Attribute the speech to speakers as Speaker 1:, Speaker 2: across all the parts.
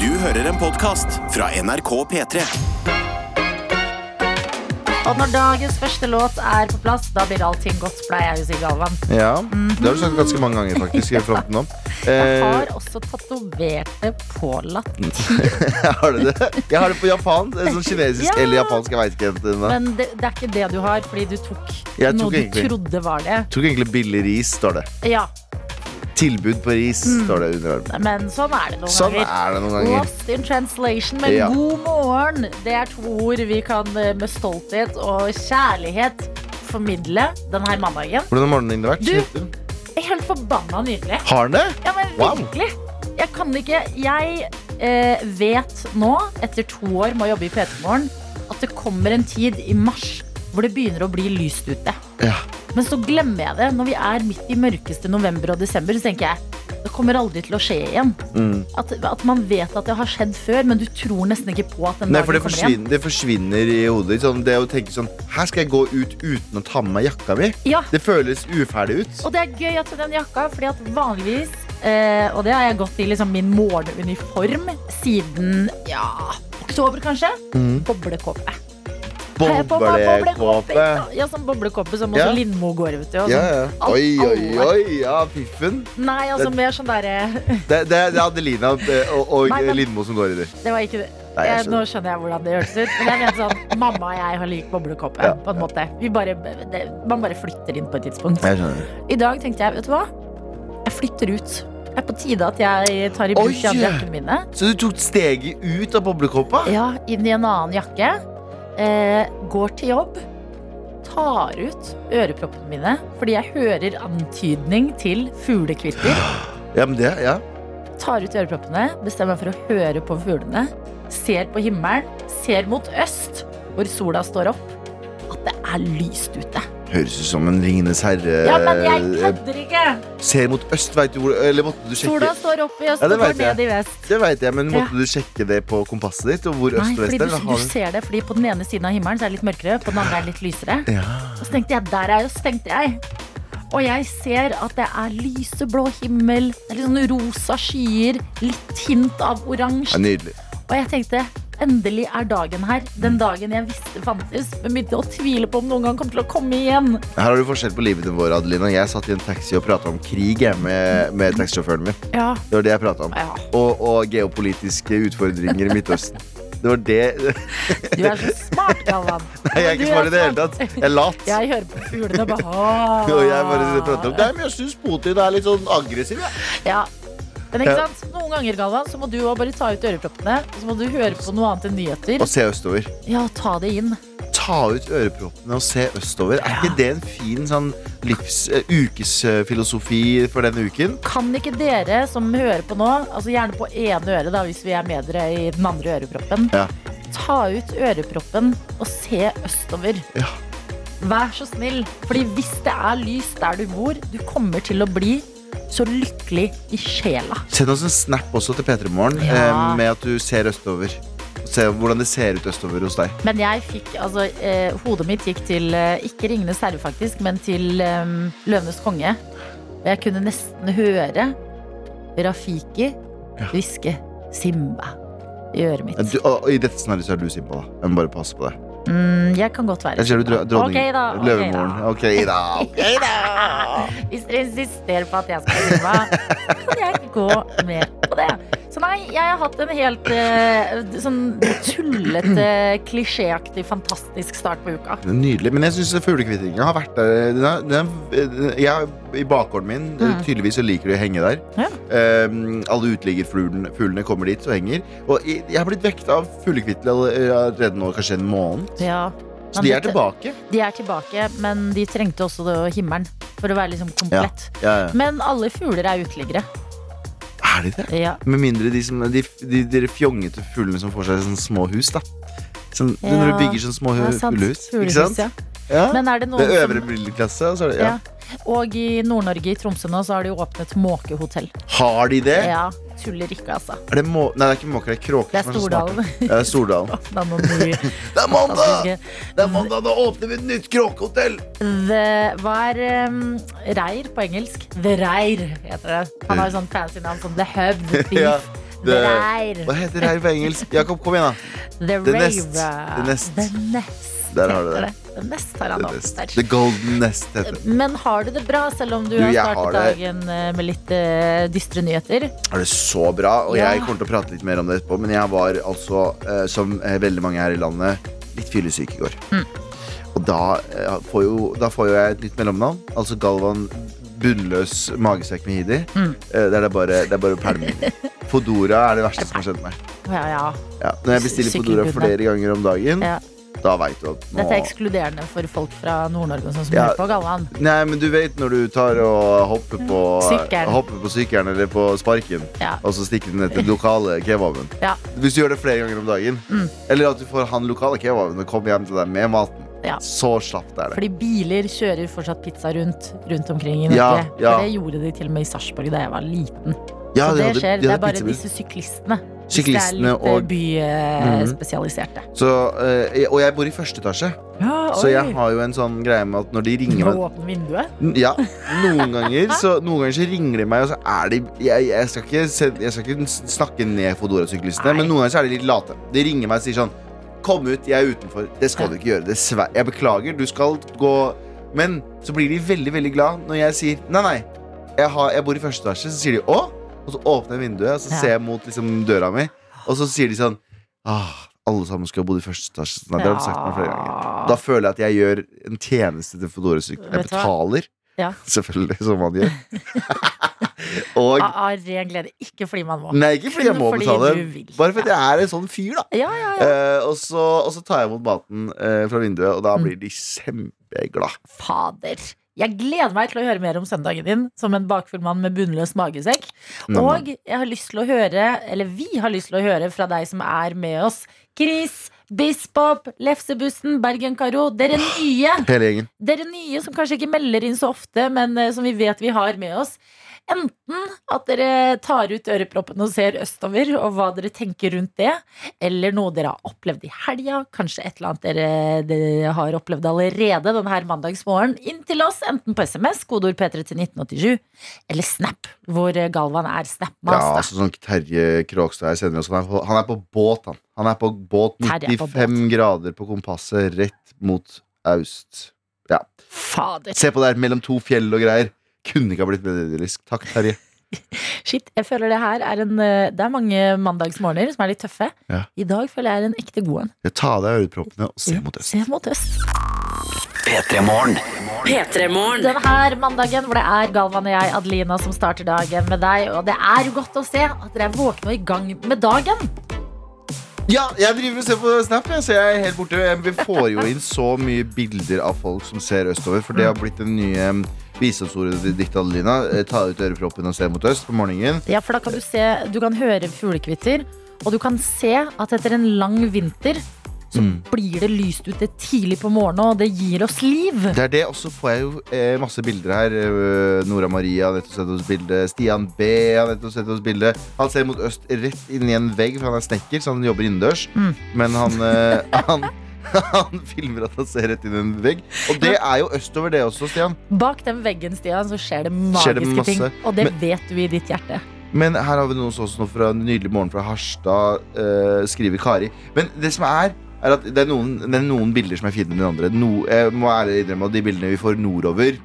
Speaker 1: Du hører en podkast fra NRK P3.
Speaker 2: Og når dagens første låt er på plass, da blir allting godt, pleier jeg å si, Galvan.
Speaker 3: Ja, Det har du sagt ganske mange ganger, faktisk. i fronten om
Speaker 2: Jeg
Speaker 3: eh,
Speaker 2: har også tatovert det på latin,
Speaker 3: Har du det? Jeg har det på japan. det er Sånn kinesisk
Speaker 2: Ja.
Speaker 3: eller japansk. Jeg vet ikke helt ennå.
Speaker 2: men det, det er ikke det du har, fordi du tok,
Speaker 3: Jeg tok
Speaker 2: noe du
Speaker 3: egentlig-
Speaker 2: trodde var det.
Speaker 3: Tok egentlig billig ris, står det.
Speaker 2: Ja,
Speaker 3: Tilbud på ris,
Speaker 2: Mm.
Speaker 3: står det under armen.
Speaker 2: men sånn er det noen
Speaker 3: Sånn
Speaker 2: ganger.
Speaker 3: er det noen ganger.
Speaker 2: Lost in translation, men
Speaker 3: Ja.
Speaker 2: god morgen. Det er to ord vi kan eh, med stolthet og kjærlighet formidle denne mandagen.
Speaker 3: Hvordan har morgenen din vært?
Speaker 2: Du- Det er Helt forbanna nydelig.
Speaker 3: Har den det?
Speaker 2: Ja, men
Speaker 3: Wow.
Speaker 2: virkelig. Jeg kan ikke Jeg eh, vet nå, etter to år med å jobbe i P3 Morgen, at det kommer en tid i mars hvor det begynner å bli lyst ute.
Speaker 3: Ja.
Speaker 2: Men så glemmer jeg det når vi er midt i mørkeste november og desember. Så tenker jeg det kommer aldri til å skje igjen.
Speaker 3: Mm.
Speaker 2: At, at man vet at det har skjedd før, men du tror nesten ikke på at den
Speaker 3: Nei,
Speaker 2: dagen
Speaker 3: for det
Speaker 2: kommer igjen.
Speaker 3: forsvinner, det forsvinner i hodet. ditt, Sånn, det å tenke sånn Her skal jeg gå ut uten å ta med meg jakka mi.
Speaker 2: Ja,
Speaker 3: Det føles uferdig ut.
Speaker 2: Og det er gøy at den jakka, fordi at vanligvis eh, Og det har jeg gått i liksom min morgenuniform siden ja, oktober, kanskje.
Speaker 3: Mm.
Speaker 2: Boblekåpe. Har jeg på meg
Speaker 3: Boblekåpe.
Speaker 2: boblekåpe? Ja, sånn boblekåpe som også
Speaker 3: Ja.
Speaker 2: Lindmo går, vet du. Og
Speaker 3: Ja,
Speaker 2: sånn.
Speaker 3: ja. Oi, oi, oi. Ja, piffen.
Speaker 2: Nei, altså mer sånn derre
Speaker 3: Det, det, det er Adelina eh, og, og
Speaker 2: Nei, men-
Speaker 3: Lindmo som går i det.
Speaker 2: Det var ikke det.
Speaker 3: Nei, jeg
Speaker 2: Jeg, nå skjønner jeg hvordan det hørtes ut. Men jeg mener sånn, Mamma og jeg har lik boblekåpe.
Speaker 3: Ja.
Speaker 2: På en måte. Vi bare, det, man bare flytter inn på et tidspunkt.
Speaker 3: Jeg skjønner.
Speaker 2: I dag tenkte jeg, vet du hva? Jeg flytter ut. Det er på tide at jeg tar i bruk
Speaker 3: Oi!
Speaker 2: de andre jakkene mine.
Speaker 3: Så du tok steget ut av boblekåpa?
Speaker 2: Ja, inn i en annen jakke. Eh, går til jobb. Tar ut øreproppene mine fordi jeg hører antydning til fuglekvitter.
Speaker 3: Ja, men det, ja.
Speaker 2: Tar ut øreproppene, bestemmer meg for å høre på fuglene. Ser på himmelen, ser mot øst, hvor sola står opp. At det er lyst ute.
Speaker 3: Høres ut som en Ringenes herre
Speaker 2: Ja, men jeg
Speaker 3: Eh,
Speaker 2: kødder ikke!
Speaker 3: Ser mot øst, veit du hvor Eller måtte du sjekke
Speaker 2: Sola står opp i øst
Speaker 3: Ja, det
Speaker 2: og går
Speaker 3: vet jeg.
Speaker 2: ned i vest.
Speaker 3: Det vet jeg,
Speaker 2: Ja.
Speaker 3: men måtte du sjekke det på kompasset ditt? Og hvor
Speaker 2: Nei,
Speaker 3: øst og
Speaker 2: fordi
Speaker 3: vest
Speaker 2: du,
Speaker 3: er? eller
Speaker 2: du
Speaker 3: har du-
Speaker 2: ser det, fordi på den ene siden av himmelen så er det litt mørkere, på den andre er det litt lysere.
Speaker 3: Ja.
Speaker 2: Og så tenkte jeg, der er jo stengt jeg. Og jeg ser at det er lyseblå himmel, det er litt sånn rosa skyer, litt hint av
Speaker 3: Ja,
Speaker 2: oransje.
Speaker 3: nydelig.
Speaker 2: Og jeg tenkte, endelig er dagen her. Den dagen jeg visste fantes, men begynte å tvile på om noen gang kom til å komme igjen.
Speaker 3: Her har du forskjell på livet vårt, Adelina. Jeg satt i en taxi og prata om krig jeg, med, med taxisjåføren min.
Speaker 2: Ja,
Speaker 3: Det var det jeg prata om.
Speaker 2: ja.
Speaker 3: Og, og geopolitiske utfordringer i Midtøsten. Det var det Nei,
Speaker 2: Du er så smart, Galvan.
Speaker 3: jeg er ikke smart i det hele tatt. Jeg er lat.
Speaker 2: Jeg hører på fuglene og bare «Åh».
Speaker 3: Og jeg bare sitter og prater om Nei, men jeg syns Putin er litt sånn aggressiv, jeg.
Speaker 2: Ja. Men ikke
Speaker 3: Ja.
Speaker 2: sant? Noen ganger, Galvan, så må du også bare ta ut øreproppene, og så må du høre på noe annet enn nyheter.
Speaker 3: Og se østover.
Speaker 2: Ja, ta det inn.
Speaker 3: Ta ut øreproppene og se østover. Er ikke det en fin sånn livs, eh, ukesfilosofi for denne uken?
Speaker 2: Kan ikke dere som hører på nå, altså gjerne på ene øret da, hvis vi er med dere i den andre øreproppen,
Speaker 3: Ja.
Speaker 2: ta ut øreproppen og se østover.
Speaker 3: Ja.
Speaker 2: Vær så snill, fordi hvis det er lys der du bor, du kommer til å bli så lykkelig i sjela.
Speaker 3: Send oss en snap også til P3 Morgen
Speaker 2: Ja.
Speaker 3: eh, med at du ser østover. Se hvordan det ser ut østover hos deg.
Speaker 2: Men jeg fikk, altså, eh, hodet mitt gikk til, eh, ikke Ringenes herre faktisk, men til eh, Løvenes konge. Og jeg kunne nesten høre Rafiki hviske Simba i øret mitt.
Speaker 3: Du, og, og I dette scenarioet så er du Simba, da. Jeg må bare passe på det.
Speaker 2: Mm, jeg kan godt være
Speaker 3: Jeg ser du dro- dronning.
Speaker 2: Ok da, ok
Speaker 3: Løvemoren.
Speaker 2: da.
Speaker 3: Ok, da.
Speaker 2: Ok da. Hvis dere insisterer på at jeg skal synge, så kan jeg gå med på det. Så nei, jeg har hatt en helt eh, sånn tullete, klisjéaktig, fantastisk start på uka.
Speaker 3: Det er Nydelig. Men jeg syns fuglekvitringa har vært der. Den er, den er, jeg, I bakgården min
Speaker 2: Mm.
Speaker 3: tydeligvis så liker de å henge der.
Speaker 2: Ja.
Speaker 3: Um, alle uteliggerfuglene fuglene kommer dit og henger. Og jeg, jeg har blitt vekket av fuglekvitter allerede nå kanskje en måned.
Speaker 2: Ja.
Speaker 3: Så de er tilbake.
Speaker 2: De er tilbake, men de trengte også da himmelen for å være liksom komplett.
Speaker 3: Ja, ja.
Speaker 2: Men alle fugler er uteliggere.
Speaker 3: Er de det?
Speaker 2: Ja.
Speaker 3: Med mindre de, som, de, de, de fjongete fuglene som får seg sånne små hus, da. Sånn, Når
Speaker 2: Ja,
Speaker 3: du bygger sånne små
Speaker 2: det er
Speaker 3: hu-
Speaker 2: sant.
Speaker 3: fuglehus. Ikke
Speaker 2: Fuglehus,
Speaker 3: sant?
Speaker 2: ja.
Speaker 3: Ja.
Speaker 2: Men er det
Speaker 3: Det
Speaker 2: noen
Speaker 3: er
Speaker 2: som
Speaker 3: øvre middelklasse. og så er det-
Speaker 2: ja.
Speaker 3: Ja.
Speaker 2: Og i Nord-Norge, i Tromsø nå, så har de åpnet måkehotell.
Speaker 3: Har de det?
Speaker 2: Ja, tuller ikke, altså.
Speaker 3: Er det må Nei, det er ikke måker, det er kråker.
Speaker 2: Det er
Speaker 3: som så smarte.
Speaker 2: Stordalen.
Speaker 3: Ja, det er Stordalen.
Speaker 2: Da må vi-
Speaker 3: Det er mandag!
Speaker 2: Norge.
Speaker 3: Det er mandag, Nå åpner vi et nytt kråkehotell!
Speaker 2: The, hva er um, reir på engelsk? The Reir heter det. Han har jo sånn fancy navn som The Hub, The Thief,
Speaker 3: The,
Speaker 2: Det er
Speaker 3: hva heter reiv på engelsk? Jakob, kom igjen, da.
Speaker 2: The
Speaker 3: The Nest.
Speaker 2: Rave.
Speaker 3: The Nest.
Speaker 2: The Nest
Speaker 3: Der har du
Speaker 2: heter
Speaker 3: det.
Speaker 2: The Nest har han
Speaker 3: The,
Speaker 2: navnet
Speaker 3: nest.
Speaker 2: der.
Speaker 3: The Golden Nest heter det.
Speaker 2: Men har du det bra, selv om du,
Speaker 3: Du,
Speaker 2: har
Speaker 3: jeg
Speaker 2: startet
Speaker 3: har det.
Speaker 2: dagen eh, med litt eh, dystre nyheter?
Speaker 3: Er det så bra? Og jeg
Speaker 2: Ja.
Speaker 3: kommer til å prate litt mer om det etterpå, men jeg var altså, eh, som eh, veldig mange her i landet, litt fyllesyk i går. Og da, eh, får jo, da får jo jeg et nytt mellomnavn, altså Galvan Bunnløs magesekk med hider. Eh, der det er bare, det er bare pælmer. Fodora er det verste som har skjedd meg.
Speaker 2: Å, Ja, ja.
Speaker 3: Ja, når jeg bestiller
Speaker 2: Syk i
Speaker 3: Fodora
Speaker 2: hodet.
Speaker 3: flere ganger om dagen,
Speaker 2: Ja.
Speaker 3: da veit du at nå
Speaker 2: Dette er ekskluderende for folk fra Nord-Norge og sånn som
Speaker 3: Ja.
Speaker 2: hører på Galvan.
Speaker 3: Nei, men du vet når du tar og hopper på
Speaker 2: Sykkelen.
Speaker 3: Hopper på sykkelen eller på sparken,
Speaker 2: Ja.
Speaker 3: og så stikker den etter den lokale kebaben.
Speaker 2: Ja. Mm.
Speaker 3: Hvis du gjør det flere ganger om dagen, eller at du får han lokale kebaben og kommer hjem til deg med maten,
Speaker 2: Ja.
Speaker 3: så slapt er det.
Speaker 2: Fordi biler kjører fortsatt pizza rundt, rundt omkring i Norge.
Speaker 3: Ja, ja.
Speaker 2: For det gjorde de til og med i Sarpsborg da jeg var liten.
Speaker 3: Ja,
Speaker 2: Så
Speaker 3: de
Speaker 2: det
Speaker 3: hadde-
Speaker 2: skjer.
Speaker 3: de
Speaker 2: Det
Speaker 3: hadde
Speaker 2: er bare
Speaker 3: pizzabil.
Speaker 2: disse syklistene. Hvis
Speaker 3: Syklistene
Speaker 2: det er
Speaker 3: og
Speaker 2: litt eh, byspesialiserte.
Speaker 3: så, eh, Og jeg bor i første etasje, så jeg har jo en sånn greie med at når de ringer meg
Speaker 2: åpne vinduet.
Speaker 3: N- Ja, noen ganger så, Noen ganger så ringer de meg, og så er de Jeg, jeg, skal, ikke, se- jeg skal ikke s- snakke ned Fodora-syklistene,
Speaker 2: Nei.
Speaker 3: men noen ganger så er de litt late. De ringer meg og sier sånn Kom ut, jeg er utenfor. Det skal du ikke gjøre. Dessverre. Jeg beklager, du skal gå Men så blir de veldig, veldig glad når jeg sier Nei, nei, jeg, har, jeg bor i første etasje. Så sier de å? Og så åpner jeg vinduet, og så
Speaker 2: Ja.
Speaker 3: ser jeg mot liksom, døra mi, og så sier de sånn Åh, alle sammen skulle ha bodd i første etasje. Sånn, det har de sagt meg flere ganger. Da føler jeg at jeg gjør en tjeneste til Fodora-sykkelen. Jeg
Speaker 2: Vet du hva?
Speaker 3: betaler,
Speaker 2: Ja.
Speaker 3: selvfølgelig, som man gjør. Og
Speaker 2: Av av ren glede. Ikke fordi man må.
Speaker 3: Nei, ikke fordi jeg må
Speaker 2: Ah, Kun fordi
Speaker 3: betale,
Speaker 2: du vil.
Speaker 3: bare fordi jeg er en sånn fyr, da.
Speaker 2: Ja, ja, ja.
Speaker 3: Eh, og, så, og så tar jeg imot maten eh, fra vinduet, og da
Speaker 2: Mm.
Speaker 3: blir de kjempeglad.
Speaker 2: Fader. Jeg gleder meg til å høre mer om søndagen din som en bakfull mann med bunnløs magesekk.
Speaker 3: Nam, nam.
Speaker 2: Og jeg har lyst til å høre, eller vi har lyst til å høre fra deg som er med oss. Chris, Bispop, Lefsebussen, Bergen-Karo. Dere nye.
Speaker 3: Hele gjengen.
Speaker 2: Dere nye som kanskje ikke melder inn så ofte, men eh, som vi vet vi har med oss. Enten at dere tar ut øreproppene og ser østover, og hva dere tenker rundt det, eller noe dere har opplevd i helga, kanskje et eller annet dere, dere har opplevd allerede denne mandagsmorgen, inn til oss, enten på SMS, kodeord P3 til 1987, eller Snap, hvor eh, Galvan er
Speaker 3: Ja,
Speaker 2: Snap-master.
Speaker 3: altså, sånn Terje Krogstad jeg sender oss, han, er på, han er på båt, han. Han er på båt
Speaker 2: Terje er
Speaker 3: 95
Speaker 2: på båt.
Speaker 3: grader på kompasset, rett mot aust.
Speaker 2: Fader.
Speaker 3: Se på det her, mellom to fjell og greier. Kunne ikke ha blitt mer idyllisk. Takk, Terje.
Speaker 2: Shit, jeg føler det her er en eh, Det er mange mandagsmorgener som er litt tøffe.
Speaker 3: Ja.
Speaker 2: I dag føler jeg er en ekte god en.
Speaker 3: Jeg tar av deg øreproppene og se
Speaker 2: Ja,
Speaker 3: mot øst.
Speaker 2: Se mot øst.
Speaker 1: P3-morgen.
Speaker 4: P3morgen.
Speaker 2: Denne her mandagen hvor det er Galvan og jeg, Adelina, som starter dagen med deg. Og det er jo godt å se at dere er våkne og i gang med dagen.
Speaker 3: Ja, jeg driver og ser på Snap, jeg, så jeg er helt borte. Jeg- Vi får jo inn så mye bilder av folk som ser østover, for det
Speaker 2: Mm.
Speaker 3: har blitt det nye em, visdomsordet til diktet Adelina. Eh, Ta ut øreproppen og se mot øst på morgenen.
Speaker 2: Ja, for da kan du se Du kan høre fuglekvitter, og du kan se at etter en lang vinter så
Speaker 3: Mm.
Speaker 2: blir det lyst ute tidlig på morgenen, og det gir oss liv.
Speaker 3: Det er det, og så får jeg jo eh, masse bilder her. Eh, Nora Maria har nettopp sett oss bilde. Stian B har nettopp sett oss bilde. Han ser mot øst rett inn i en vegg, for han er snekker, så han jobber innendørs.
Speaker 2: Mm.
Speaker 3: Men han, eh, han han filmer at han ser rett inn i en vegg. Og det er jo østover, det også, Stian.
Speaker 2: Bak den veggen, Stian, så skjer det magiske
Speaker 3: Skjer det masse.
Speaker 2: ting. Og det
Speaker 3: Men-
Speaker 2: vet du i ditt hjerte.
Speaker 3: Men her har vi noen som også nå fra Nydelig morgen fra Harstad, eh, skriver Kari. Men det som er, er at det er noen, det er noen bilder som er finere enn andre. No, jeg må ærlig innrømme at de bildene vi får nordover,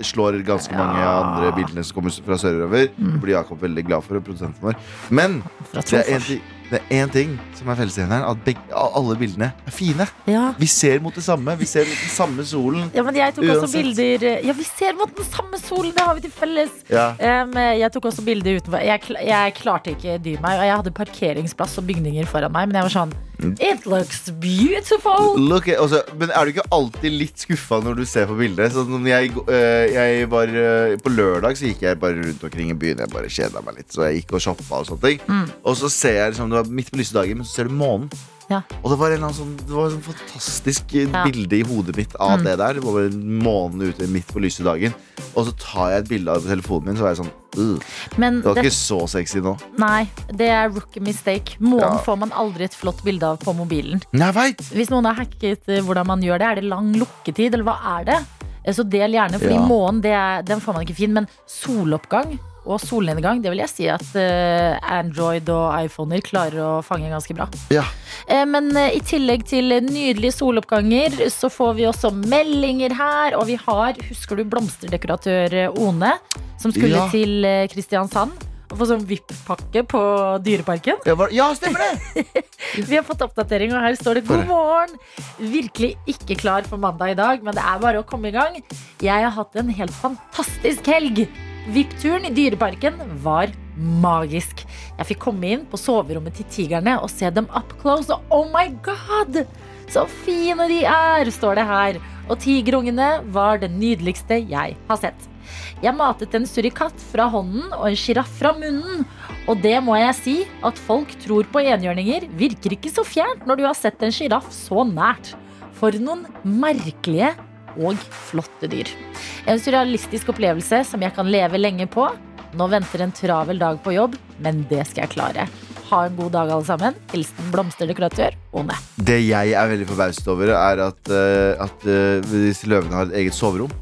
Speaker 3: slår ganske mange
Speaker 2: Ja.
Speaker 3: av andre bildene som kommer fra sørover.
Speaker 2: Mm.
Speaker 3: Blir Jakob veldig glad for, produsenten vår. Men
Speaker 2: Fra
Speaker 3: det er én
Speaker 2: Tromsø.
Speaker 3: ting, det er én ting som er fellesnevneren, at begge, alle bildene er fine.
Speaker 2: Ja.
Speaker 3: Vi ser mot det samme. Vi ser mot den samme solen.
Speaker 2: ja, men jeg tok også
Speaker 3: Uansett.
Speaker 2: bilder Ja, vi ser mot den samme solen! Det har vi til felles.
Speaker 3: Ja.
Speaker 2: Um, jeg tok også bilder utenfor. Jeg, kl jeg klarte ikke dy meg. Og jeg hadde parkeringsplass og bygninger foran meg, men jeg var sånn
Speaker 3: Mm.
Speaker 2: It looks beautiful!
Speaker 3: Look at, altså, men er du ikke alltid litt skuffa når du ser på bildet? Sånn som jeg, øh, jeg var, øh, på lørdag så gikk jeg bare rundt omkring i byen. Jeg bare kjeda meg litt, så jeg gikk og shoppa og sånne ting. Og så ser jeg liksom, det var midt på lyse dagen, men så ser du månen.
Speaker 2: Ja.
Speaker 3: Og det var en eller annen sånn, det var en sånn fantastisk øh,
Speaker 2: Ja.
Speaker 3: bilde i hodet mitt av det der. Det var bare månen ute midt på lyse dagen. Og så tar jeg et bilde av det på telefonen min, så var jeg sånn øh,
Speaker 2: Men
Speaker 3: Det var
Speaker 2: det,
Speaker 3: ikke så sexy nå.
Speaker 2: nei, det er rookie mistake. Månen
Speaker 3: Ja.
Speaker 2: får man aldri et flott bilde av på mobilen.
Speaker 3: Nei, jeg veit!
Speaker 2: Hvis noen har hacket eh, hvordan man gjør det, er det lang lukketid, eller hva er det? Eh, Så del gjerne, fordi
Speaker 3: Ja.
Speaker 2: månen det er, den får man ikke fin, men soloppgang og solnedgang, det vil jeg si at eh, Android og iPhoner klarer å fange ganske bra.
Speaker 3: Ja.
Speaker 2: Eh, Men eh, i tillegg til nydelige soloppganger, så får vi også meldinger her. Og vi har, husker du blomsterdekoratør eh, One, som skulle
Speaker 3: Ja.
Speaker 2: til eh, Kristiansand? Og få sånn VIP-pakke på Dyreparken.
Speaker 3: Ja, hva- ja, stemmer det!
Speaker 2: Vi har fått oppdatering, og her står det God morgen! Virkelig ikke klar for mandag i dag, men det er bare å komme i gang. Jeg har hatt en helt fantastisk helg. VIP-turen i Dyreparken var magisk. Jeg fikk komme inn på soverommet til tigrene og se dem up close, og oh my god! Så fine de er, står det her. Og tigerungene var det nydeligste jeg har sett. Jeg matet en surikatt fra hånden og en sjiraff fra munnen. Og det må jeg si, at folk tror på enhjørninger virker ikke så fjernt når du har sett en sjiraff så nært. For noen merkelige og flotte dyr. En surrealistisk opplevelse som jeg kan leve lenge på. Nå venter en travel dag på jobb, men det skal jeg klare. Ha en god dag, alle sammen. Hilsen blomsterdekoratør One.
Speaker 3: Det jeg er veldig forbauset over, er at, eh, at eh, disse løvene har et eget soverom.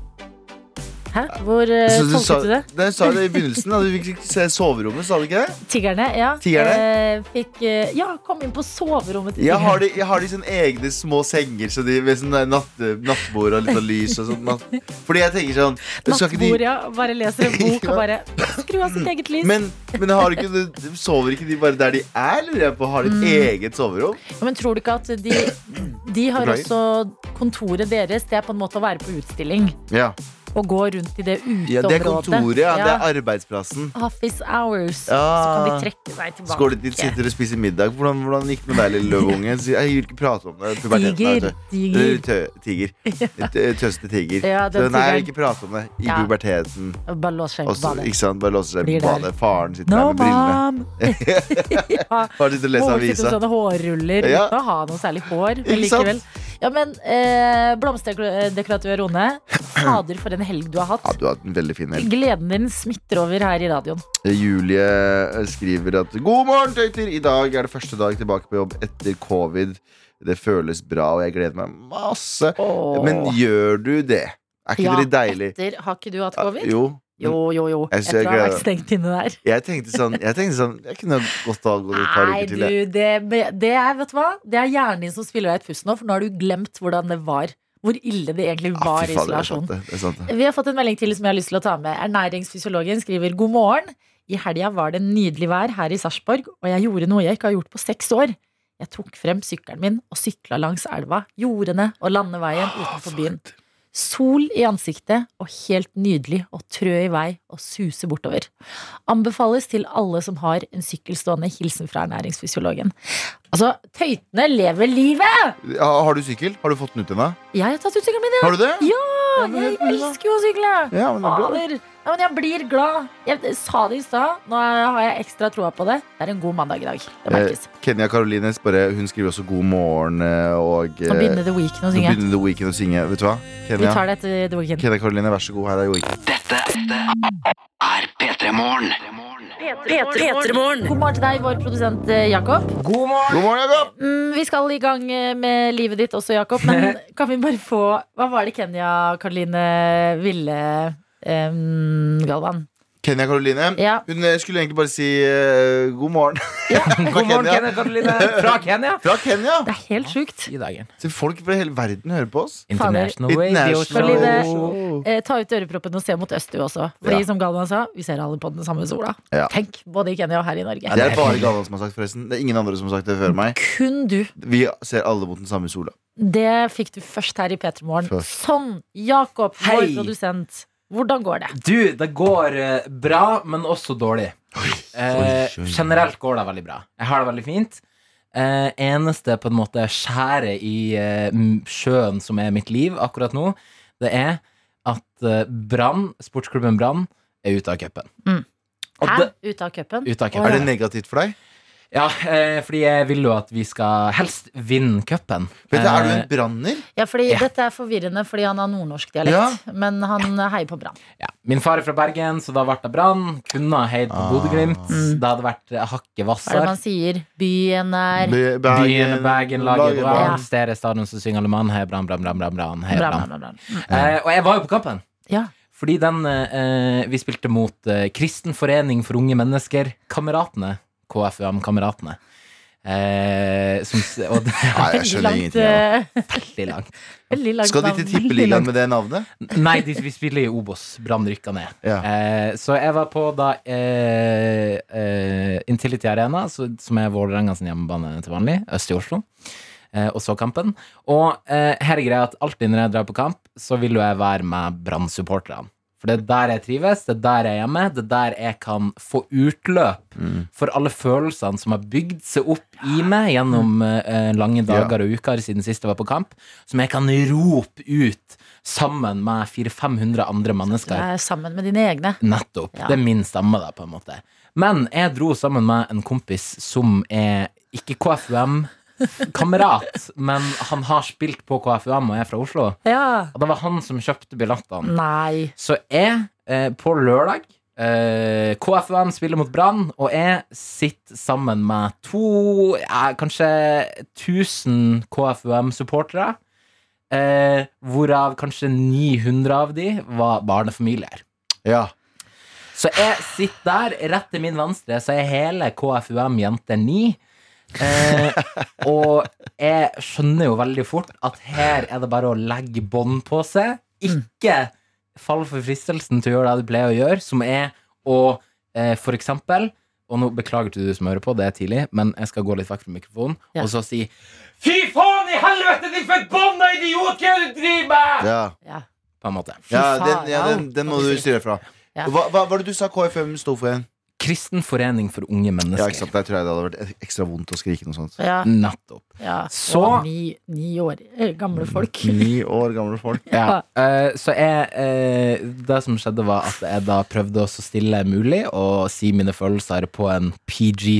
Speaker 2: Hæ? Hvor eh,
Speaker 3: Så
Speaker 2: tolket
Speaker 3: sa,
Speaker 2: du det?
Speaker 3: Nei, jeg sa det i begynnelsen. at Du fikk ikke se soverommet, sa du ikke det?
Speaker 2: Tiggerne, ja.
Speaker 3: Tiggerne?
Speaker 2: Eh, fikk eh, Ja, kom inn på soverommet til
Speaker 3: Jeg har
Speaker 2: tiggerne.
Speaker 3: de, jeg har de sånne egne små senger så de, med sånn der natte, nattbord og litt av lys og sånn. natt- Fordi jeg tenker sånn skal ikke de-
Speaker 2: Nattbord, ja. Bare leser en bok og
Speaker 3: Ja.
Speaker 2: bare skrur av sitt eget lys.
Speaker 3: Men, men har ikke, de- sover ikke de bare der de er, lurer jeg på? Har de
Speaker 2: Mm.
Speaker 3: et eget soverom?
Speaker 2: Ja, Men tror du ikke at de, de har
Speaker 3: Beklager.
Speaker 2: også kontoret deres Det er på en måte å være på utstilling
Speaker 3: Ja.
Speaker 2: og gå rundt i det uteområdet.
Speaker 3: det er kontoret, ja. Det er
Speaker 2: Ja.
Speaker 3: arbeidsplassen.
Speaker 2: Office hours. Så kan de
Speaker 3: Ja.
Speaker 2: trekke seg tilbake.
Speaker 3: Så går de dit, sitter og spiser middag. Hvordan, hvordan gikk det med deg, lille løveunge? Sier, Jeg vil ikke prate om det. Puberteten er
Speaker 2: Tiger.
Speaker 3: tø- Eller
Speaker 2: Diger.
Speaker 3: tø tiger. Tø- Tøste tiger.
Speaker 2: Ja, den
Speaker 3: Så nei, jeg
Speaker 2: tigeren.
Speaker 3: vil ikke prate om det i
Speaker 2: Ja.
Speaker 3: puberteten.
Speaker 2: Bare lås seg
Speaker 3: Og
Speaker 2: på
Speaker 3: så-
Speaker 2: badet.
Speaker 3: ikke sant, Bare låser seg
Speaker 2: Blir
Speaker 3: på
Speaker 2: der.
Speaker 3: badet. Faren sitter
Speaker 2: No,
Speaker 3: der med brillene.
Speaker 2: mom! ja.
Speaker 3: Faren sitter og leser
Speaker 2: Moren sitter sånn- med
Speaker 3: avisa.
Speaker 2: sånne hårruller
Speaker 3: Ja.
Speaker 2: uten å ha noe særlig hår. Men
Speaker 3: Ikke sant?
Speaker 2: likevel. Ja, men eh, blomsterdekoratør Rone, fader for en helg du har
Speaker 3: Ja,
Speaker 2: hatt.
Speaker 3: du har hatt en veldig fin helg.
Speaker 2: Gleden din smitter over her i radioen.
Speaker 3: Julie eh, skriver at God morgen, tøyter! I dag er det første dag tilbake på jobb etter covid. Det føles bra, og jeg gleder meg masse.
Speaker 2: Åh.
Speaker 3: Men gjør du det? Er ikke
Speaker 2: Ja,
Speaker 3: det litt deilig? Ah,
Speaker 2: etter Har ikke du hatt covid?
Speaker 3: Jo.
Speaker 2: Jo, jo, jo.
Speaker 3: Jeg
Speaker 2: Etter å
Speaker 3: ser
Speaker 2: ha
Speaker 3: ikke-
Speaker 2: vært stengt inne der.
Speaker 3: Jeg tenkte sånn Jeg, tenkte sånn, jeg kunne godt ha gått et par
Speaker 2: Nei,
Speaker 3: uker
Speaker 2: du,
Speaker 3: til. jeg.
Speaker 2: det, det er vet du hva? Det er hjernen din som spiller deg et puss nå, for nå har du glemt hvordan det var. Hvor ille det egentlig
Speaker 3: Ah,
Speaker 2: var
Speaker 3: fy
Speaker 2: i
Speaker 3: fader, det er sant
Speaker 2: isolasjon.
Speaker 3: det, det er sant det.
Speaker 2: Vi har fått en melding til som jeg har lyst til å ta med. Ernæringsfysiologen skriver god morgen. I helga var det nydelig vær her i Sarpsborg, og jeg gjorde noe jeg ikke har gjort på seks år. Jeg tok frem sykkelen min og sykla langs elva, jordene og landeveien
Speaker 3: Ah,
Speaker 2: utenfor byen. Sol i ansiktet og helt nydelig å trø i vei og suse bortover. Anbefales til alle som har en sykkel stående. Hilsen fra ernæringsfysiologen. Altså, tøytene lever livet!
Speaker 3: Ja, Har du sykkel? Har du fått den ut ennå?
Speaker 2: Jeg har tatt ut sykkelen min, ja!
Speaker 3: Har du det?
Speaker 2: Ja,
Speaker 3: men
Speaker 2: Jeg
Speaker 3: helt nydelig, da.
Speaker 2: elsker jo å sykle!
Speaker 3: Ja, men det er bra.
Speaker 2: Fader! Ja, men jeg blir glad. Jeg sa det i stad. Nå har jeg ekstra troa på det. Det er en god mandag i dag.
Speaker 3: Eh,
Speaker 2: Det merkes.
Speaker 3: Kenya Karolines bare, hun skriver også 'God morgen' eh, og eh,
Speaker 2: Nå begynner The Weekend å
Speaker 3: nå
Speaker 2: synge.
Speaker 3: begynner The Weeknd å synge. Vet du hva?
Speaker 2: Vi
Speaker 3: Kenya,
Speaker 2: tar det etter The Weekend.
Speaker 3: Kenya Karoline, vær så god. Her er The Weeknd.
Speaker 1: Er P3 Morgen.
Speaker 2: God morgen til deg, vår produsent eh, Jakob.
Speaker 3: God morgen, Jakob!
Speaker 2: Mm, vi skal i gang eh, med livet ditt også, Jakob. Men kan vi bare få Hva var det Kenya Karoline ville em, Galvan?
Speaker 3: Kenya Karoline.
Speaker 2: Ja.
Speaker 3: Hun eh, skulle egentlig bare si eh, god morgen.
Speaker 4: God morgen,
Speaker 3: Kenya.
Speaker 4: Kenya Karoline. eh, Fra Kenya.
Speaker 3: Fra Kenya!
Speaker 2: Det er helt sjukt.
Speaker 4: I dagen.
Speaker 3: Så folk fra hele verden hører på oss.
Speaker 4: International Radio
Speaker 2: Karoline.
Speaker 4: Show.
Speaker 2: Eh, ta ut øreproppen og se mot øst, du også. Fordi
Speaker 3: Ja.
Speaker 2: som Galvan sa, vi ser alle på den samme sola.
Speaker 3: Ja.
Speaker 2: Tenk, både i Kenya og her i Norge.
Speaker 3: Det er bare Galvan som har sagt forresten. Det er ingen andre som har sagt det før meg.
Speaker 2: Kun du.
Speaker 3: Vi ser alle mot den samme sola.
Speaker 2: Det fikk du først her i P3 Morgen.
Speaker 3: Først.
Speaker 2: Sånn, Jakob, vår
Speaker 4: Hei.
Speaker 2: produsent. Hvordan går det?
Speaker 4: Du, det går eh, bra, men også dårlig. Eh,
Speaker 3: oi, oi.
Speaker 4: generelt går det veldig bra. Jeg har det veldig fint. Eh, eneste på en måte skjæret i eh, m- sjøen som er mitt liv akkurat nå, det er at eh, Brann, sportsklubben Brann, er ute av cupen.
Speaker 2: Mm.
Speaker 4: Og
Speaker 2: Her,
Speaker 4: det-
Speaker 2: ute av cupen?
Speaker 4: Ute av
Speaker 2: Å,
Speaker 4: cupen.
Speaker 3: Er det negativt for deg?
Speaker 4: Ja, eh, fordi jeg vil jo at vi skal helst vinne cupen.
Speaker 3: Vet du, Er du
Speaker 4: Eh,
Speaker 3: en branner?
Speaker 2: Ja, fordi
Speaker 4: Ja.
Speaker 2: Dette er forvirrende fordi han har nordnorsk dialekt,
Speaker 3: Ja.
Speaker 2: men han eh, heier på Brann.
Speaker 4: Ja. Min far er fra Bergen, så da ble det Brann. Kunne ha heid på
Speaker 3: Ah.
Speaker 4: Bodø-Glimt.
Speaker 2: Mm.
Speaker 4: Det hadde vært eh, hakket
Speaker 2: Hva er det
Speaker 4: hvassere.
Speaker 2: man sier? Byen er
Speaker 3: Be-
Speaker 4: Byen er Bergen, laget
Speaker 3: laget
Speaker 4: Brann.
Speaker 2: Brann.
Speaker 4: Stedet er stadion som synger Alemann. Hei, Brann, Brann, Brann, Brann. Brann, hei,
Speaker 2: Brann,
Speaker 4: Brann.
Speaker 2: brann, brann.
Speaker 4: Eh, og jeg var jo på kampen.
Speaker 2: Ja.
Speaker 4: Fordi den eh, vi spilte mot eh, Kristen forening for unge mennesker, Kameratene. KFUM-kameratene. Eh, som s- og det er
Speaker 3: Nei, jeg skjønner
Speaker 2: langt,
Speaker 3: ingenting. av det.
Speaker 2: eh,
Speaker 4: veldig langt.
Speaker 2: veldig langt
Speaker 3: Skal de
Speaker 2: navn.
Speaker 3: til Tippeligaen med det navnet?
Speaker 4: Nei, de, vi spiller i Obos. Brann rykka ned.
Speaker 3: Ja.
Speaker 4: Eh, så jeg var på da eh, eh, Intility Arena, så, som er Vålerenga sin hjemmebane til vanlig, øst i Oslo, eh, og så kampen. Og eh, her er greia at alltid når jeg drar på kamp, så vil jo jeg være med Brann-supporterne. For det er der jeg trives, det er der jeg er hjemme, det er der jeg kan få utløp for alle følelsene som har bygd seg opp i meg gjennom eh, lange dager og uker siden sist jeg var på kamp, som jeg kan rope ut sammen med 400-500 andre
Speaker 2: Du
Speaker 4: mennesker.
Speaker 2: er Eh, sammen med dine egne.
Speaker 4: Nettopp.
Speaker 2: Ja.
Speaker 4: Det er min stemme, da, på en måte. Men jeg dro sammen med en kompis som er ikke KFUM-kamerat, men han har spilt på KFUM og er fra Oslo.
Speaker 2: Ja.
Speaker 4: Og det var han som kjøpte billettene.
Speaker 2: Nei.
Speaker 4: Så jeg, eh, på lørdag eh, KFUM spiller mot Brann, og jeg sitter sammen med to, eh, kanskje 1000 KFUM-supportere. Eh, hvorav kanskje 900 av de var barnefamilier.
Speaker 3: Ja.
Speaker 4: Så jeg sitter der, rett til min venstre, så er hele KFUM jente 9. Eh, og jeg skjønner jo veldig fort at her er det bare å legge bånd på seg. Ikke fall for fristelsen til å gjøre det du pleier å gjøre, som er å eh, for eksempel Og nå beklager til du som hører på, det er tidlig, men jeg skal gå litt vekk fra mikrofonen,
Speaker 2: Ja.
Speaker 4: og så si Fy faen i helvete, din forbanna idiot! Hva er det du driver med?!
Speaker 3: Ja.
Speaker 2: Ja.
Speaker 4: På en måte.
Speaker 3: Ja,
Speaker 2: Fy
Speaker 3: den,
Speaker 2: faen,
Speaker 3: ja,
Speaker 2: au,
Speaker 3: den, den må
Speaker 2: må
Speaker 3: du
Speaker 2: vi si.
Speaker 3: styre fra.
Speaker 2: Ja.
Speaker 3: Hva, hva var det du sa KFM sto for igjen?
Speaker 4: Kristen forening for unge
Speaker 3: Ja, ikke
Speaker 4: mennesker.
Speaker 3: sant, Der tror jeg det hadde vært ekstra vondt å skrike noe sånt.
Speaker 2: Ja.
Speaker 4: Nettopp.
Speaker 2: ja.
Speaker 4: Så- Mm.
Speaker 2: Og ni, ni år eh, gamle folk.
Speaker 3: Ni år gamle folk.
Speaker 4: Ja. eh, så jeg eh, Det som skjedde, var at jeg da prøvde å så stille mulig og si mine følelser på en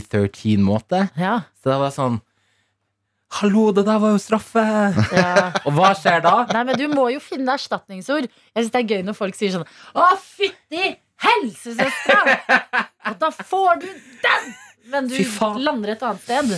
Speaker 4: PG-13-måte.
Speaker 2: Ja.
Speaker 4: Så det var sånn Hallo, det der var jo straffe!
Speaker 2: ja.
Speaker 4: Og hva skjer da?
Speaker 2: Nei, men du må jo finne erstatningsord. Jeg syns det er gøy når folk sier sånn Å, fytti helsesøstera! Og da får du den! Men du
Speaker 4: Fy faen.
Speaker 2: lander et annet sted.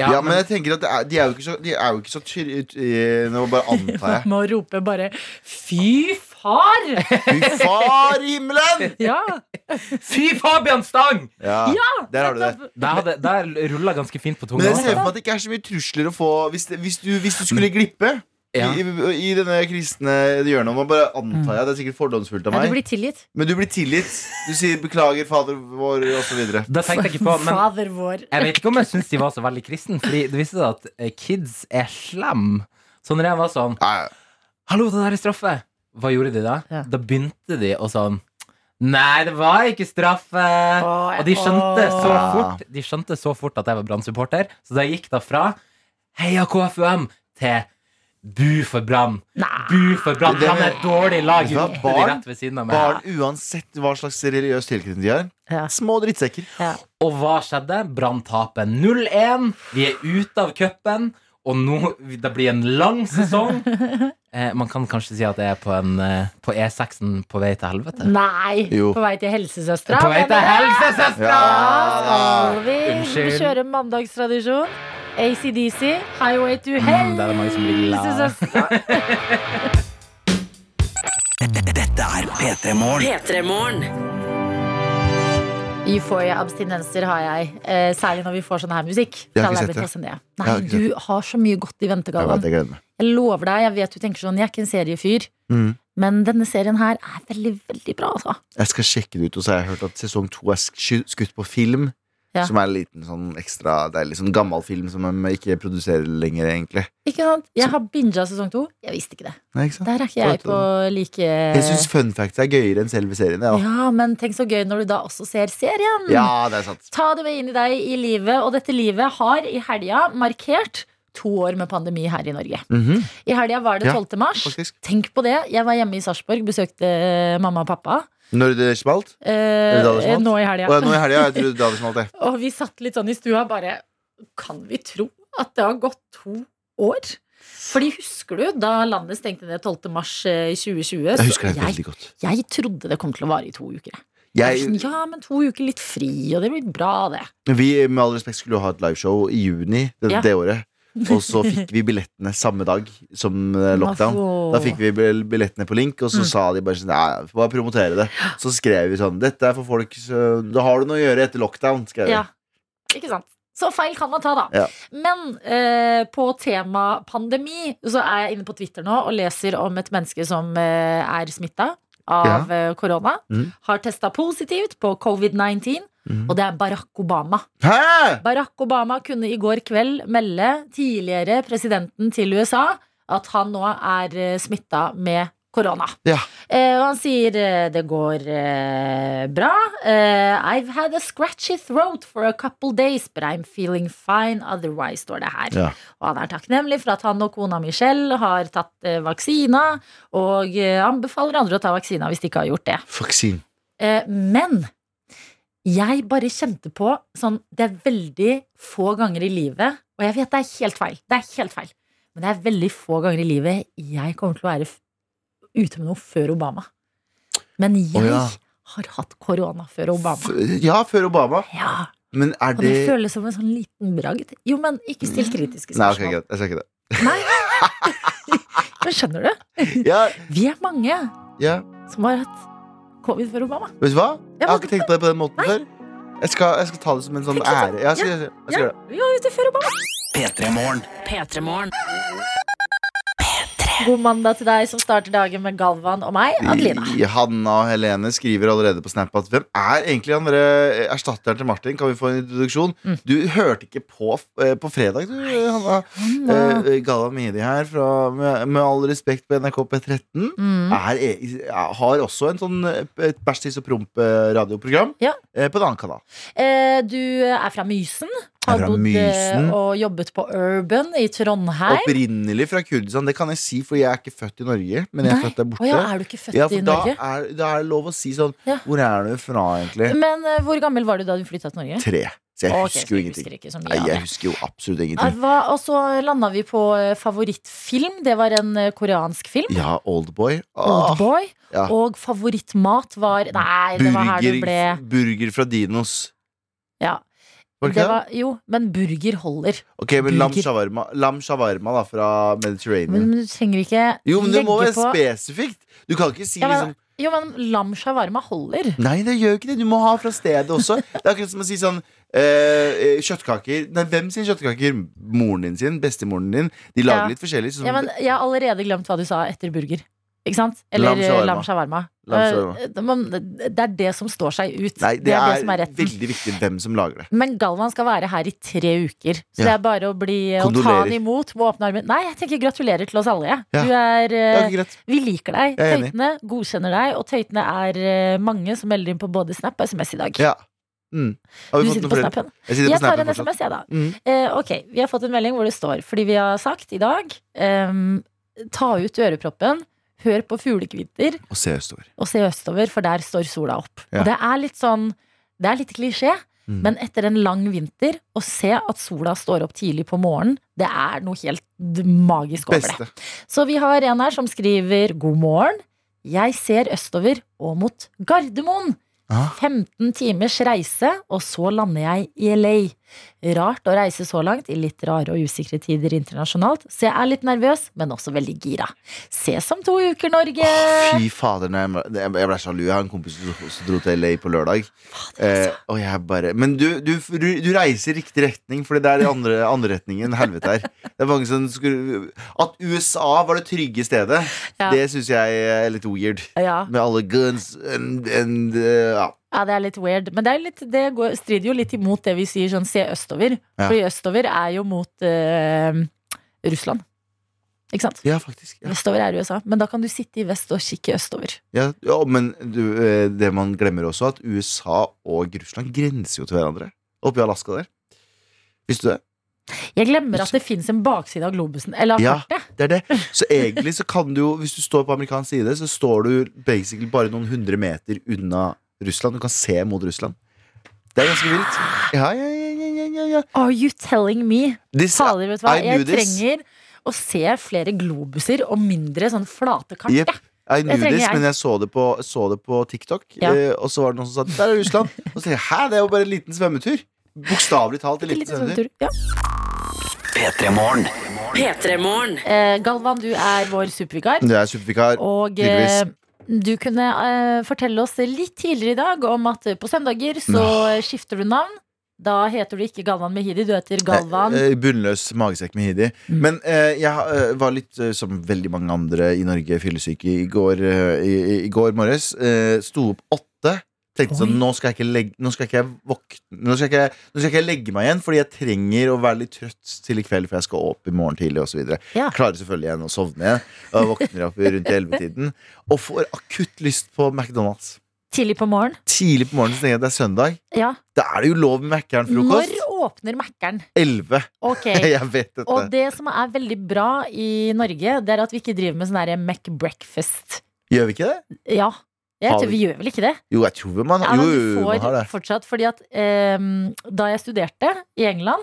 Speaker 3: Ja, men jeg tenker at det er, de er jo ikke så, de er jo ikke så tyr, eh, Nå bare antar jeg.
Speaker 2: Med å rope bare 'fy far'!
Speaker 3: Fy far i himmelen!
Speaker 2: Ja.
Speaker 4: Fy Fabian Stang!
Speaker 3: Ja, Der har du det.
Speaker 4: Der, hadde, der rulla ganske fint på
Speaker 3: Men
Speaker 4: tunga.
Speaker 3: jeg ser
Speaker 4: altså.
Speaker 3: for meg at det ikke er så mye trusler å få hvis, det, hvis, du, hvis du skulle glippe
Speaker 4: Ja.
Speaker 3: i, i denne eh, kristne hjørnet. Nå bare antar jeg, det er sikkert fordomsfullt av
Speaker 2: Ja, du
Speaker 3: meg.
Speaker 2: blir tilgitt.
Speaker 3: Men du blir tilgitt. Du sier 'beklager, fader vår', osv.
Speaker 4: Det tenkte jeg ikke på, men
Speaker 2: Fader vår.
Speaker 4: jeg vet ikke om jeg syns de var så veldig kristne. Fordi det viste seg at eh, kids er slem. Så når jeg var sånn Hallo, det der er straffe! Hva gjorde de da?
Speaker 2: Ja.
Speaker 4: Da begynte de å sånn Nei, det var ikke straffe!
Speaker 2: Åh,
Speaker 4: og de skjønte, så
Speaker 3: åh.
Speaker 4: fort, de skjønte så fort at jeg var Brann-supporter, så da gikk da fra heia KFUM til bu for Brann.
Speaker 2: Nei.
Speaker 4: Bu for Brann!
Speaker 3: Det- det-
Speaker 4: Brann er et dårlig lag!
Speaker 3: Vet du hva,
Speaker 4: ropte de
Speaker 3: barn-
Speaker 4: rett ved siden av meg.
Speaker 3: Barn, uansett hva slags religiøs tilknytning de har,
Speaker 2: Ja.
Speaker 3: små drittsekker.
Speaker 2: Ja.
Speaker 4: Og hva skjedde? Brann taper 0-1. Vi er ute av cupen. Og nå, det blir en lang sesong. Eh, man kan kanskje si at jeg er på, en, eh, på E6-en på vei til helvete.
Speaker 2: Nei.
Speaker 3: Jo.
Speaker 2: På vei til helsesøstera.
Speaker 4: På vei til helsesøstera!
Speaker 2: Skal vi
Speaker 4: Unnskyld.
Speaker 2: kjøre mandagstradisjon? ACDC, Highway to Hell.
Speaker 4: Mm, der er det mange som blir glad.
Speaker 2: Helsesøster.
Speaker 1: Dette er P3 Morgen.
Speaker 5: P3-morgen.
Speaker 2: Euphoria-abstinenser har jeg. Eh, særlig når vi får sånn her musikk.
Speaker 3: Jeg
Speaker 2: Da
Speaker 3: har ikke
Speaker 2: jeg
Speaker 3: sett
Speaker 2: blitt
Speaker 3: det.
Speaker 2: fascinert.
Speaker 3: Jeg
Speaker 2: Nei,
Speaker 3: har ikke
Speaker 2: du har så mye godt i
Speaker 3: Jeg vet,
Speaker 2: ventegaven.
Speaker 3: jeg gleder meg.
Speaker 2: Jeg lover deg, jeg vet du tenker sånn, jeg er ikke en seriefyr.
Speaker 3: Mm.
Speaker 2: Men denne serien her er veldig, veldig bra, altså.
Speaker 3: Jeg skal sjekke det ut, og så har jeg hørt at sesong to er sky- skutt på film.
Speaker 2: Ja.
Speaker 3: Som er en liten sånn ekstra deilig sånn gammel film som de ikke produserer lenger, egentlig.
Speaker 2: Ikke sant? Jeg har binga sesong to. Jeg visste ikke det.
Speaker 3: Nei, ikke sant?
Speaker 2: Der er ikke jeg
Speaker 3: Flott,
Speaker 2: på like
Speaker 3: Jeg syns fun facts er gøyere enn selve serien. Ja,
Speaker 2: Ja, men tenk så gøy når du da også ser serien.
Speaker 3: ja det er sant.
Speaker 2: Ta det med inn i deg i livet, og dette livet har i helga markert to år med pandemi her i Norge.
Speaker 3: Mhm,
Speaker 2: I helga var det
Speaker 3: Ja,
Speaker 2: 12. mars.
Speaker 3: faktisk.
Speaker 2: Tenk på det. Jeg var hjemme i Sarpsborg, besøkte eh, mamma og pappa.
Speaker 3: Når det smalt?
Speaker 2: Eh,
Speaker 3: det da det smalt?
Speaker 2: nå i
Speaker 3: Å
Speaker 2: helga.
Speaker 3: ja, nå i helga. Jeg trodde da det smalt, jeg.
Speaker 2: Og vi satt litt sånn i stua bare Kan vi tro at det har gått to år? Fordi husker du da landet stengte ned 12. mars eh, i 2020?
Speaker 3: Jeg
Speaker 2: så
Speaker 3: husker det
Speaker 2: jeg,
Speaker 3: veldig godt.
Speaker 2: jeg trodde det kom til å vare i to uker. jeg. Jeg var
Speaker 3: Jeg,
Speaker 2: sånn, ja, men to uker litt fri, og det blir bra, det.
Speaker 3: vi med all respekt skulle jo ha et liveshow i juni det,
Speaker 2: Ja.
Speaker 3: det året. Og så fikk vi billettene samme dag som eh, lockdown. Da fikk vi bill- billettene på link, og så
Speaker 2: Mm.
Speaker 3: sa de bare sånn Ja, ja, vi får bare promotere det. Så skrev vi sånn Dette er for folk så, Da har du noe å gjøre etter lockdown, skrev vi.
Speaker 2: Ja. Ikke sant? Så feil kan man ta, da.
Speaker 3: Ja.
Speaker 2: Men eh, på tema pandemi så er jeg inne på Twitter nå og leser om et menneske som eh, er smitta av eh, korona.
Speaker 3: Mhm.
Speaker 2: Har testa positivt på covid-19,
Speaker 3: Mhm.
Speaker 2: og det er Barack Obama.
Speaker 3: Hæ?!
Speaker 2: Barack Obama kunne i går kveld melde tidligere presidenten til USA at han nå er smitta med korona.
Speaker 3: Ja.
Speaker 2: Eh, og han sier eh, det går eh, bra. Eh, I've had a scratchy throat for a couple days, but I'm feeling fine otherwise, står det her.
Speaker 3: Ja.
Speaker 2: Og han er takknemlig for at han og kona Michelle har tatt eh, vaksina, og eh, anbefaler andre å ta vaksina hvis de ikke har gjort det.
Speaker 3: Faksin.
Speaker 2: Eh, men jeg bare kjente på sånn Det er veldig få ganger i livet Og jeg vet det er helt feil. Det er helt feil. Men det er veldig få ganger i livet jeg kommer til å være f- ute med noe før Obama. Men jeg
Speaker 3: Å, ja.
Speaker 2: har hatt korona før Obama.
Speaker 3: F- Ja, før Obama.
Speaker 2: Ja,
Speaker 3: Men er
Speaker 2: Og det
Speaker 3: det Mm.
Speaker 2: føles som en sånn liten bragd. Jo, men ikke still kritiske
Speaker 3: Nei, ok,
Speaker 2: spørsmål.
Speaker 3: greit. Jeg skal ikke det.
Speaker 2: Men skjønner du?
Speaker 3: Ja,
Speaker 2: Vi er mange
Speaker 3: ja.
Speaker 2: som har hatt covid før Obama.
Speaker 3: Vet du hva? Jeg har
Speaker 2: men-
Speaker 3: ikke tenkt på det på den måten før. Jeg skal, jeg skal ta det som en sånn
Speaker 2: Tenk sånn.
Speaker 3: ære. Ja, Jeg skal, jeg skal, jeg skal
Speaker 2: Ja,
Speaker 3: gjøre det.
Speaker 2: vi var ute før Obama.
Speaker 1: P3-morgen.
Speaker 2: God mandag til deg som starter dagen med Galvan og meg, Adelina.
Speaker 3: Hanna og Helene skriver allerede på Snap at hvem er egentlig han derre eh, erstatteren til Martin? Kan vi få en introduksjon?
Speaker 2: Mm.
Speaker 3: Du hørte ikke på eh, på fredag, du, Hanna.
Speaker 2: Hanna.
Speaker 3: Eh, Galva Mehdi her, fra, med, med all respekt på NRK P13.
Speaker 2: Mm.
Speaker 3: Er, er, har også en sånn eh, et bæsj, tiss og promp-radioprogram
Speaker 2: Ja.
Speaker 3: på en annen kanal.
Speaker 2: Eh, Du er fra Mysen. Har
Speaker 3: fra
Speaker 2: bodd
Speaker 3: Mysen.
Speaker 2: eh, og jobbet på Urban i Trondheim.
Speaker 3: Opprinnelig fra Kurdistan. Det kan jeg si, for jeg er ikke født i Norge, men jeg
Speaker 2: Nei.
Speaker 3: er født der borte.
Speaker 2: Å ja, er du ikke født
Speaker 3: Ja, for
Speaker 2: i
Speaker 3: da,
Speaker 2: Norge?
Speaker 3: er, da er det lov å si sånn
Speaker 2: Ja.
Speaker 3: Hvor er du fra, egentlig?
Speaker 2: Men eh, hvor gammel var du da du flytta til Norge?
Speaker 3: Tre. Så jeg
Speaker 2: Mm. Ok, så
Speaker 3: husker jo ingenting.
Speaker 2: Husker ikke så
Speaker 3: Nei,
Speaker 2: mye av
Speaker 3: jeg
Speaker 2: det.
Speaker 3: husker jo absolutt
Speaker 2: Eh,
Speaker 3: ingenting.
Speaker 2: hva- Og så landa vi på eh, favorittfilm. Det var en eh, koreansk film.
Speaker 3: Ja, Oldboy. Ah,
Speaker 2: Oldboy.
Speaker 3: ja.
Speaker 2: Og favorittmat var Nei, det var her du ble
Speaker 3: burger, burger fra Dinos.
Speaker 2: Ja.
Speaker 3: Var
Speaker 2: Det
Speaker 3: det ikke det?
Speaker 2: var, jo, men burger holder.
Speaker 3: Ok, men lam
Speaker 2: burger.
Speaker 3: shawarma, lam shawarma da, fra Mediterranean.
Speaker 2: Men du trenger ikke
Speaker 3: Jo, men det må
Speaker 2: legge på
Speaker 3: være spesifikt. Du kan ikke si
Speaker 2: Ja, men-
Speaker 3: liksom
Speaker 2: Jo, men lam shawarma holder.
Speaker 3: Nei, det gjør ikke det. Du må ha fra stedet også. Det er akkurat som å si sånn eh, eh, Kjøttkaker. Nei, hvem sin kjøttkaker? Moren din sin? Bestemoren din? De
Speaker 2: Ja.
Speaker 3: lager litt forskjellig. Sånn,
Speaker 2: Ja, men jeg har allerede glemt hva du sa etter burger. Ikke sant? Eller
Speaker 3: Lam shawarma.
Speaker 2: lam shawarma.
Speaker 3: Lam shawarma.
Speaker 2: Eh, men Det er det som står seg ut.
Speaker 3: Nei, det,
Speaker 2: er,
Speaker 3: er,
Speaker 2: det som er retten.
Speaker 3: veldig viktig hvem som lager det.
Speaker 2: Men Galvan skal være her i tre uker, så
Speaker 3: Ja.
Speaker 2: det er bare å bli eh, å ta
Speaker 3: Kondolerer.
Speaker 2: han imot med åpne armer. Nei, jeg tenker gratulerer til oss alle. jeg.
Speaker 3: Ja.
Speaker 2: Du er,
Speaker 3: Det
Speaker 2: eh,
Speaker 3: er ikke greit.
Speaker 2: vi liker deg.
Speaker 3: Jeg er enig.
Speaker 2: Tøytene godkjenner deg, og tøytene er eh, mange som melder inn på både Snap og SMS i dag.
Speaker 3: Ja. Mm. Har
Speaker 2: Du
Speaker 3: vi fått
Speaker 2: sitter
Speaker 3: noen
Speaker 2: på
Speaker 3: flere?
Speaker 2: Snapen.
Speaker 3: Jeg sitter
Speaker 2: Jeg
Speaker 3: på
Speaker 2: tar
Speaker 3: snappen
Speaker 2: en
Speaker 3: fortsatt.
Speaker 2: SMS, jeg, da.
Speaker 3: Mm.
Speaker 2: Eh, ok, vi har fått en melding hvor det står Fordi vi har sagt i dag ehm, Ta ut øreproppen Hør på fuglekvitter
Speaker 3: Og se østover.
Speaker 2: Og se østover, for der står sola opp
Speaker 3: Ja.
Speaker 2: Og det er litt sånn Det er litt klisjé
Speaker 3: Mm.
Speaker 2: Men etter en lang vinter Å se at sola står opp tidlig på morgenen Det er noe helt magisk over det
Speaker 3: Beste.
Speaker 2: så vi har en her som skriver God morgen, jeg ser østover og mot Gardermoen.
Speaker 3: Ah.
Speaker 2: 15 timers reise, og så lander jeg i LA. Rart å reise så langt i litt rare og usikre tider internasjonalt, så jeg er litt nervøs, men også veldig gira. Ses om to uker, Norge!
Speaker 3: Åh, Fy fader, når jeg, ble- jeg ble sjalu. Jeg har en kompis som som dro til LA på lørdag. Eh,
Speaker 2: altså.
Speaker 3: og jeg bare Men du, du, du, du reiser i riktig retning, Fordi det er den andre, andre retningen helvete her. Det er mange som skulle At USA var det trygge stedet,
Speaker 2: Ja.
Speaker 3: det syns jeg er litt weird.
Speaker 2: Ja.
Speaker 3: Med alle guns and, and eh, ja.
Speaker 2: ja, det er litt weird. Men det, er litt, det går, strider jo litt imot det vi sier sånn se østover.
Speaker 3: Ja.
Speaker 2: Fordi østover er jo mot eh, Russland. Ikke sant?
Speaker 3: ja, faktisk. Ja.
Speaker 2: Vestover er USA, men da kan du sitte i vest og kikke østover.
Speaker 3: Ja, ja, men du, eh, det man glemmer også, at USA og Russland grenser jo til hverandre. Oppi Alaska der. Visste du det?
Speaker 2: Jeg glemmer at det fins en bakside av globusen. Eller av
Speaker 3: Ja.
Speaker 2: kartet.
Speaker 3: Det er det. Så egentlig så kan du jo, hvis du står på amerikansk side, så står du basically bare noen hundre meter unna Russland. Du kan se mot Russland. Det er ganske vilt. Ja, ja, ja, ja, ja, ja, ja.
Speaker 2: Are you telling me?
Speaker 3: This,
Speaker 2: Fader, vet du hva?
Speaker 3: I
Speaker 2: Jeg
Speaker 3: knew this.
Speaker 2: trenger å se flere globuser og mindre sånn flate kart.
Speaker 3: Jep.
Speaker 2: jeg.
Speaker 3: I knew
Speaker 2: Jeg trenger
Speaker 3: this,
Speaker 2: jeg.
Speaker 3: men jeg så det på, så det på TikTok.
Speaker 2: Ja.
Speaker 3: eh, Og så var det noen som sa der er Russland. Og så tenkte jeg hæ, det er jo bare en liten svømmetur. Bokstavelig talt en
Speaker 2: Til
Speaker 3: liten
Speaker 2: litt sånn
Speaker 3: svømmetur.
Speaker 2: svømmetur. Ja.
Speaker 5: P3-morgen.
Speaker 2: Eh, Galvan, du er vår supervikar.
Speaker 3: Det er supervikar.
Speaker 2: Og eh,
Speaker 3: tydeligvis.
Speaker 2: du kunne eh, fortelle oss litt tidligere i dag om at på søndager så skifter du navn. Da heter du ikke Galvan Mehidi, du heter Galvan.
Speaker 3: Eh, eh, Bunnløs magesekk med Hidi.
Speaker 2: Mm.
Speaker 3: Men eh, jeg eh, var litt, eh, som veldig mange andre i Norge, fyllesyke i går, eh, i, i- i går morges. Eh, sto opp åtte. Tenkte sånn, nå skal jeg ikke legge Nå skal ikke jeg våkne nå skal ikke, jeg- nå skal ikke jeg legge meg igjen, fordi jeg trenger å være litt trøtt til i kveld, for jeg skal opp i morgen tidlig, osv.
Speaker 2: Ja.
Speaker 3: Klarer selvfølgelig igjen å sovne igjen. Og jeg våkner opp rundt i ellevetiden. Og får akutt lyst på McDonald's.
Speaker 2: Tidlig på morgen.
Speaker 3: Tidlig på morgenen så tenker jeg at det er søndag.
Speaker 2: Ja.
Speaker 3: Da er det jo lov med Mækkern
Speaker 2: Når
Speaker 3: frokost.
Speaker 2: åpner Mækkern?
Speaker 3: 11.
Speaker 2: Ok.
Speaker 3: Jeg vet dette.
Speaker 2: Og det som er veldig bra i Norge, det er at vi ikke driver med sånn her McBreakfast.
Speaker 3: Gjør vi ikke det?
Speaker 2: Ja. Jeg
Speaker 3: Har
Speaker 2: tror
Speaker 3: vi-
Speaker 2: vi gjør vel ikke det?
Speaker 3: Jo, jeg tror man,
Speaker 2: Ja,
Speaker 3: jo,
Speaker 2: men
Speaker 3: jo,
Speaker 2: du
Speaker 3: man har
Speaker 2: får
Speaker 3: det.
Speaker 2: fortsatt Fordi at ehm, da jeg studerte i England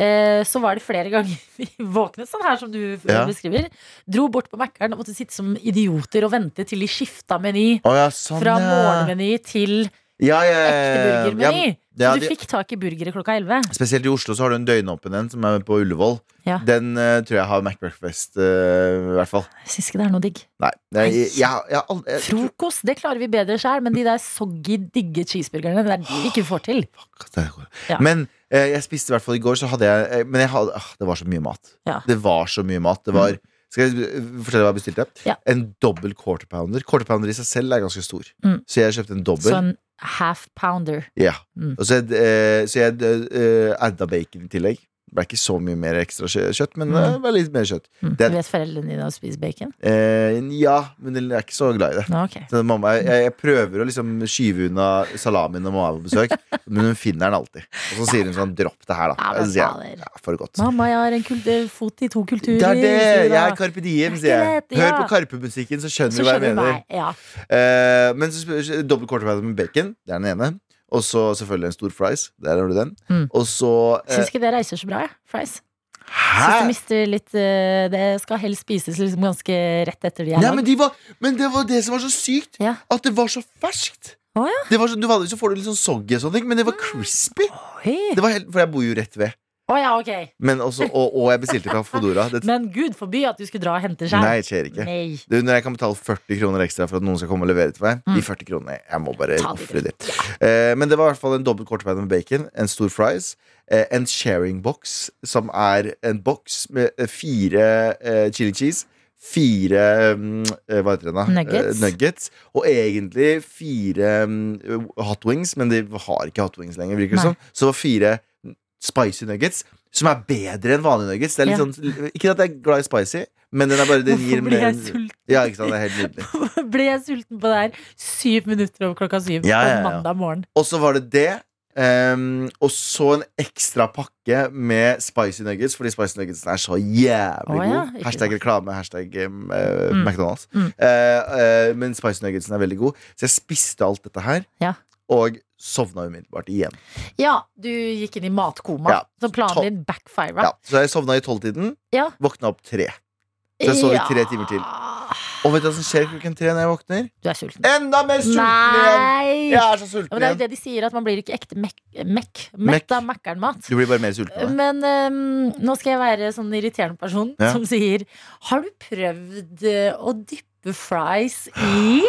Speaker 2: eh, så var det flere ganger vi våknet sånn her som du eh,
Speaker 3: Ja.
Speaker 2: beskriver. Dro bort på Mækkern og måtte sitte som idioter og vente til de skifta meny.
Speaker 3: Å ja, sånn,
Speaker 2: Fra
Speaker 3: ja.
Speaker 2: morgenmeny til
Speaker 3: ja, ja, ja,
Speaker 2: ekte
Speaker 3: ja, ja.
Speaker 2: burgermeny. Så
Speaker 3: Ja,
Speaker 2: du
Speaker 3: de-
Speaker 2: fikk tak i burgere klokka elleve.
Speaker 3: Spesielt i Oslo så har du en døgnåpen en som er på Ullevål.
Speaker 2: Ja.
Speaker 3: Den eh, tror jeg har MacBreakfast, uh, i hvert fall.
Speaker 2: Jeg syns ikke det er noe digg.
Speaker 3: Nei. Jeg, jeg, jeg, jeg, ald- Eh, jeg, tror
Speaker 2: Frokost det klarer vi bedre sjøl, men de der soggy, digge cheeseburgerne, det er det vi ikke får til.
Speaker 3: fuck at det går.
Speaker 2: Ja.
Speaker 3: Men eh, jeg spiste i hvert fall i går, så hadde jeg eh, Men jeg hadde, ah, det var så mye mat.
Speaker 2: Ja. Mm.
Speaker 3: Det var så mye mat. Det var skal jeg eh, fortelle hva jeg bestilte?
Speaker 2: Ja.
Speaker 3: En dobbel quarter pounder. Quarter pounder i seg selv er ganske stor.
Speaker 2: Mm.
Speaker 3: Så jeg kjøpte en dobbel.
Speaker 2: Så en half pounder.
Speaker 3: Ja.
Speaker 2: Mm.
Speaker 3: Og så, eh, så jeg eh, adda bacon i tillegg. Det ble ikke så mye mer ekstra kjø- kjøtt, men eh, det var litt mer kjøtt.
Speaker 2: Mm.
Speaker 3: Det-
Speaker 2: Vet foreldrene dine å spise bacon?
Speaker 3: Eh, ja, men jeg er ikke så glad i det.
Speaker 2: Nå, ok.
Speaker 3: Så mamma, jeg, jeg prøver å liksom skyve unna salamien når mamma er på besøk, men hun finner den alltid. Og så sier hun sånn 'dropp det her', da.
Speaker 2: Ja, men
Speaker 3: Og så sier
Speaker 2: fader.
Speaker 3: jeg, ja, for godt.
Speaker 2: Mamma, jeg har en kultur, fot i to kulturer.
Speaker 3: Det er det!
Speaker 2: sier du
Speaker 3: Jeg
Speaker 2: da.
Speaker 3: er Carpe Diem,
Speaker 2: Jeg
Speaker 3: sier jeg.
Speaker 2: vet, ja.
Speaker 3: Hør på Karpe-musikken, så skjønner
Speaker 2: Så
Speaker 3: du hva jeg
Speaker 2: skjønner du
Speaker 3: mener.
Speaker 2: meg. Ja.
Speaker 3: Eh, men så sp- dobbelt quarterpounder med bacon, det er den ene. Og så selvfølgelig en stor fries. Der har du den.
Speaker 2: Mm.
Speaker 3: Og så eh,
Speaker 2: Syns ikke det reiser så bra, jeg. Fries. Syns det
Speaker 3: Hæ?
Speaker 2: mister litt eh, Det skal helst spises liksom ganske rett etter de er
Speaker 3: Nei,
Speaker 2: lagd.
Speaker 3: men, de var, men det var det som var så sykt.
Speaker 2: Ja.
Speaker 3: At det var så ferskt.
Speaker 2: Å, Ah.
Speaker 3: Det var så, du Vanligvis så får du litt sånn soggy, og sånne ting, men det var crispy.
Speaker 2: Oi.
Speaker 3: Det var helt, for jeg bor jo rett ved.
Speaker 2: Å ja, ok.
Speaker 3: Men også, og, og jeg bestilte fra Fodora. Det,
Speaker 2: Men gud forby at du skulle dra og hente skjær.
Speaker 3: nei, det skjer ikke.
Speaker 2: Nei.
Speaker 3: Du, når jeg kan betale 40 kroner ekstra for at noen skal komme og levere til meg
Speaker 2: Mm.
Speaker 3: De 40 kronene, jeg må bare
Speaker 2: Ta de,
Speaker 3: ofre de. Eh, men det var i hvert fall en dobbelt quarterpound med bacon, en stor fries, eh, en sharing box, som er en boks med eh, fire eh, chili cheese, fire mm, eh, Hva heter det da?
Speaker 2: Nuggets.
Speaker 3: Eh, nuggets. Og egentlig fire mm, hot wings, men de har ikke hot wings lenger, virker det
Speaker 2: Nei.
Speaker 3: som. Så det var fire mm, spicy nuggets. Som er bedre enn vanlige nuggets. Det er litt
Speaker 2: Ja.
Speaker 3: sånn, ikke at jeg er glad i spicy, men den er bare den gir
Speaker 2: Hvorfor ble jeg
Speaker 3: mer-
Speaker 2: sulten?
Speaker 3: ja, ikke sant, det er helt nydelig
Speaker 2: ble jeg sulten på det her syv minutter over klokka syv
Speaker 3: Ja, ja, ja.
Speaker 2: på mandag morgen?
Speaker 3: Og så var det det ehm, Og så en ekstra pakke Med spicy nuggets Fordi spicy nuggets er så jævlig
Speaker 2: Å ja,
Speaker 3: god
Speaker 2: ikke
Speaker 3: Hashtag
Speaker 2: sant.
Speaker 3: reklame, hashtag ehm, eh,
Speaker 2: Mm.
Speaker 3: McDonalds
Speaker 2: Mm.
Speaker 3: Eh, eh, Men spicy nuggetsen er veldig god Så jeg spiste alt dette her
Speaker 2: Ja.
Speaker 3: Og sovna umiddelbart igjen
Speaker 2: Ja, du gikk inn i matkoma.
Speaker 3: Ja.
Speaker 2: Så planen
Speaker 3: Tolv-
Speaker 2: din backfira.
Speaker 3: ja. Så jeg sovna i tolvtiden
Speaker 2: Ja.
Speaker 3: Våkna opp tre Så jeg sov i tre timer til
Speaker 2: til.
Speaker 3: Og vet du hva som skjer klokken tre når jeg våkner?
Speaker 2: Du er sulten.
Speaker 3: Enda mer sulten igjen
Speaker 2: Nei!
Speaker 3: Jeg er så
Speaker 2: Ja,
Speaker 3: sulten
Speaker 2: men det er jo
Speaker 3: igjen
Speaker 2: det de sier, at man blir ikke ekte mekk, mekk,
Speaker 3: Mekk.
Speaker 2: mett av Mækkern-mat.
Speaker 3: Du blir bare mer sulten av det.
Speaker 2: Men ehm, nå skal jeg være sånn irriterende person
Speaker 3: Ja.
Speaker 2: som sier Har du prøvd eh, å dyppe fries i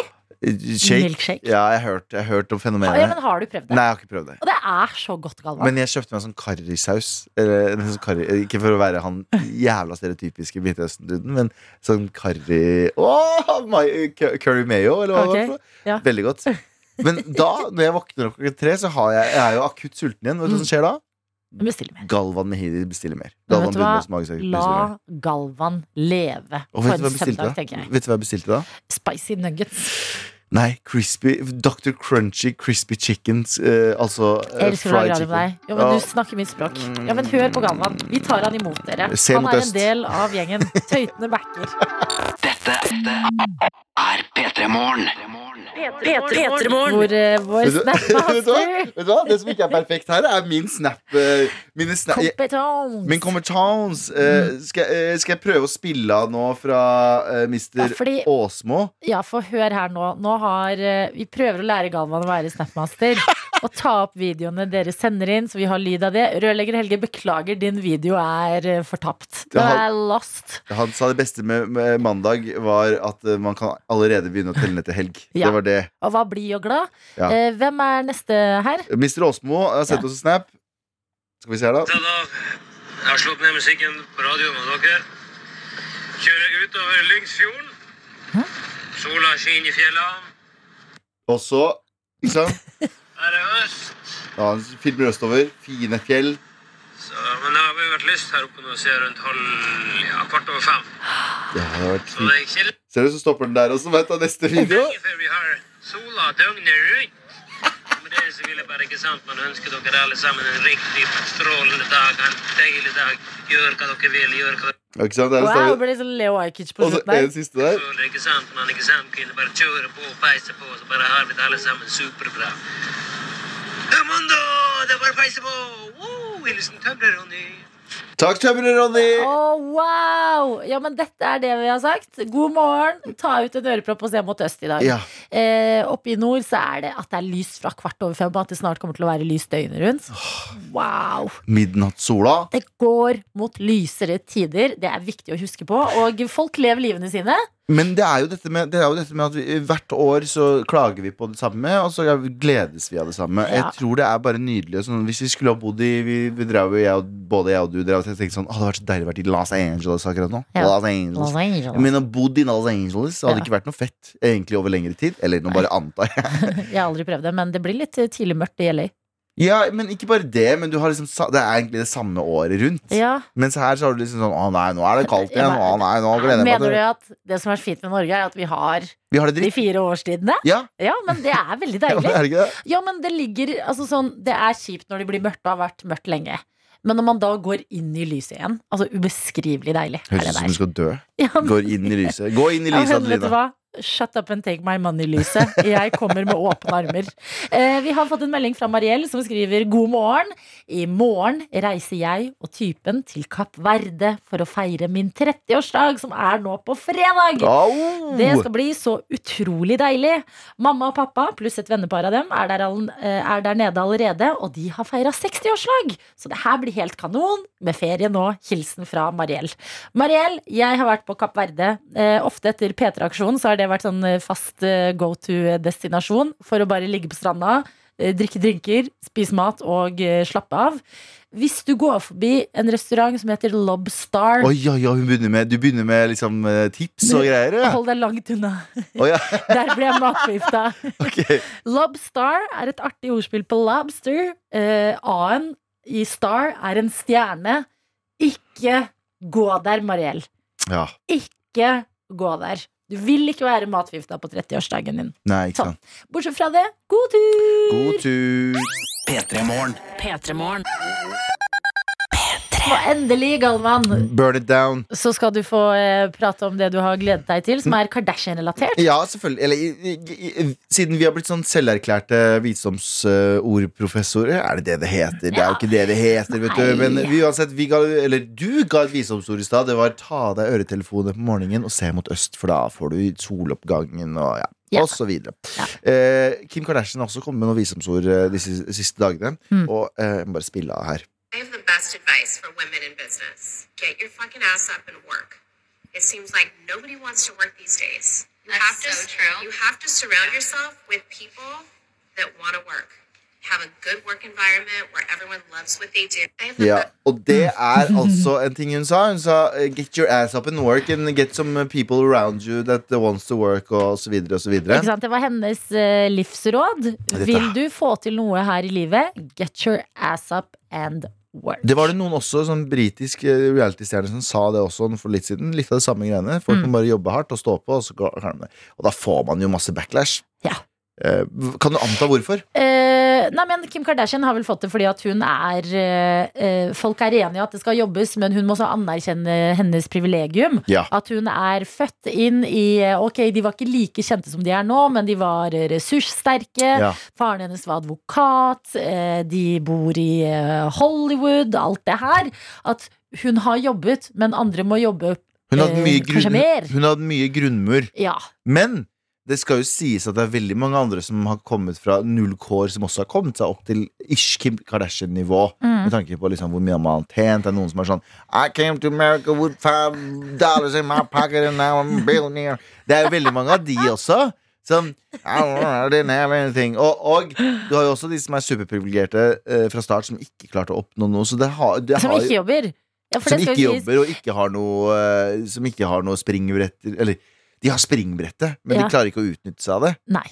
Speaker 3: Shake
Speaker 2: milkshake?
Speaker 3: Ja, jeg har hørt, jeg har hørt om
Speaker 2: Ah,
Speaker 3: fenomenet
Speaker 2: ja, men har du prøvd det?
Speaker 3: Nei, jeg har ikke prøvd det
Speaker 2: Og det er så godt, Galvan.
Speaker 3: Men jeg kjøpte meg en sånn karrisaus. Eller en sånn karri, ikke for å være han jævla stereotypiske Midtøsten-duden, men sånn karri Åh, my, Curry mayo, eller hva det
Speaker 2: Ok,
Speaker 3: var. for
Speaker 2: ja.
Speaker 3: noe. Veldig godt. Men da, når jeg våkner opp klokka tre, så har jeg, jeg er jo akutt sulten igjen. Vet du hva som skjer da?
Speaker 2: Men Bestill mer.
Speaker 3: Galvan Mehidi bestiller mer.
Speaker 2: Mm. Men
Speaker 3: Galvan
Speaker 2: vet du hva?
Speaker 3: Bunnås Magesekk bestiller mer.
Speaker 2: La Galvan leve
Speaker 3: Og
Speaker 2: på en
Speaker 3: vet du hva jeg bestilte
Speaker 2: søndag, tenker
Speaker 3: da?
Speaker 2: jeg.
Speaker 3: Vet du hva jeg bestilte da?
Speaker 2: Spicy nuggets.
Speaker 3: Nei, crispy, Dr. Crunchy Crispy Chickens, eh, altså eh,
Speaker 2: Jeg elsker å lage radio med deg. Jo, men
Speaker 3: Ja.
Speaker 2: du snakker mitt språk. Ja, men hør på Galvan. Vi tar han imot dere.
Speaker 3: Se
Speaker 2: Han
Speaker 3: mot
Speaker 2: er
Speaker 3: øst.
Speaker 2: en del av gjengen. Tøytene backer.
Speaker 5: P3-morgen.
Speaker 2: Hvor eh, vår
Speaker 3: Vet du- Vet du hva?
Speaker 2: snapmaster
Speaker 3: Vet du hva? Det som ikke er perfekt her, er min snap. eh, Mine snap jeg-
Speaker 2: Competence.
Speaker 3: min kommentans.
Speaker 2: Mm.
Speaker 3: Eh, skal, eh, skal jeg prøve å spille av nå fra eh,
Speaker 2: Ja,
Speaker 3: mister
Speaker 2: fordi,
Speaker 3: Åsmo?
Speaker 2: ja, for hør her nå. Nå har eh, Vi prøver å lære Galvan å være snapmaster. Og ta opp videoene dere sender inn, så vi har lyd av det. Rørlegger Helge, beklager, din video er eh, fortapt.
Speaker 3: Det
Speaker 2: Den
Speaker 3: har-
Speaker 2: er lost.
Speaker 3: Han sa det beste med, med mandag var at eh, man kan allerede begynne å telle ned til helg.
Speaker 2: Ja.
Speaker 3: Det var det.
Speaker 2: Og var blid og glad.
Speaker 3: Ja.
Speaker 2: Eh, hvem er neste her?
Speaker 3: Mr. Åsmo har sendt
Speaker 2: Ja.
Speaker 3: oss en snap. Skal vi se her, da.
Speaker 6: Da, da, jeg har slått ned musikken på radioen med dere. Kjører utover Lyngsfjorden. Sola skinner i fjellene.
Speaker 3: Og så ikke sant?
Speaker 6: Her er øst.
Speaker 3: Da han filmer østover. Fine fjell.
Speaker 6: Så, men det har jo vært lyst her oppe nå, ser jeg rundt halv ja, kvart over fem.
Speaker 3: Ja, det har vært
Speaker 6: Så det
Speaker 3: fint.
Speaker 6: er ikke
Speaker 3: Ser du, så stopper den der også. Vent, da, neste video.
Speaker 6: lenge før vi har sola døgnet rundt. Og Med det så vil jeg bare ikke sant, man ønsker dere alle sammen en riktig strålende dag, en deilig dag. Gjør hva dere vil, gjør hva dere
Speaker 3: Ja, Ikke sant? Der
Speaker 2: Wow, det
Speaker 3: står det.
Speaker 2: ble litt sånn Leo Ajkic på
Speaker 3: Og så eh,
Speaker 2: slutten her.
Speaker 3: en siste der.
Speaker 6: føler, ikke sant? Man ikke sant, kunne bare kjøre på og peise på, så bare har vi det alle sammen superbra. Mundo, det er bare å peise på! Woo! Hilsen Tømrer-Ronny.
Speaker 3: Takk, tømrer Ronny.
Speaker 2: Å, wow! Ja, men dette er det vi har sagt. God morgen. Ta ut en ørepropp og se mot øst i dag.
Speaker 3: Ja.
Speaker 2: Eh, oppe i nord så er det at det er lyst fra kvart over fem, og at det snart kommer til å være lyst døgnet rundt. Wow!
Speaker 3: Midnattssola.
Speaker 2: Det går mot lysere tider. Det er viktig å huske på. Og folk lever livene sine.
Speaker 3: Men det er jo dette med, det er jo dette med at vi, hvert år så klager vi på det samme, og så gledes vi av det samme.
Speaker 2: Ja.
Speaker 3: Jeg tror det er bare nydelig. og Sånn, hvis vi skulle ha bodd i vi, vi drev jo, jeg, og- Både jeg og du drev og tenkte sånn Å, det hadde vært så deilig å være i Los Angeles akkurat nå.
Speaker 2: Ja.
Speaker 3: Los Angeles. Jeg
Speaker 2: Jeg
Speaker 3: mener, bodd i Los Angeles hadde
Speaker 2: Ja.
Speaker 3: ikke vært noe fett egentlig over lengre tid. Eller nå bare antar jeg.
Speaker 2: har aldri prøvd det, men det blir litt eh, tidlig mørkt i LA.
Speaker 3: Ja, men ikke bare det, men du har liksom, sa- det er egentlig det samme året rundt.
Speaker 2: Ja.
Speaker 3: Mens her så har du liksom sånn Å nei, nå er det kaldt
Speaker 2: Ja,
Speaker 3: igjen. Å
Speaker 2: men-
Speaker 3: nei, nå gleder jeg meg
Speaker 2: Mener du
Speaker 3: til
Speaker 2: at det som er fint med Norge, er at vi har
Speaker 3: Vi har det
Speaker 2: de
Speaker 3: dritt.
Speaker 2: fire årstidene?
Speaker 3: Ja,
Speaker 2: Ja, men det er veldig
Speaker 3: er
Speaker 2: deilig.
Speaker 3: det ikke det?
Speaker 2: Ja, men det ligger altså sånn, Det er kjipt når det blir mørkt og har vært mørkt lenge. Men når man da går inn i lyset igjen Altså ubeskrivelig deilig. er det
Speaker 3: Høres ut som
Speaker 2: der.
Speaker 3: du skal dø.
Speaker 2: Ja, men-
Speaker 3: Går inn i lyset. Gå inn i
Speaker 2: ja,
Speaker 3: lyset,
Speaker 2: men vet du
Speaker 3: Adelina.
Speaker 2: hva? Shut up and take my money-lyset. Jeg kommer med åpne armer. Eh, vi har fått en melding fra Mariell som skriver god morgen. I morgen reiser jeg og typen til Kapp Verde for å feire min 30-årsdag, som er nå på fredag.
Speaker 3: Au!
Speaker 2: Det skal bli så utrolig deilig. Mamma og pappa pluss et vennepar av dem er der, all, eh, er der nede allerede, og de har feira 60-årslag! Så det her blir helt kanon med ferie nå. Hilsen fra Mariell. Mariell, jeg har vært på Kapp Verde. Eh, ofte etter P3-aksjonen så har det vært sånn eh, fast go to-destinasjon for å bare ligge på stranda. eh, Drikke drinker, spise mat og eh, slappe av. Hvis du går forbi en restaurant som heter Lobstar,
Speaker 3: Oi, oi, oi, hun begynner med, du begynner med liksom, eh, tips og greier. Ja.
Speaker 2: hold deg langt unna.
Speaker 3: Å, ja.
Speaker 2: Der ble jeg matforgifta.
Speaker 3: ok.
Speaker 2: Lobstar er et artig ordspill på lobster. Eh, A-en i star er en stjerne. Ikke gå der, Mariell.
Speaker 3: ja.
Speaker 2: Ikke gå der. Du vil ikke være matforgifta på 30-årsdagen din.
Speaker 3: Nei, ikke sant.
Speaker 2: Bortsett fra det, god tur!
Speaker 3: God tur.
Speaker 1: P3-morgen.
Speaker 5: P3-morgen.
Speaker 2: Og endelig, Galvan,
Speaker 3: Burn it down.
Speaker 2: så skal du få eh, prate om det du har gledet deg til, som er Kardashian-relatert.
Speaker 3: Ja, selvfølgelig. Eller i- i- i- siden vi har blitt sånn selverklærte visdomsordprofessorer, er det det det heter? Det er jo ikke det det heter, vet du. Men vi, uansett, vi ga, eller du ga et visdomsord i stad. Det var ta av deg øretelefonene på morgenen og se mot øst, for da får du soloppgangen og ja.
Speaker 2: Ja.
Speaker 3: Og så videre. Eh, Kim Kardashian har også kommet med noen visdomsord eh, de siste, siste dagene.
Speaker 2: Mm.
Speaker 3: Og eh, jeg må bare spille av her.
Speaker 7: I have the best advice for women in business. Get your fucking ass up and work. It seems like nobody wants to work these days. You
Speaker 8: That's
Speaker 7: have to,
Speaker 8: so true.
Speaker 7: You have to surround yourself with people that want to work. Have a good work environment where everyone loves what they do. I have the
Speaker 3: Ja, og det er altså en ting hun sa. Hun sa eh, 'get your ass up and work', and 'get some eh, people around you that wants to work', og så videre og så videre.
Speaker 2: Ikke sant? Det var hennes eh, livsråd.
Speaker 3: Dette-
Speaker 2: Vil du få til noe her i livet, get your ass up and work.
Speaker 3: Det var det noen også, sånn britisk eh, reality-stjerne som sa det også for litt siden. Litt av det samme greiene. Folk
Speaker 2: Mm.
Speaker 3: må bare jobbe hardt og stå på, og så går- klarer de det. Og da får man jo masse backlash.
Speaker 2: Ja.
Speaker 3: Eh, Kan du anta hvorfor?
Speaker 2: Eh, nei, men Kim Kardashian har vel fått det fordi at hun er eh, eh, Folk er enige i at det skal jobbes, men hun må også anerkjenne hennes privilegium.
Speaker 3: Ja.
Speaker 2: At hun er født inn i eh, Ok, de var ikke like kjente som de er nå, men de var eh, ressurssterke.
Speaker 3: Ja.
Speaker 2: Faren hennes var advokat. eh, de bor i eh, Hollywood. Alt det her. At hun har jobbet, men andre må jobbe
Speaker 3: Hun hadde
Speaker 2: Eh,
Speaker 3: mye,
Speaker 2: kanskje
Speaker 3: grunn,
Speaker 2: mer?
Speaker 3: hun hadde mye grunnmur.
Speaker 2: Ja.
Speaker 3: Men det skal jo sies at det er veldig mange andre som har kommet fra null kår, som også har kommet seg opp til ish Kim Kardashian-nivå.
Speaker 2: Mm.
Speaker 3: Med tanke på liksom hvor mye man har tjent. Det er noen som er sånn I came to America with five dollars in my pocket and now I'm a billionaire. Det er jo veldig mange av de også. Som I didn't have anything. Og, og du har jo også de som er superprivilegerte eh, fra start, som ikke klarte å oppnå noe. Så det har, det
Speaker 2: Som
Speaker 3: har
Speaker 2: ikke jobber. Ja, for
Speaker 3: som
Speaker 2: det skal
Speaker 3: ikke
Speaker 2: jo sies.
Speaker 3: jobber og ikke har noe eh, Som ikke har noe springbretter Eller, de har springbrettet Men
Speaker 2: Ja.
Speaker 3: de klarer ikke å utnytte seg av det
Speaker 2: Nei.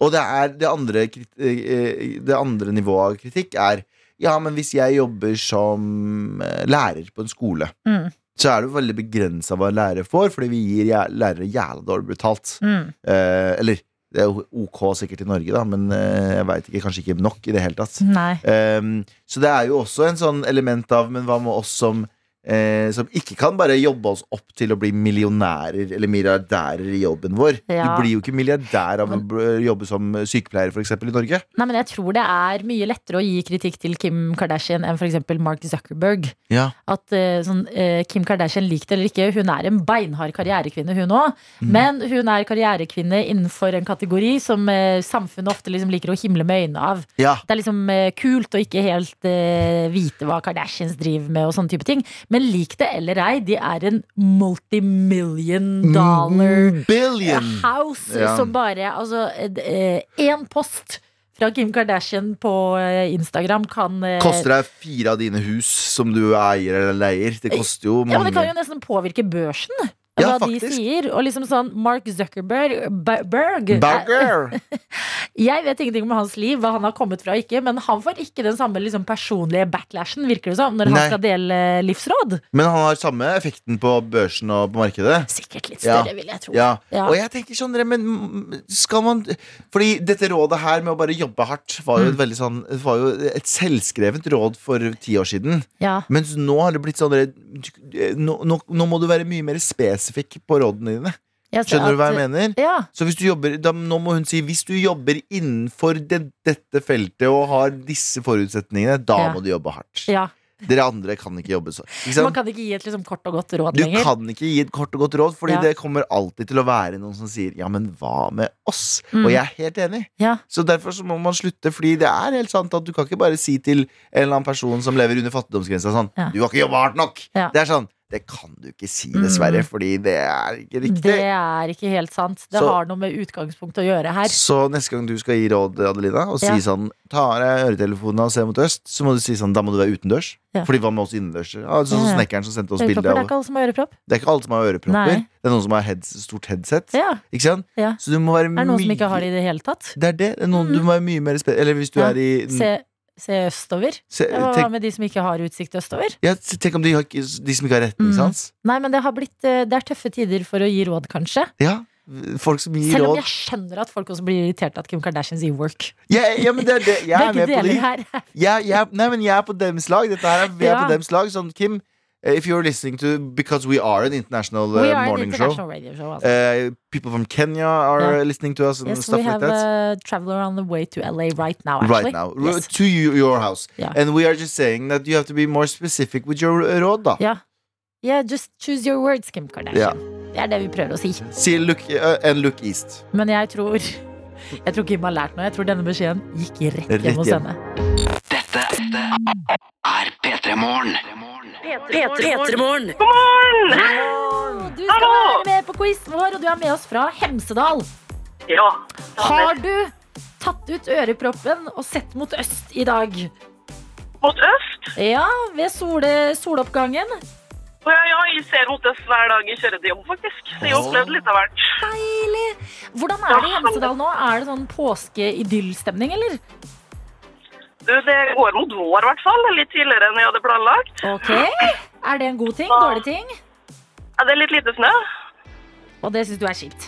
Speaker 3: Og det, er det, andre, krit- eh, eh, det andre nivået av kritikk er Ja, men hvis jeg jobber som eh, lærer på en skole
Speaker 2: Mm.
Speaker 3: Så er det jo veldig begrenset hva lærere får Fordi vi gir jæ- lærere jævla dårlig betalt
Speaker 2: Mm.
Speaker 3: Eh, Eller, det er jo ok sikkert i Norge da Men eh, jeg vet ikke, kanskje ikke nok i det hele tatt
Speaker 2: Nei.
Speaker 3: Um, så det er jo også en sånn element av Men hva med oss som eh, Som ikke kan bare jobbe oss opp til å bli millionærer Eller milliardærer i jobben vår
Speaker 2: Ja.
Speaker 3: Du blir jo ikke milliardær av å bl- jobbe som sykepleier for eksempel i Norge
Speaker 2: Nei, men jeg tror det er mye lettere å gi kritikk til Kim Kardashian enn f.eks. Mark Zuckerberg.
Speaker 3: Ja,
Speaker 2: At eh, sånn, eh, Kim Kardashian likt eller ikke, hun er en beinhard karrierekvinne, hun òg. Men hun er karrierekvinne innenfor en kategori som eh, samfunnet ofte liksom liker å himle med øynene av.
Speaker 3: ja.
Speaker 2: Det er liksom eh, kult å ikke helt eh, vite hva Kardashians driver med og sånne type ting. Men lik det eller ei, de er en multimillion
Speaker 3: Mm,
Speaker 2: dollar
Speaker 3: Billion
Speaker 2: house
Speaker 3: Ja.
Speaker 2: som bare Altså, én post fra Kim Kardashian på eh, Instagram kan eh,
Speaker 3: Koster deg fire av dine hus som du eier eller leier Det koster jo
Speaker 2: Ja, men det kan jo
Speaker 3: mange
Speaker 2: nesten påvirke børsen.
Speaker 3: Ja,
Speaker 2: hva de
Speaker 3: faktisk.
Speaker 2: sier. Og liksom sånn Mark Zuckerberg Ba- Berg, Eh,
Speaker 3: Burger
Speaker 2: Jeg vet ingenting om hans liv, hva han har kommet fra og ikke, men han får ikke den samme liksom, personlige backlashen, virker det som, når
Speaker 3: Nei.
Speaker 2: han skal dele livsråd.
Speaker 3: Men han har samme effekten på børsen og på markedet
Speaker 2: Sikkert litt
Speaker 3: Ja.
Speaker 2: større, vil jeg tro.
Speaker 3: Ja.
Speaker 2: Ja.
Speaker 3: og jeg tenker sånn dere, men mm, skal man Fordi dette rådet her med å bare jobbe hardt var
Speaker 2: Mm.
Speaker 3: jo et, veldig sånn, var jo et selvskrevet råd for ti år siden.
Speaker 2: Ja.
Speaker 3: Mens nå har det blitt sånn dere, du- nå, nå, nå må du være mye mer spesifikk på rådene dine.
Speaker 2: Jeg ser
Speaker 3: Skjønner du hva
Speaker 2: at-
Speaker 3: jeg mener?
Speaker 2: Ja.
Speaker 3: Så hvis du jobber, da, nå må hun si hvis du jobber innenfor det, dette feltet og har disse forutsetningene, da
Speaker 2: Ja.
Speaker 3: må du jobbe hardt.
Speaker 2: ja.
Speaker 3: Dere andre kan ikke jobbe sånn. Ikke sant?
Speaker 2: Man kan ikke gi et liksom, kort og godt råd
Speaker 3: Du
Speaker 2: lenger.
Speaker 3: kan ikke gi et kort og godt råd, Fordi
Speaker 2: Ja.
Speaker 3: det kommer alltid til å være noen som sier 'ja, men hva med oss?'
Speaker 2: Mm.
Speaker 3: Og jeg er helt enig.
Speaker 2: Ja.
Speaker 3: Så derfor så må man slutte, Fordi det er helt sant at du kan ikke bare si til en eller annen person som lever under fattigdomsgrensa sånn
Speaker 2: Ja.
Speaker 3: 'Du har ikke jobba hardt nok'.
Speaker 2: Ja.
Speaker 3: Det er sånn Det kan du ikke si, dessverre,
Speaker 2: Mm.
Speaker 3: fordi det er ikke riktig.
Speaker 2: Det er ikke helt sant. Det
Speaker 3: Så-
Speaker 2: har noe med utgangspunktet å gjøre her.
Speaker 3: Så neste gang du skal gi råd, Adelina, og si
Speaker 2: Ja.
Speaker 3: sånn Ta av deg øretelefonene og se mot øst, så må du si sånn Da må du være utendørs.
Speaker 2: Ja.
Speaker 3: Fordi hva med oss innendørs? Ja, sånn som
Speaker 2: Ja.
Speaker 3: snekkeren som sendte oss
Speaker 2: Ørepropper,
Speaker 3: bilde
Speaker 2: det er
Speaker 3: av
Speaker 2: ikke alle som har ørepropp.
Speaker 3: Det er ikke alle som har ørepropper.
Speaker 2: Nei.
Speaker 3: Det er noen som har heads, stort headset.
Speaker 2: Ja.
Speaker 3: Ikke sant?
Speaker 2: Ja.
Speaker 3: Så du må være
Speaker 2: Er det noen som ikke har det
Speaker 3: mye-
Speaker 2: i det hele tatt?
Speaker 3: Det er det. det er noen, Du må være mye mer spe... Eller hvis du
Speaker 2: Ja.
Speaker 3: er i
Speaker 2: Se, se østover.
Speaker 3: se,
Speaker 2: Ja, Hva
Speaker 3: Eh, tenk,
Speaker 2: med de som ikke har utsikt østover?
Speaker 3: ja, se- tenk om de, har, ikke- de som ikke har retningssans.
Speaker 2: Nei, men det, har blitt, eh, det er tøffe tider for å gi råd, kanskje.
Speaker 3: Ja. Folk som gir
Speaker 2: Selv om
Speaker 3: råd.
Speaker 2: jeg skjønner at folk også blir irritert at Kim Kardashian sier work.
Speaker 3: Ja, ja, men det er det. Jeg er
Speaker 2: Begge
Speaker 3: med på
Speaker 2: deler
Speaker 3: de.
Speaker 2: her.
Speaker 3: Jeg, jeg, nei, men jeg er på deres lag. Dette her er, vi er
Speaker 2: Ja.
Speaker 3: på deres lag. Sånn, Kim, if you're listening to Because we are an international
Speaker 2: We
Speaker 3: uh,
Speaker 2: are an
Speaker 3: morning show.
Speaker 2: international radio show. Altså.
Speaker 3: Uh, people from Kenya are
Speaker 2: Ja.
Speaker 3: uh, listening to us and
Speaker 2: yes,
Speaker 3: stuff
Speaker 2: we
Speaker 3: like
Speaker 2: have
Speaker 3: that.
Speaker 2: a traveler on the way to LA right now, actually.
Speaker 3: Right now,
Speaker 2: Yes.
Speaker 3: to you, your house,
Speaker 2: Yeah.
Speaker 3: and we are just saying that you have to be more specific with your uh, råd, da.
Speaker 2: Yeah. yeah, just choose your words, Kim Kardashian. Det er det vi prøver å si.
Speaker 3: Si look, uh, and look east.
Speaker 2: Men jeg tror Jeg tror Kim har lært noe. Jeg tror denne beskjeden gikk rett
Speaker 3: Rett
Speaker 2: hjem hos
Speaker 3: hjem.
Speaker 2: henne.
Speaker 5: P3morgen.
Speaker 2: Og Du skal være med på quizen vår, og du er med oss fra Hemsedal.
Speaker 6: Ja.
Speaker 2: Har du tatt ut øreproppen og sett mot øst i dag?
Speaker 6: Mot øst?
Speaker 2: Ja, ved sole, soloppgangen.
Speaker 6: Å, Ja, ja, jeg ser mot øst hver dag jeg kjører til jobb, faktisk. Så jeg har opplevd litt av hvert.
Speaker 2: Deilig! Hvordan er det i Hemsedal nå? Er det sånn påskeidyllstemning, eller?
Speaker 6: Du, det går mot vår, i hvert fall. Litt tidligere enn jeg hadde planlagt.
Speaker 2: Ok. Er det en god ting? Dårlig ting?
Speaker 6: Ja, det er litt lite snø.
Speaker 2: Og det syns du er kjipt?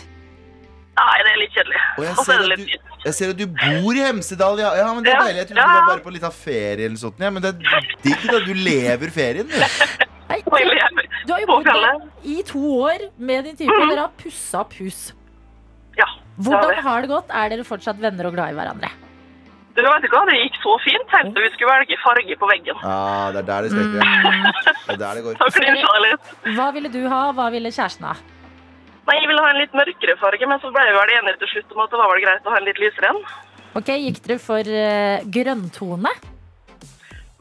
Speaker 6: Nei, det er litt kjedelig.
Speaker 3: Og jeg
Speaker 6: Og så
Speaker 3: ser,
Speaker 6: er det
Speaker 3: at du,
Speaker 6: litt fint.
Speaker 3: jeg ser at du bor i Hemsedal, ja. ja men det er
Speaker 6: Ja,
Speaker 3: deilig. Jeg trodde du
Speaker 6: ja.
Speaker 3: var bare på litt av ferie eller sånt. Ja, men det er digg, da. Du lever ferien, du.
Speaker 2: Nei,
Speaker 6: Og jeg lever
Speaker 2: du har jo
Speaker 6: på
Speaker 2: bodd der
Speaker 6: fjellet.
Speaker 2: i to år med din type, og dere har pussa opp hus.
Speaker 6: Ja.
Speaker 2: Hvordan har det gått? Er dere fortsatt venner og glad i hverandre?
Speaker 6: Du vet ikke hva, det gikk så fint. Tenkte vi skulle velge farge på veggen.
Speaker 3: Ja, det er der det
Speaker 6: Mm.
Speaker 3: strekker. Det er der det går.
Speaker 6: Da klinsja jeg litt.
Speaker 2: Hva ville du ha? Hva ville kjæresten ha?
Speaker 8: Nei, jeg ville ha en litt mørkere farge, men så ble vi vel enige til slutt om at det var vel greit å ha en litt lysere en.
Speaker 2: Ok, Gikk dere for eh, grønntone?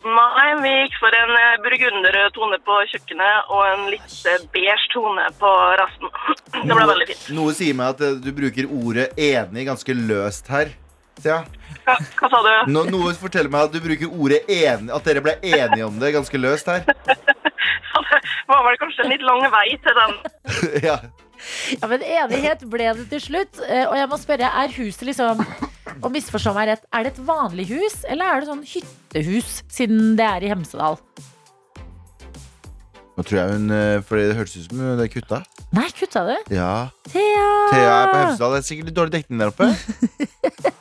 Speaker 8: Nei, vi gikk for en eh, burgunderrød tone på kjøkkenet og en litt eh, beige tone på resten. Det ble veldig fint.
Speaker 3: Noe sier meg at eh, du bruker ordet enig ganske løst her. Thea.
Speaker 8: Hva, hva sa du?
Speaker 3: Nå, noe forteller meg at du bruker ordet enig At dere ble enige om det ganske løst her.
Speaker 8: Det var vel kanskje en litt lang vei til den.
Speaker 3: ja.
Speaker 2: Ja, men Enighet ble det til slutt. eh, Og jeg må spørre, er huset liksom Og misforstå meg rett, er det et vanlig hus, eller er det sånn hyttehus, siden det er i Hemsedal?
Speaker 3: Nå tror jeg hun eh, Fordi det hørtes ut som hun er kutta.
Speaker 2: Nei, kutta du?
Speaker 3: Ja.
Speaker 2: Thea!
Speaker 3: Thea er på Hemsedal. Det er sikkert litt dårlig dekning der oppe.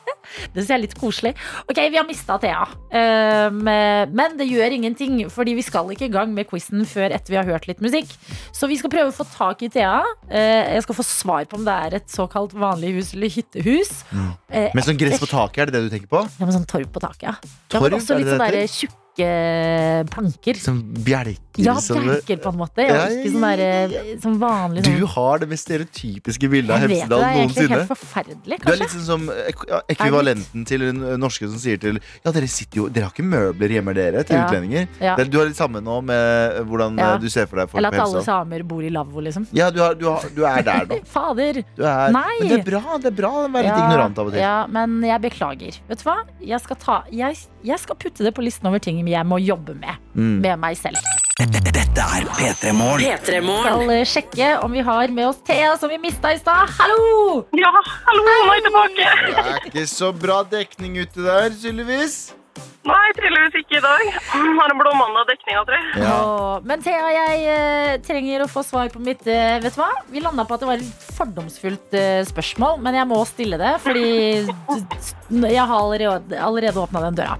Speaker 2: Det ser litt koselig. Ok, vi har mista Thea. Um, eh, men det gjør ingenting, fordi vi skal ikke i gang med quizen før etter vi har hørt litt musikk. Så vi skal prøve å få tak i Thea. Eh, jeg skal få svar på om det er et såkalt vanlig hus eller hyttehus. Eh,
Speaker 3: Med sånn gress på taket, er det det du tenker på?
Speaker 2: ja, men sånn torv på taket, ja. ja
Speaker 3: Torv,
Speaker 2: men også
Speaker 3: er
Speaker 2: litt
Speaker 3: det det
Speaker 2: sånn
Speaker 3: heter?
Speaker 2: der tjukke planker.
Speaker 3: Som bjelker.
Speaker 2: Ja,
Speaker 3: som-
Speaker 2: bjelker på en måte. Og
Speaker 3: Ja,
Speaker 2: ikke sånn der, eh, sånn vanlig sånn
Speaker 3: Du har det mest stereotypiske bildet av
Speaker 2: Jeg vet det,
Speaker 3: Hemsedal
Speaker 2: det er egentlig
Speaker 3: noensinne.
Speaker 2: helt forferdelig,
Speaker 3: Du er
Speaker 2: kanskje.
Speaker 3: litt sånn som eh, ja, ekvivalenten til en eh, norske som sier til Ja, dere sitter jo Dere har ikke møbler hjemme, dere, til
Speaker 2: Ja.
Speaker 3: utlendinger.
Speaker 2: Ja.
Speaker 3: sånn- Det er- Du har litt samme nå med eh, hvordan eh,
Speaker 2: Ja.
Speaker 3: du ser for deg folk
Speaker 2: Eller
Speaker 3: på
Speaker 2: at alle
Speaker 3: Hemsedal.
Speaker 2: samer bor i lavvo, liksom.
Speaker 3: Ja, du, har, du, har, du er der nå.
Speaker 2: Fader!
Speaker 3: Du er,
Speaker 2: Nei.
Speaker 3: men det er bra. Det er bra å være litt ignorant av og til.
Speaker 2: Ja, men jeg beklager. Vet du hva? Jeg skal, ta, jeg, jeg skal putte det på listen over ting jeg må jobbe med.
Speaker 3: Mm.
Speaker 2: Med meg selv.
Speaker 1: Dette er P3 Morgen.
Speaker 5: P3
Speaker 2: Jeg
Speaker 5: Morgen.
Speaker 2: skal eh, sjekke om vi har med oss Thea, som vi mista i stad. Hallo!
Speaker 8: Ja, hallo, nå er jeg tilbake.
Speaker 3: Det er ikke så bra dekning ute der, tydeligvis.
Speaker 8: Nei, tydeligvis ikke i dag. Har en blåmandag dekning, tror jeg.
Speaker 2: Åh, men Thea, jeg eh, trenger å få svar på mitt eh, Vet du hva? Vi landa på at det var et fordomsfullt eh, spørsmål, men jeg må stille det, fordi jeg har allerede, allerede åpna den døra.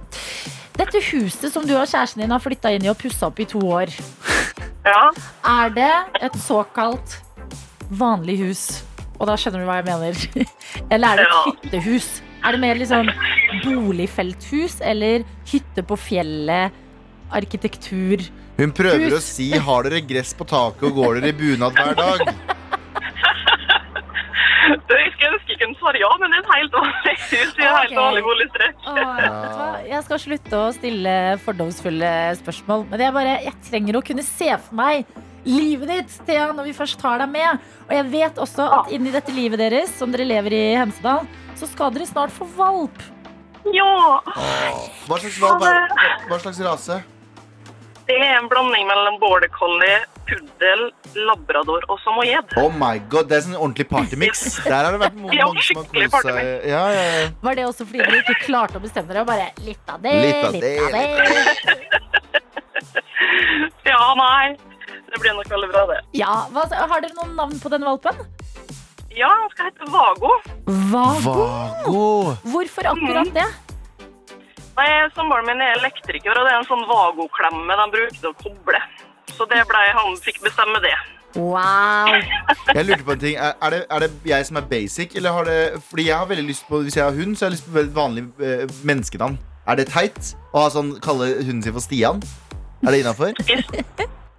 Speaker 2: Dette huset som du og kjæresten din har flytta inn i og pussa opp i to år,
Speaker 8: Ja,
Speaker 2: Er det et såkalt vanlig hus? Og da skjønner du hva jeg mener. Eller er det et hyttehus? Er det mer liksom boligfelthus eller hytte på fjellet? Arkitektur.
Speaker 3: Hun prøver
Speaker 2: Hus.
Speaker 3: å si har dere gress på taket og går dere i bunad hver dag.
Speaker 8: du, jeg skulle ønske jeg kunne svare ja, men det er et helt vanlig hus i en helt
Speaker 2: Ok.
Speaker 8: vanlig boligstrek.
Speaker 2: Åh, vet du hva? Jeg skal slutte å stille fordomsfulle spørsmål. Men jeg, bare, jeg trenger å kunne se for meg livet ditt, Thea, når vi først tar deg med. Og jeg vet også at inni dette livet deres, som dere lever i Hemsedal, så skal dere snart få valp.
Speaker 8: Ja,
Speaker 3: Hva slags, valp er- hva slags rase?
Speaker 8: det er en blanding mellom border collie, puddel, labrador og samoyed.
Speaker 3: Oh my god, Det er sånn ordentlig partymix. Der har det vært mo-
Speaker 8: Ja,
Speaker 3: mange som har
Speaker 8: skikkelig
Speaker 3: kost seg. Ja, ja, ja.
Speaker 2: Var det også fordi dere ikke klarte å bestemme dere? Og bare litt av det,
Speaker 3: Litt av
Speaker 2: litt
Speaker 3: det,
Speaker 2: av det.
Speaker 8: Ja, nei. Det blir nok veldig bra, det.
Speaker 2: Ja, hva, Har dere noen navn på den valpen?
Speaker 8: Ja, han skal hete Vago.
Speaker 2: Hva?
Speaker 3: Vago.
Speaker 2: Hvorfor akkurat det?
Speaker 8: Nei, Samboeren min er elektriker, og det er en sånn Vago-klemme de bruker til å koble. Så det ble, han fikk bestemme det.
Speaker 2: Wow!
Speaker 3: Jeg lurte på en ting. Er, er, det, er det jeg som er basic, eller har det Fordi jeg har veldig lyst på Hvis jeg har hund, så har jeg lyst på et vanlig eh, menneskenavn. Er det teit å ha sånn, kalle hunden sin for Stian? Er det innafor?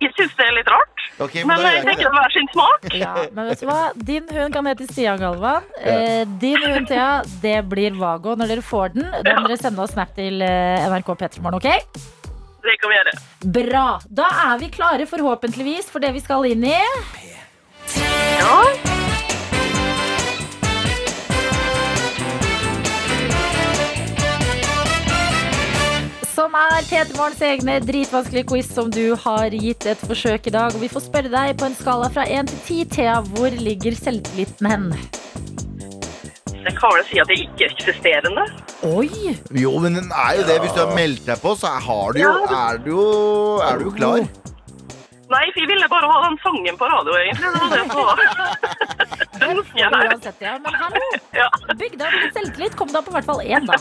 Speaker 8: Jeg syns det er litt rart,
Speaker 3: Ok, men
Speaker 8: men
Speaker 3: da gjør
Speaker 8: jeg
Speaker 3: jeg
Speaker 8: tenker
Speaker 3: ikke
Speaker 8: det er hver sin smak.
Speaker 2: Ja, men vet du hva? Din hund kan hete Stian Galvan. Eh, din hund, Thea, det blir Vago når dere får den. Da må dere sende oss snap til eh, NRK Petermorgen, OK?
Speaker 8: Det kan vi gjøre.
Speaker 2: Bra! Da er vi klare, forhåpentligvis, for det vi skal inn i.
Speaker 8: Ja,
Speaker 2: Som er Peter Morgens egne dritvanskelige quiz som du har gitt et forsøk i dag. Og vi får spørre deg på en skala fra 1 til 10, Thea, hvor ligger selvtilliten hen?
Speaker 8: Jeg kan vel si at det er ikke-eksisterende.
Speaker 2: Oi!
Speaker 3: det. Jo, men den er jo det. Hvis du har meldt deg på, så har du jo, er, du jo, er du jo klar.
Speaker 8: Nei, for jeg ville bare ha den sangen på radio, egentlig. Det var det som var.
Speaker 2: Den får du uansett, ja. Men hallo!
Speaker 8: Ja.
Speaker 2: Bygg deg opp litt selvtillit. Kom deg opp på hvert fall én, da.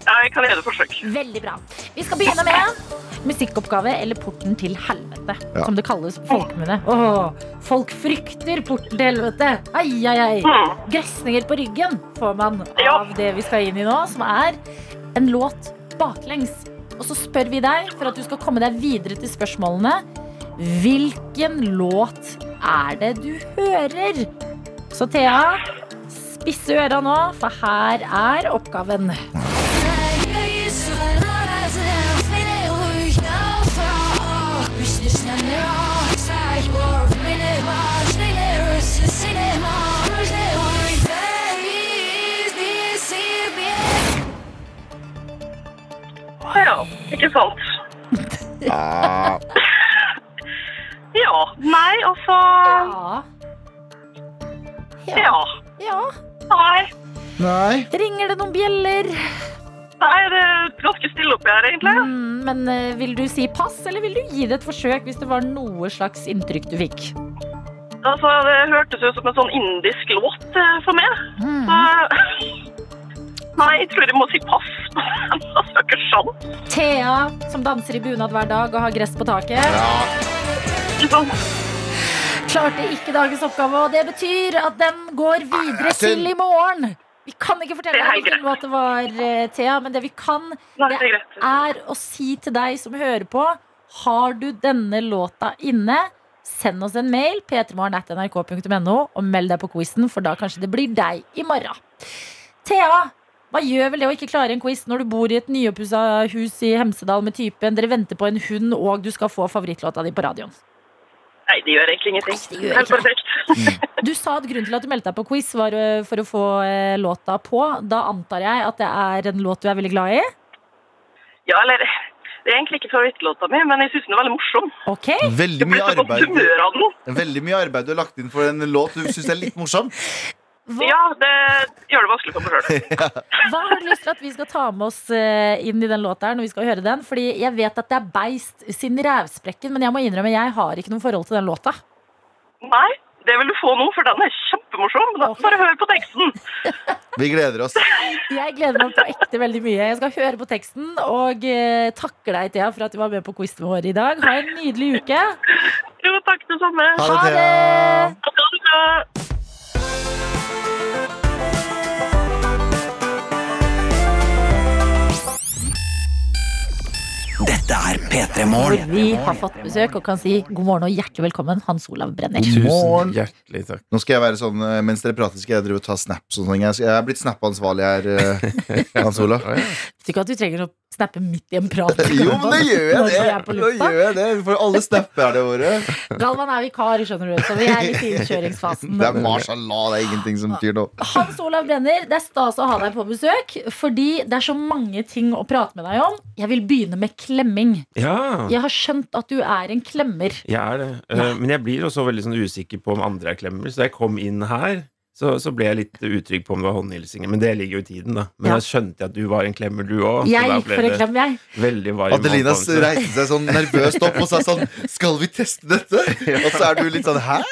Speaker 8: Ja, jeg kan gjøre et forsøk.
Speaker 2: Veldig bra. Vi skal begynne med musikkoppgave eller Porten til helvete,
Speaker 3: Ja.
Speaker 2: som det kalles på folkemunne. Åh, folk frykter Porten til helvete. Ai, ai, ai.
Speaker 8: Hmm.
Speaker 2: Gressninger på ryggen får man
Speaker 8: Ja.
Speaker 2: av det vi skal inn i nå, som er en låt baklengs. Og så spør vi deg, for at du skal komme deg videre til spørsmålene, hvilken låt er det du hører? Så Thea, spisse øra nå, for her er oppgaven.
Speaker 8: Å ja, ikke sant.
Speaker 3: Ah,
Speaker 8: Ja. Nei, altså
Speaker 2: Ja.
Speaker 8: Ja.
Speaker 2: ja.
Speaker 8: Nei.
Speaker 3: nei.
Speaker 2: Ringer det noen bjeller?
Speaker 8: Nei, det er ganske stille oppi her, egentlig.
Speaker 2: Mm, men eh, vil du si pass, eller vil du gi det et forsøk hvis det var noe slags inntrykk du fikk?
Speaker 8: Altså, Det hørtes ut som en sånn indisk låt eh, for meg.
Speaker 2: Mm.
Speaker 8: Så Nei, jeg tror jeg må si pass. Altså, det er ikke sjans.
Speaker 2: Thea, som danser i bunad hver dag og har gress på taket.
Speaker 8: Ikke sant?
Speaker 2: Klarte ikke dagens oppgave, og det betyr at den går videre
Speaker 3: synd.
Speaker 2: til i morgen. Vi kan ikke fortelle
Speaker 8: Det er
Speaker 2: deg hvilken
Speaker 8: greit.
Speaker 2: låt det var, eh, Thea, men det vi kan,
Speaker 8: Nei, det er greit.
Speaker 2: er å si til deg som hører på, har du denne låta inne, send oss en mail, p3morgen.nrk.no, og meld deg på quizen, for da kanskje det blir deg i morgen. Thea, hva gjør vel det å ikke klare en quiz når du bor i et nyoppussa hus i Hemsedal med typen, dere venter på en hund, og du skal få favorittlåta di på radioen?
Speaker 8: Nei, det gjør egentlig ingenting.
Speaker 2: Nei, det gjør
Speaker 8: Helt
Speaker 2: ikke
Speaker 8: perfekt.
Speaker 2: Du sa at grunnen til at du meldte deg på quiz var øh, for å få øh, låta på. Da antar jeg at det er en låt du er veldig glad i.
Speaker 8: Ja, eller Det er egentlig ikke favorittlåta mi, men jeg syns den er veldig morsom.
Speaker 2: Ok,
Speaker 3: Veldig
Speaker 8: Jeg ble
Speaker 3: mye
Speaker 8: så godt
Speaker 3: arbeid
Speaker 8: humør av den.
Speaker 3: Veldig mye arbeid du har lagt inn for en låt du syns er litt morsom.
Speaker 2: hva,
Speaker 8: Ja, det gjør det vanskelig for meg sjøl.
Speaker 2: hva har du lyst til at vi skal ta med oss øh, inn i den låta her når vi skal høre den? Fordi jeg vet at det er Beist sin Rævsprekken, men jeg må innrømme jeg har ikke noe forhold til den låta.
Speaker 8: Nei, det vil du få nå, for den er kjempemorsom. Da Bare hør på teksten.
Speaker 3: Vi gleder oss.
Speaker 2: Jeg gleder meg på ekte veldig mye. Jeg skal høre på teksten og øh, takker deg, Thea, for at du var med på quizen vår i dag. Ha en nydelig uke.
Speaker 8: Jo, takk, det samme.
Speaker 3: Ha
Speaker 2: Ha
Speaker 3: det,
Speaker 2: det!
Speaker 3: Thea.
Speaker 8: Ha det bra.
Speaker 1: Dette er P3 Morgen.
Speaker 2: Hvor vi har fått besøk og kan si god morgen og hjertelig velkommen, Hans Olav Brenner.
Speaker 3: morgen.
Speaker 9: Tusen hjertelig takk.
Speaker 3: Nå skal jeg være sånn, eh, Mens dere prater, skal jeg drive og ta snaps. og sånne ting. Jeg skal- Jeg er blitt snap-ansvarlig her, eh, Hans Olav.
Speaker 9: Å, ja.
Speaker 2: Tror ikke at du trenger å snappe midt i en prat.
Speaker 3: Jo, men det gjør jeg
Speaker 2: Når vi er
Speaker 3: det.
Speaker 2: på
Speaker 3: Nå
Speaker 2: lufta.
Speaker 3: gjør jeg det. For alle snapper våre.
Speaker 2: Galvan er vikar, skjønner du, så vi er litt i innkjøringsfasen.
Speaker 3: Det er mashallah, det er ingenting som betyr noe.
Speaker 2: Hans Olav Brenner, det er stas å ha deg på besøk, fordi det er så mange ting å prate med deg om. Jeg vil begynne med klemming.
Speaker 9: Ja,
Speaker 2: Jeg har skjønt at du er en klemmer.
Speaker 9: jeg er det. Eh, Men jeg blir også veldig sånn usikker på om andre er klemmer. Så da jeg kom inn her, så, så ble jeg litt utrygg på om det var håndhilsinger. Men det ligger jo i tiden, da. Men
Speaker 2: Ja.
Speaker 9: da skjønte jeg at du var en klemmer, du òg.
Speaker 2: Jeg gikk for en klem, jeg.
Speaker 9: Veldig varm
Speaker 3: Adelina s-
Speaker 9: omfavnelse.
Speaker 3: reiste seg sånn nervøst opp og sa sånn Skal vi teste dette? Og så er du litt sånn Hæ?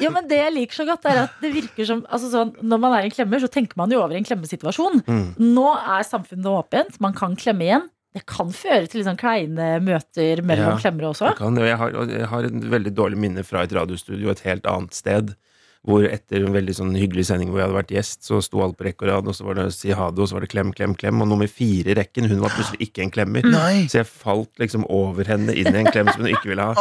Speaker 2: Jo, men det jeg liker så godt, er at det virker som altså sånn, Når man er en klemmer, så tenker man jo over en klemmesituasjon.
Speaker 9: Mm.
Speaker 2: Nå er samfunnet åpent, man kan klemme igjen. Det kan føre til litt sånn kleine møter mellom
Speaker 9: Ja.
Speaker 2: klemmere også.
Speaker 9: Jeg, kan, det, og jeg, har, og jeg har en veldig dårlig minne fra et radiostudio et helt annet sted. Hvor etter en veldig sånn hyggelig sending hvor jeg hadde vært gjest, så sto alle på rekke og rad, og så var det si ha det, og så var det klem, klem, klem. Og nummer fire i rekken, hun var plutselig ikke en klemmer.
Speaker 3: Nei.
Speaker 9: Så jeg falt liksom over henne inn i en klem som hun ikke ville ha.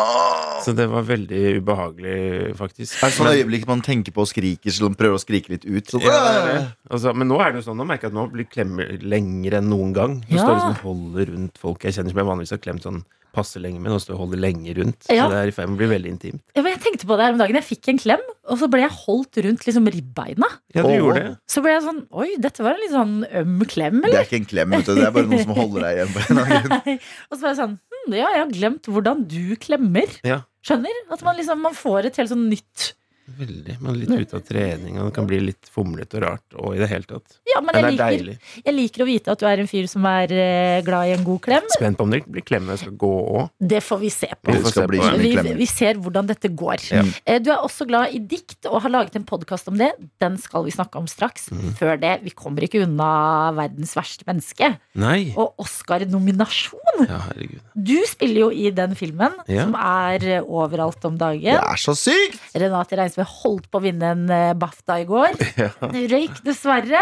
Speaker 9: Så det var veldig ubehagelig, faktisk.
Speaker 3: Er det sånn
Speaker 9: Men-
Speaker 3: øyeblikk man tenker på og skriker, selv om man prøver å skrike litt ut? Sånn,
Speaker 9: Ja, det er det. altså, men nå er det jo sånn, nå merker jeg at nå blir klemmer lengre enn noen gang. Nå
Speaker 2: Ja.
Speaker 9: står det sånn holder rundt folk jeg kjenner som jeg vanligvis har klemt sånn passe lenge med. Nå står det holder lenge rundt.
Speaker 2: Ja.
Speaker 9: Så det er i ferd med å bli veldig intimt.
Speaker 2: Ja, men jeg tenkte på det her om dagen. Jeg fikk en klem, og så ble jeg holdt rundt liksom ribbeina.
Speaker 9: Ja, du
Speaker 3: Åh.
Speaker 9: gjorde det.
Speaker 2: Så ble jeg sånn Oi, dette var en litt sånn øm klem,
Speaker 3: Det
Speaker 2: eller?
Speaker 3: er ikke en klem, vet du. Det er bare noen som holder deg igjen. på en eller annen grunn.
Speaker 2: og så var jeg sånn hm, Ja, jeg har glemt hvordan du klemmer.
Speaker 9: Ja.
Speaker 2: Skjønner? At man liksom man får et helt sånn nytt
Speaker 9: Veldig. Man er litt ute av trening, og det kan bli litt fomlete og rart. Og i det hele tatt.
Speaker 2: Ja, men
Speaker 9: Men
Speaker 2: jeg
Speaker 9: det er
Speaker 2: liker,
Speaker 9: deilig.
Speaker 2: jeg liker å vite at du er en fyr som er eh, glad i en god klem.
Speaker 9: Spent på om det blir klemmende jeg skal gå òg.
Speaker 2: Det får vi se på.
Speaker 9: Vi
Speaker 3: Det
Speaker 9: får
Speaker 3: skal
Speaker 9: se
Speaker 3: bli
Speaker 9: på
Speaker 3: så
Speaker 9: det.
Speaker 3: mye
Speaker 2: Vi,
Speaker 3: klemmer.
Speaker 2: vi ser hvordan dette går.
Speaker 9: Ja.
Speaker 2: Eh, Du er også glad i dikt og har laget en podkast om det. Den skal vi snakke om straks.
Speaker 9: Mhm.
Speaker 2: Før det, vi kommer ikke unna verdens verste menneske.
Speaker 9: Nei.
Speaker 2: Og Oscar-nominasjon!
Speaker 9: Ja, herregud.
Speaker 2: Du spiller jo i den filmen
Speaker 9: Ja.
Speaker 2: som er eh, overalt om dagen.
Speaker 3: Det er så sykt!
Speaker 2: Renate Sandefjord holdt på å vinne en eh, BAFTA i går. Røyk, dessverre.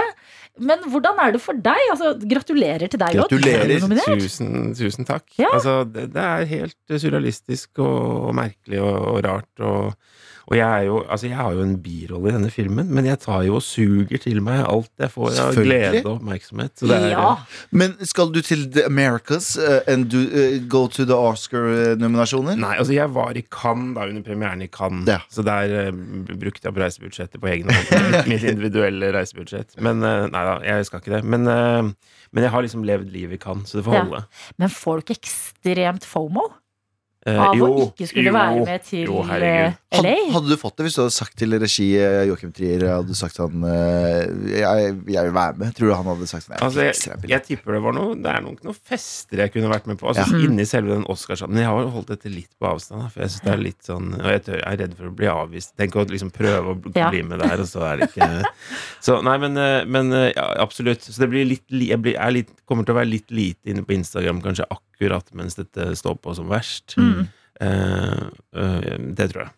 Speaker 2: Men hvordan er det for deg? Altså, gratulerer til deg. Odd.
Speaker 3: Gratulerer.
Speaker 2: Du er nominert.
Speaker 9: Tusen, tusen takk.
Speaker 2: Ja.
Speaker 9: Altså, det, det er helt surrealistisk og, og merkelig og, og rart. Og, og jeg, er jo, altså, jeg har jo en birolle i denne filmen, men jeg tar jo og suger til meg alt jeg får av
Speaker 3: Selvfølgelig.
Speaker 9: glede og oppmerksomhet. Så det er,
Speaker 2: Ja.
Speaker 3: Men skal du til The Americas eh, and do, eh, go to the Oscar-nominasjoner?
Speaker 9: Nei, altså jeg var i Cannes da under premieren i Cannes,
Speaker 3: Ja.
Speaker 9: så der eh, brukte jeg opp reisebudsjettet på egen hånd. Mitt individuelle reisebudsjett. Men eh, nei da, jeg skal ikke det. Men, eh, men jeg har liksom levd livet i Cannes, så det får
Speaker 2: Ja.
Speaker 9: holde.
Speaker 2: Men får du ikke ekstremt fomo
Speaker 9: Eh,
Speaker 2: av å
Speaker 9: jo,
Speaker 2: ikke skulle
Speaker 9: jo,
Speaker 2: være med til
Speaker 9: jo, herregud.
Speaker 2: eh,
Speaker 3: Had,
Speaker 2: LA?
Speaker 3: hadde du fått det hvis du hadde sagt til regi eh, Joachim Trier Hadde du sagt han eh, jeg, jeg vil være med? Tror du han hadde sagt nei?
Speaker 9: Altså, jeg,
Speaker 3: fikser jeg
Speaker 9: jeg tipper det var noe Det er nok noen fester jeg kunne vært med på. Altså, Inni selve den Oscarsalen. Men jeg har jo holdt dette litt på avstand. da, For jeg synes det er litt sånn Og jeg tør, jeg er redd for å bli avvist. Tenk å liksom prøve å bli
Speaker 2: Ja.
Speaker 9: bli med der, og så er det ikke Så nei, men, eh, men eh, ja, absolutt. Så det blir litt li- Jeg blir, er litt, kommer til å være litt lite inne på Instagram kanskje akkurat mens dette står på som verst. Eh, eh, det tror jeg.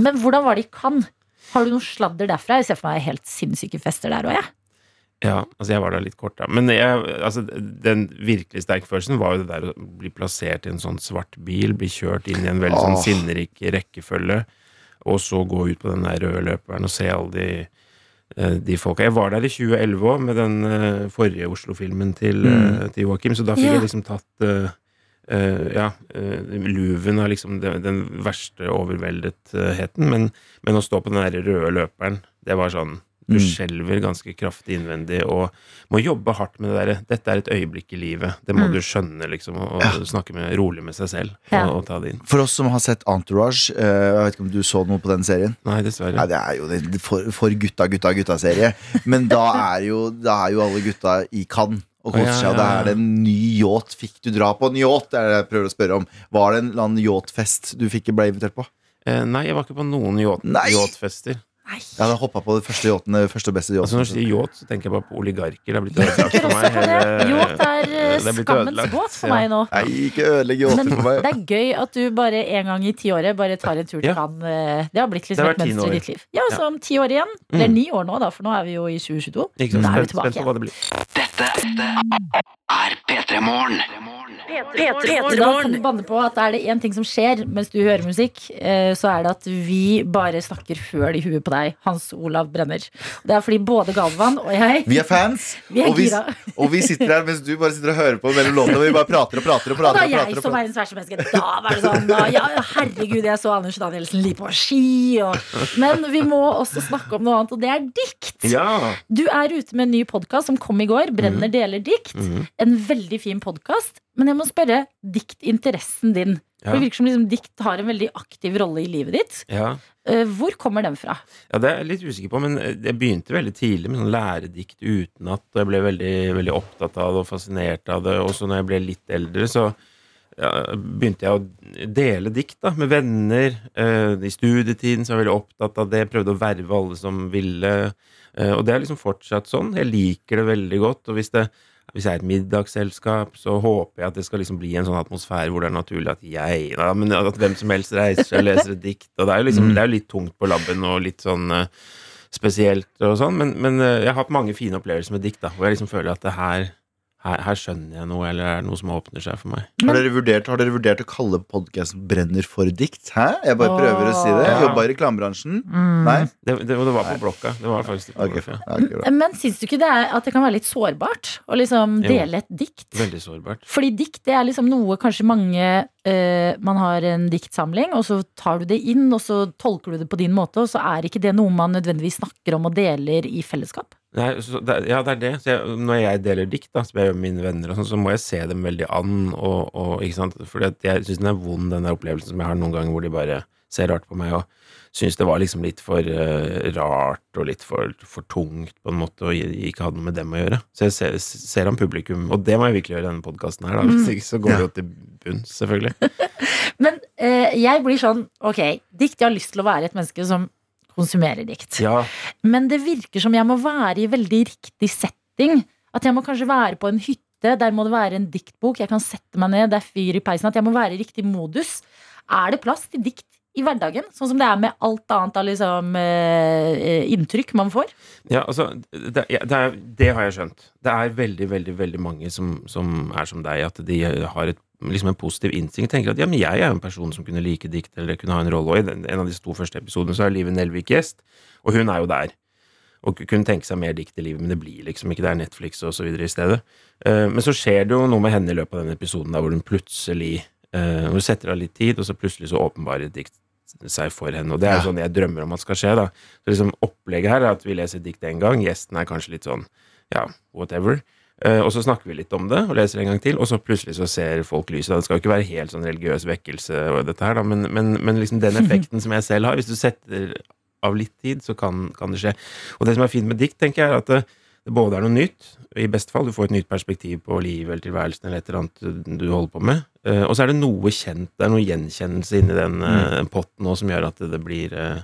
Speaker 2: Men hvordan var det i Cannes? Har du noe sladder derfra? Jeg ser for meg helt sinnssyke fester der òg, jeg.
Speaker 9: Ja, altså jeg var der litt kort da Men jeg, altså, den virkelig sterke følelsen var jo det der å bli plassert i en sånn svart bil Bli kjørt inn i en veldig sånn
Speaker 3: Åh.
Speaker 9: sinnerik rekkefølge Og så gå ut på den der røde løperen og se alle de, eh, de folka Jeg var der i 2011 også med den eh, forrige Oslo-filmen til, eh, til Joakim Så da fikk
Speaker 2: Ja.
Speaker 9: jeg liksom tatt eh, eh, ja, eh, luven av liksom den, den verste overveldetheten men, men å stå på den der røde løperen Det var sånn du
Speaker 3: Mm.
Speaker 9: skjelver ganske kraftig innvendig og må jobbe hardt med det der. Dette er et øyeblikk i livet. Det må
Speaker 2: Mm.
Speaker 9: du skjønne, liksom. Og og
Speaker 3: Ja.
Speaker 9: snakke med, rolig med seg selv
Speaker 2: Ja.
Speaker 9: og, og ta det inn.
Speaker 3: For oss som har sett Entourage, eh, jeg vet ikke om du så noe på den serien?
Speaker 9: Nei, dessverre.
Speaker 3: Nei, det er jo det- det for, for gutta, gutta, gutta-serie. Men da er, jo, da er jo alle gutta i Cannes og koser
Speaker 9: Ja,
Speaker 3: seg. Og da
Speaker 9: ja,
Speaker 3: er det en ny yacht. Fikk du dra på en yacht? Det er det jeg prøver å spørre om. Var det en eller annen yachtfest du fikk ble invitert på?
Speaker 9: Eh, nei, jeg var ikke på noen yacht-
Speaker 3: Nei!
Speaker 9: yachtfester.
Speaker 3: Jeg hadde hoppa på den første yachten. den Første og beste
Speaker 9: Altså, når
Speaker 3: yachten.
Speaker 9: jeg sier yacht, så tenker jeg bare på oligarker. Det er blitt ødelagt
Speaker 2: Tenker
Speaker 9: for
Speaker 2: også
Speaker 9: meg.
Speaker 2: på det.
Speaker 9: hele-
Speaker 2: Jo, det er eh,
Speaker 9: det er blitt
Speaker 2: skammens
Speaker 9: ødelagt,
Speaker 2: båt for
Speaker 9: ja.
Speaker 2: meg nå.
Speaker 3: Nei, ikke ødelegg
Speaker 2: Men
Speaker 3: yachten for meg.
Speaker 2: det er gøy at du bare en gang i tiåret bare tar en tur til
Speaker 9: Ja.
Speaker 2: Cannes. eh, Det har blitt
Speaker 9: Det
Speaker 2: liksom
Speaker 9: har
Speaker 2: et
Speaker 9: vært ti
Speaker 2: mønster i
Speaker 9: år. Mm.
Speaker 2: ditt liv. Ja, så om ti år igjen. Eller ni år nå, da, for nå er vi jo i 2022.
Speaker 9: Ikke sant?
Speaker 2: Da er vi
Speaker 9: Spent, spent på
Speaker 2: tilbake.
Speaker 9: hva det blir.
Speaker 2: Da
Speaker 5: P3morgen.
Speaker 2: kan du banne på at er det én ting som skjer mens du hører musikk, eh, så er det at vi bare snakker høl i huet på deg, Hans Olav Brenner. Det er fordi både Galvan og jeg
Speaker 3: Vi er fans,
Speaker 2: Vi er
Speaker 3: og, vi,
Speaker 2: gira.
Speaker 3: og vi sitter her mens du bare sitter og hører på mellom låtene. Og vi bare prater og prater og
Speaker 2: og da
Speaker 3: prater. Og
Speaker 2: jeg
Speaker 3: prater, og
Speaker 2: som
Speaker 3: prater.
Speaker 2: verdens verste menneske, da var det sånn da, ja, Herregud, jeg så Anders Danielsen ligge på ski og Men vi må også snakke om noe annet, og det er dikt.
Speaker 9: Ja!
Speaker 2: Du er ute med en ny podkast som kom i går, 'Brenner
Speaker 9: Mhm.
Speaker 2: deler dikt'. En veldig fin podkast. Men jeg må spørre diktinteressen din. For Det
Speaker 9: Ja.
Speaker 2: virker som liksom, dikt har en veldig aktiv rolle i livet ditt.
Speaker 9: ja.
Speaker 2: Eh, Hvor kommer den fra?
Speaker 9: Ja, det er jeg litt usikker på, men eh, jeg begynte veldig tidlig med sånn læredikt utenat, og jeg ble veldig, veldig opptatt av det og fascinert av det. Og så når jeg ble litt eldre, så ja, begynte jeg å dele dikt da, med venner. Eh, I studietiden så var jeg veldig opptatt av det, prøvde å verve alle som ville. Eh, og det har liksom fortsatt sånn. Jeg liker det veldig godt. og hvis det hvis jeg er et middagsselskap, så håper jeg at det skal liksom bli en sånn atmosfære hvor det er naturlig at jeg da, men At hvem som helst reiser seg og leser et dikt. Og det er jo liksom, det er jo litt tungt på labben og litt sånn eh, spesielt og sånn. Men, men eh, jeg har hatt mange fine opplevelser med dikt, da, hvor jeg liksom føler at det her, her, her skjønner jeg noe, eller er det noe som åpner seg for meg.
Speaker 3: Har dere, vurdert, har dere vurdert å kalle podkasten 'Brenner for dikt'? Hæ? Jeg bare prøver å si det. Jeg
Speaker 9: Ja.
Speaker 3: jobba i reklamebransjen.
Speaker 2: Mm.
Speaker 3: Nei?
Speaker 9: Det, det, og det var på blokka. Det var faktisk på
Speaker 3: Ok,
Speaker 9: blokka.
Speaker 3: ja, ok, bra.
Speaker 2: Eh, Men syns du ikke det er at det kan være litt sårbart å liksom
Speaker 9: Jo.
Speaker 2: dele et dikt?
Speaker 9: Veldig sårbart.
Speaker 2: Fordi dikt det er liksom noe kanskje mange eh, Man har en diktsamling, og så tar du det inn, og så tolker du det på din måte, og så er ikke det noe man nødvendigvis snakker om og deler i fellesskap.
Speaker 9: Nei, så, det, er- ja, det er det. Så jeg, når jeg deler dikt, da, som jeg gjør med mine venner, og sånn, så må jeg se dem veldig an. Og, og, ikke sant? Fordi at jeg syns den er vond, den der opplevelsen som jeg har noen ganger, hvor de bare ser rart på meg og syns det var liksom litt for eh, rart og litt for, for tungt, på en måte, og i- ikke hadde noe med dem å gjøre. Så jeg ser, ser an publikum, og det må jeg virkelig gjøre i denne podkasten her, da. Hvis
Speaker 3: Mm.
Speaker 9: ikke så går det jo til bunns, selvfølgelig.
Speaker 2: Men eh, jeg blir sånn, ok, dikt, jeg har lyst til å være et menneske som konsumerer dikt.
Speaker 9: Ja,
Speaker 2: Men det virker som jeg må være i veldig riktig setting. At jeg må kanskje være på en hytte, der må det være en diktbok, jeg kan sette meg ned, det er fyr i peisen, at jeg må være i riktig modus. Er det plass til dikt i hverdagen, sånn som det er med alt annet av liksom, eh, inntrykk man får.
Speaker 9: Ja, altså, det, ja, det, er, det har jeg skjønt. Det er veldig, veldig veldig mange som, som er som deg, at de har et, liksom en positiv instinkt. Tenker at ja, men jeg er en person som kunne like dikt, eller kunne ha en rolle. Og i den, en av disse to første episodene så er Live Nelvik gjest, og hun er jo der. Og ku- kunne tenke seg mer dikt i livet, men det blir liksom ikke det. er Netflix og så videre i stedet. Eh, men så skjer det jo noe med henne i løpet av den episoden der hvor hun plutselig eh, Hun setter av litt tid, og så plutselig så åpenbarer et dikt seg for henne. Og det er jo sånn jeg drømmer om at skal skje. da. Så liksom Opplegget her er at vi leser dikt én gang, gjesten er kanskje litt sånn ja, whatever. Eh, og så snakker vi litt om det og leser en gang til, og så plutselig så ser folk lyset. da. Det skal jo ikke være helt sånn religiøs vekkelse, og dette her, da, men, men, men liksom den effekten som jeg selv har, hvis du setter av litt tid, så kan, kan det skje. Og det som er fint med dikt, tenker jeg, er at det, det både er noe nytt, i beste fall, du får et nytt perspektiv på livet eller tilværelsen eller et eller annet du holder på med, eh, og så er det noe kjent, det er noe gjenkjennelse inni den
Speaker 2: Mm.
Speaker 9: eh, potten nå som gjør at det blir eh,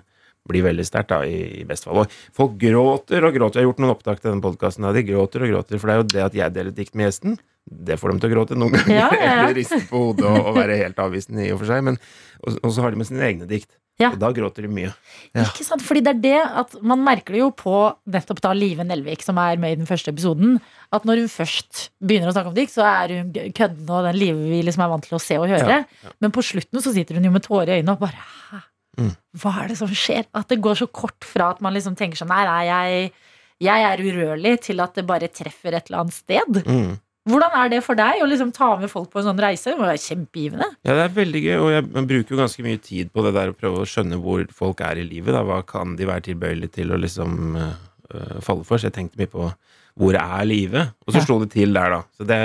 Speaker 9: blir veldig sterkt, da, i, i beste fall. Og folk gråter og gråter. Jeg har gjort noen opptak til denne podkasten, de gråter og gråter. For det er jo det at jeg deler dikt med gjesten, det får dem til å gråte noen ganger.
Speaker 2: Ja, ja, ja.
Speaker 9: Eller riste på hodet og, og være helt avvisende i og for seg. Men, og, og så har de med sine egne dikt.
Speaker 2: Ja.
Speaker 9: Og da gråter de mye.
Speaker 3: Ja.
Speaker 2: Ikke sant? Fordi det er det at man merker det jo på nettopp da Live Nelvik, som er med i den første episoden, at når hun først begynner å snakke om dikt, så er hun g- kødden og den livet vi liksom er vant til å se og høre. Men på slutten så sitter hun jo med tårer i øynene og bare Hæ?
Speaker 9: Mm.
Speaker 2: Hva er det som skjer? At det går så kort fra at man liksom tenker sånn Nei, nei, jeg, jeg er urørlig, til at det bare treffer et eller annet sted.
Speaker 9: Mm.
Speaker 2: Hvordan er det for deg å liksom ta med folk på en sånn reise? Det må være kjempegivende.
Speaker 9: Ja, det er veldig gøy, og jeg man bruker jo ganske mye tid på det der å prøve å skjønne hvor folk er i livet. Da. Hva kan de være tilbøyelige til å liksom øh, falle for? Så jeg tenkte mye på hvor er livet? Og så
Speaker 2: Ja.
Speaker 9: slo det til der, da. Så det,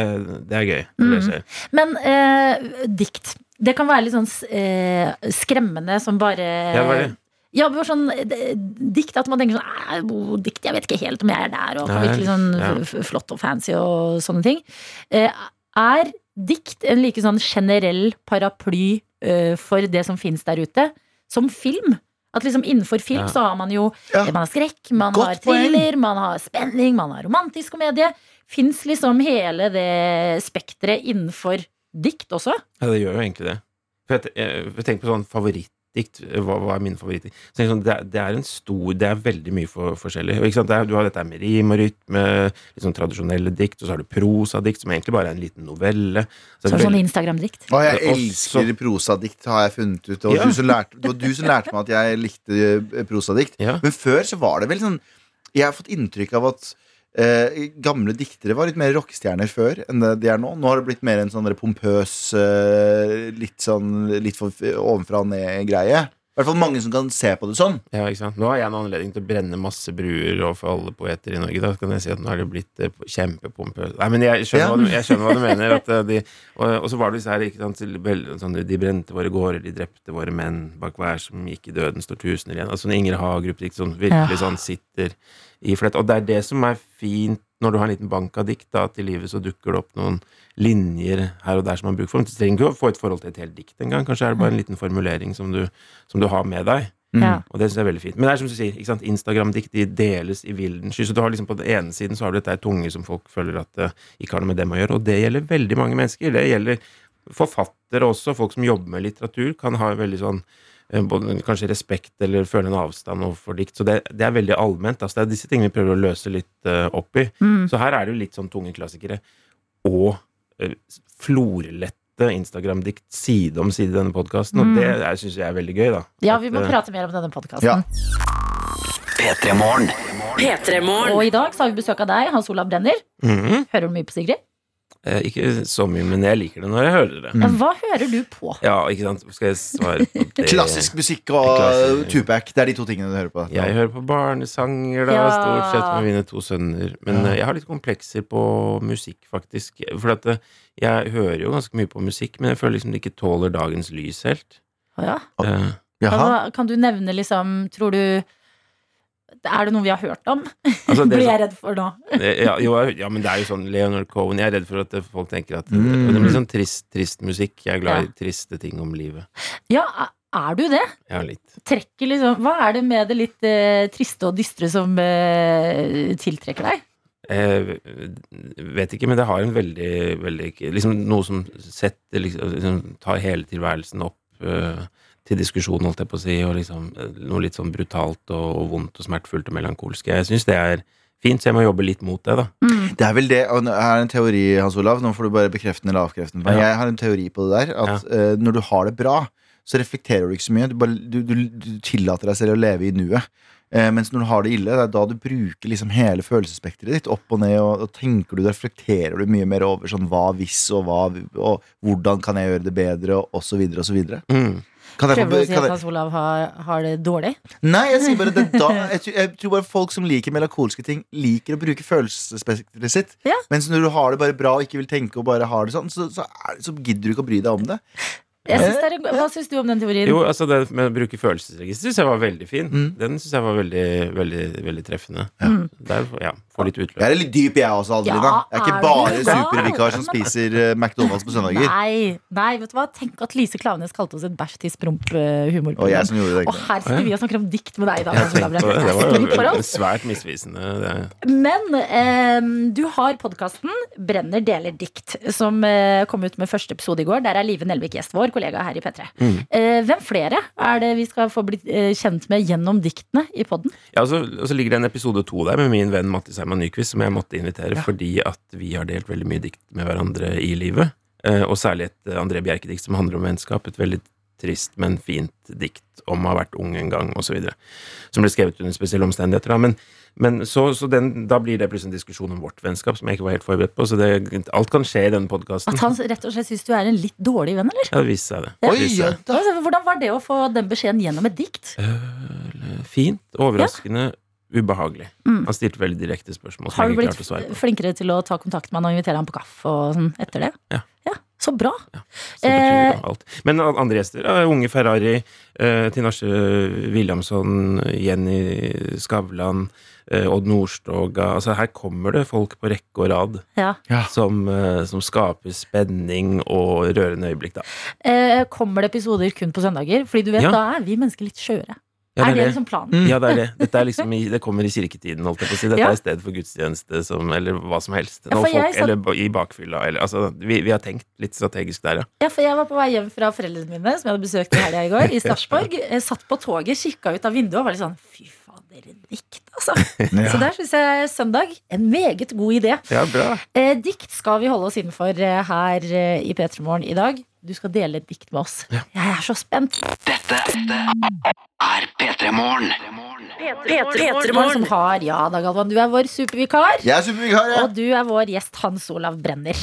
Speaker 9: det er gøy. å
Speaker 2: Mm.
Speaker 9: lese.
Speaker 2: Men eh, dikt. Det kan være litt sånn eh, skremmende som bare
Speaker 9: Ja, hva er det?
Speaker 2: Ja, men bare sånn eh, dikt at man tenker sånn «Æ, oh, Dikt, jeg vet ikke helt om jeg er der, og kan
Speaker 9: Nei,
Speaker 2: virke litt sånn
Speaker 9: ja.
Speaker 2: f- f- flott og fancy og sånne ting. Eh, er dikt en like sånn generell paraply eh, for det som fins der ute, som film? At liksom innenfor film
Speaker 9: Ja.
Speaker 2: så har man jo
Speaker 3: Ja.
Speaker 2: man har skrekk, man
Speaker 3: Godt
Speaker 2: har thriller, man har spenning, man har romantisk komedie. Fins liksom hele det spekteret innenfor dikt også?
Speaker 9: Ja, det gjør jo egentlig det. For jeg, jeg, jeg tenker på sånn favorittdikt. Hva, hva er min favorittdikt? Så tenker jeg sånn, det, er- det er en stor Det er veldig mye for, forskjellig. Og Ikke sant? Det er, du har dette her med rim og rytme, litt sånn tradisjonelle dikt, og så har du prosadikt, som egentlig bare er en liten novelle. Så det
Speaker 2: Så er
Speaker 9: er
Speaker 2: det sånn
Speaker 9: veldig-
Speaker 2: Instagram-dikt.
Speaker 3: Å, jeg
Speaker 9: Det er også-
Speaker 3: elsker prosadikt, har jeg funnet ut. Det var,
Speaker 9: Ja.
Speaker 3: du, som lærte, det var du som lærte meg at jeg likte eh, prosadikt.
Speaker 9: Ja.
Speaker 3: Men før så var det vel sånn Jeg har fått inntrykk av at eh, gamle diktere var litt mer rockestjerner før enn det de er nå. Nå har det blitt mer en sånn der pompøs, eh, litt sånn litt for ovenfra og ned-greie. I hvert fall mange som kan se på det sånn.
Speaker 9: Ja, ikke sant? Nå har jeg en anledning til å brenne masse bruer overfor alle poeter i Norge. Da kan jeg si at nå er det blitt eh, kjempepompøst. Nei, men jeg
Speaker 3: Ja.
Speaker 9: skjønner, hva, du, jeg skjønner hva du mener. At eh, de, og, og så var det disse her, ikke sant, til- vel, sånn, de brente våre gårder, de drepte våre menn, bak hver som gikk i døden står tusener igjen. Altså sånn Inger Hagerup dikt som virkelig sånn sitter i flett. Og det er det som er fint når du har en liten bank av dikt, da, at i livet så dukker det opp noen linjer her og der som man bruker for. Du trenger ikke å få et forhold til et helt dikt engang. Kanskje er det bare en liten formulering som du, som du har med deg.
Speaker 2: Ja.
Speaker 9: Og det synes jeg er veldig fint. Men det er som du sier, ikke sant? Instagram-dikt de deles i vilden sky. Så du har liksom på den ene siden så har du dette her tunge som folk føler at det ikke har noe med dem å gjøre. Og det gjelder veldig mange mennesker. Det gjelder forfattere også. Folk som jobber med litteratur, kan ha veldig sånn eh, både kanskje respekt eller føle en avstand overfor dikt. Så det, det er veldig allment. Altså, det er disse tingene vi prøver å løse litt eh, opp i.
Speaker 2: Mm.
Speaker 9: Så her er det jo litt sånn tunge klassikere og eh, florlette Instagram-dikt side om side i denne podkasten, og det syns jeg er veldig gøy, da.
Speaker 2: Mm. Ja,
Speaker 9: At,
Speaker 2: vi må
Speaker 9: eh,
Speaker 2: prate mer om denne podkasten.
Speaker 3: Ja.
Speaker 1: P3-morgen.
Speaker 5: P3-morgen.
Speaker 2: Og i dag så har vi besøk av deg, Hans Olav Brenner.
Speaker 9: Mhm.
Speaker 2: Hører du mye på Sigrid?
Speaker 9: Eh, ikke så mye, men jeg liker det når jeg hører det.
Speaker 3: Mm.
Speaker 2: Ja, Hva hører du på?
Speaker 9: Ja, ikke sant? Skal jeg svare på det?
Speaker 3: Klassisk musikk og
Speaker 9: Klassisk.
Speaker 3: tupac. Det er de to tingene du hører på.
Speaker 9: Jeg hører på barnesanger, da,
Speaker 2: Ja.
Speaker 9: stort sett med mine to sønner. Men
Speaker 3: Ja.
Speaker 9: eh, jeg har litt komplekser på musikk, faktisk. For at eh, jeg hører jo ganske mye på musikk, men jeg føler liksom det ikke tåler dagens lys helt.
Speaker 2: Å Ja.
Speaker 9: Eh,
Speaker 3: Jaha.
Speaker 2: Hva- Kan du nevne liksom Tror du Er det noe vi har hørt om?
Speaker 9: altså, det
Speaker 2: Blir
Speaker 9: som-
Speaker 2: jeg redd for nå?
Speaker 9: Eh, ja, jo, jeg- ja, men det er jo sånn Leonard Cohen Jeg er redd for at eh, folk tenker at eh,
Speaker 3: Mm.
Speaker 9: Det blir sånn trist, trist musikk. Jeg er glad
Speaker 2: Ja.
Speaker 9: i triste ting om livet.
Speaker 2: Ja, er du det?
Speaker 9: Ja, litt.
Speaker 2: Trekker liksom Hva er det med det litt eh, triste og dystre som eh, tiltrekker deg?
Speaker 9: Eh, vet ikke, men det har en veldig, veldig Liksom noe som setter liksom, liksom, Tar hele tilværelsen opp. eh, til diskusjon, holdt jeg på å si, og liksom eh, noe litt sånn brutalt og, og vondt og smertefullt og melankolsk. Jeg syns det er fint, så jeg må jobbe litt mot det, da.
Speaker 3: Det er vel det, og nå- her er en teori, Hans Olav. Nå får du bare bekrefte den eller avkrefte den. Men
Speaker 9: Ja.
Speaker 3: Jeg har en teori på det der. At eh, når du har det bra, så reflekterer du ikke så mye. Du, bare, du, du, du tillater deg selv å leve i nuet. Eh, mens når du har det ille, det er da du bruker liksom hele følelsesspekteret ditt. Opp og ned, og, og tenker du, reflekterer du mye mer over sånn hva hvis, og hva og hvordan kan jeg gjøre det bedre, og og så videre, og så videre.
Speaker 9: Mm.
Speaker 3: Kan jeg få
Speaker 2: Prøver du
Speaker 3: be-
Speaker 2: å si at
Speaker 3: kan jeg-
Speaker 2: Hans Olav har, har det dårlig?
Speaker 3: Nei, jeg sier bare det da jeg, tror- jeg tror bare folk som liker melankolske ting, liker å bruke følelsesspekteret sitt.
Speaker 2: Ja.
Speaker 3: Mens når du har det bare bra og ikke vil tenke og bare har det sånn, så, så, er, det- så gidder du ikke å bry deg om det.
Speaker 2: Jeg synes det er, en go- hva syns du om den teorien?
Speaker 9: Jo, altså det med å bruke følelsesregister syns jeg var veldig fin.
Speaker 3: Mm.
Speaker 9: Den syns jeg var veldig, veldig, veldig treffende. Der, ja, får litt utløp.
Speaker 3: Jeg er litt dyp, jeg også, Adelina.
Speaker 2: Ja,
Speaker 3: jeg er ikke
Speaker 2: er
Speaker 3: bare
Speaker 2: du gal?
Speaker 3: supervikar som spiser eh, McDonald's på søndager.
Speaker 2: Nei, nei, vet du hva? Tenk at Lise Klaveness kalte oss et eh, bæsj til promp-humor.
Speaker 3: Og jeg som gjorde det.
Speaker 2: Og
Speaker 3: ikke sant?
Speaker 2: her sitter vi og snakker om dikt med deg, da.
Speaker 9: Jeg
Speaker 2: Hans Olav.
Speaker 9: tenkte på det. Det
Speaker 2: Det er strengt for
Speaker 9: var jo
Speaker 2: oss.
Speaker 9: svært misvisende. Det er
Speaker 2: Men eh, du har podkasten 'Brenner deler dikt', som eh, kom ut med første episode i går. Der er Live Nelvik gjest, vår kollega her i P3.
Speaker 9: Mm.
Speaker 2: Eh, hvem flere er det vi skal få blitt eh, kjent med gjennom diktene i podden?
Speaker 9: Ja, og så, og så ligger det en episode to der med min venn Mattis Herman Nyquist, som jeg måtte invitere fordi at vi har delt veldig mye dikt med hverandre i livet. Eh, og særlig et eh, André Bjerke-dikt som handler om vennskap. Et veldig trist, men fint dikt om å ha vært ung en gang, osv. Som ble skrevet under spesielle omstendigheter. Da. Men, men så, så den, da blir det plutselig en diskusjon om vårt vennskap, som jeg ikke var helt forberedt på. Så det, alt kan skje i denne podkasten.
Speaker 2: At han rett og slett syns du er en litt dårlig venn, eller?
Speaker 9: Ja, det viste seg, det. det.
Speaker 3: Oi,
Speaker 9: viste
Speaker 3: ja,
Speaker 9: seg.
Speaker 3: da.
Speaker 2: Altså, Hvordan var det å få den beskjeden gjennom et dikt?
Speaker 9: Eh, Fint, overraskende, ubehagelig.
Speaker 2: Mm.
Speaker 9: Han stilte veldig direkte spørsmål. som
Speaker 2: Har
Speaker 9: jeg
Speaker 2: du
Speaker 9: ikke
Speaker 2: blitt
Speaker 9: klarte å svare på.
Speaker 2: flinkere til å ta kontakt med han og invitere han på kaffe og sånn etter det?
Speaker 9: Ja.
Speaker 2: Så bra.
Speaker 9: Så betyr
Speaker 2: Eh,
Speaker 9: jo alt. Men andre gjester er Unge Ferrari, eh, Tinashe Williamson, Jenny Skavlan, eh, Odd Nordstoga altså, Her kommer det folk på rekke og rad
Speaker 2: Ja.
Speaker 9: som, eh, som skaper spenning og rørende øyeblikk. Da.
Speaker 2: Eh, kommer det episoder kun på søndager? Fordi du vet,
Speaker 9: Ja.
Speaker 2: da er vi mennesker litt skjøre.
Speaker 9: Ja,
Speaker 2: er det liksom planen?
Speaker 9: Mm. Ja, det er det. Dette er liksom i, det kommer i kirketiden, holdt jeg på å si. Dette
Speaker 2: Ja.
Speaker 9: er et sted for gudstjeneste som, eller hva som helst.
Speaker 2: Ja,
Speaker 9: Når
Speaker 2: for
Speaker 9: folk,
Speaker 2: jeg satt-
Speaker 9: Eller ba- i bakfylla, eller altså vi, vi har tenkt litt strategisk der, ja.
Speaker 2: Ja, for jeg var på vei hjem fra foreldrene mine, som jeg hadde besøkt i helga i går, i Starsborg. Jeg satt på toget, kikka ut av vinduet og var litt sånn Fy faen, dere dikt, altså. Så der syns jeg søndag en meget god idé.
Speaker 9: Ja, bra.
Speaker 2: Eh, dikt skal vi holde oss innenfor eh, her eh, i P3 Morgen i dag. Du skal dele et dikt med oss. Jeg er så spent. Morgen som
Speaker 5: P3morgen.
Speaker 2: har Ja da, Galvan, du er vår supervikar.
Speaker 3: Jeg er supervikar, jeg!
Speaker 2: Og du er vår gjest Hans Olav Brenner.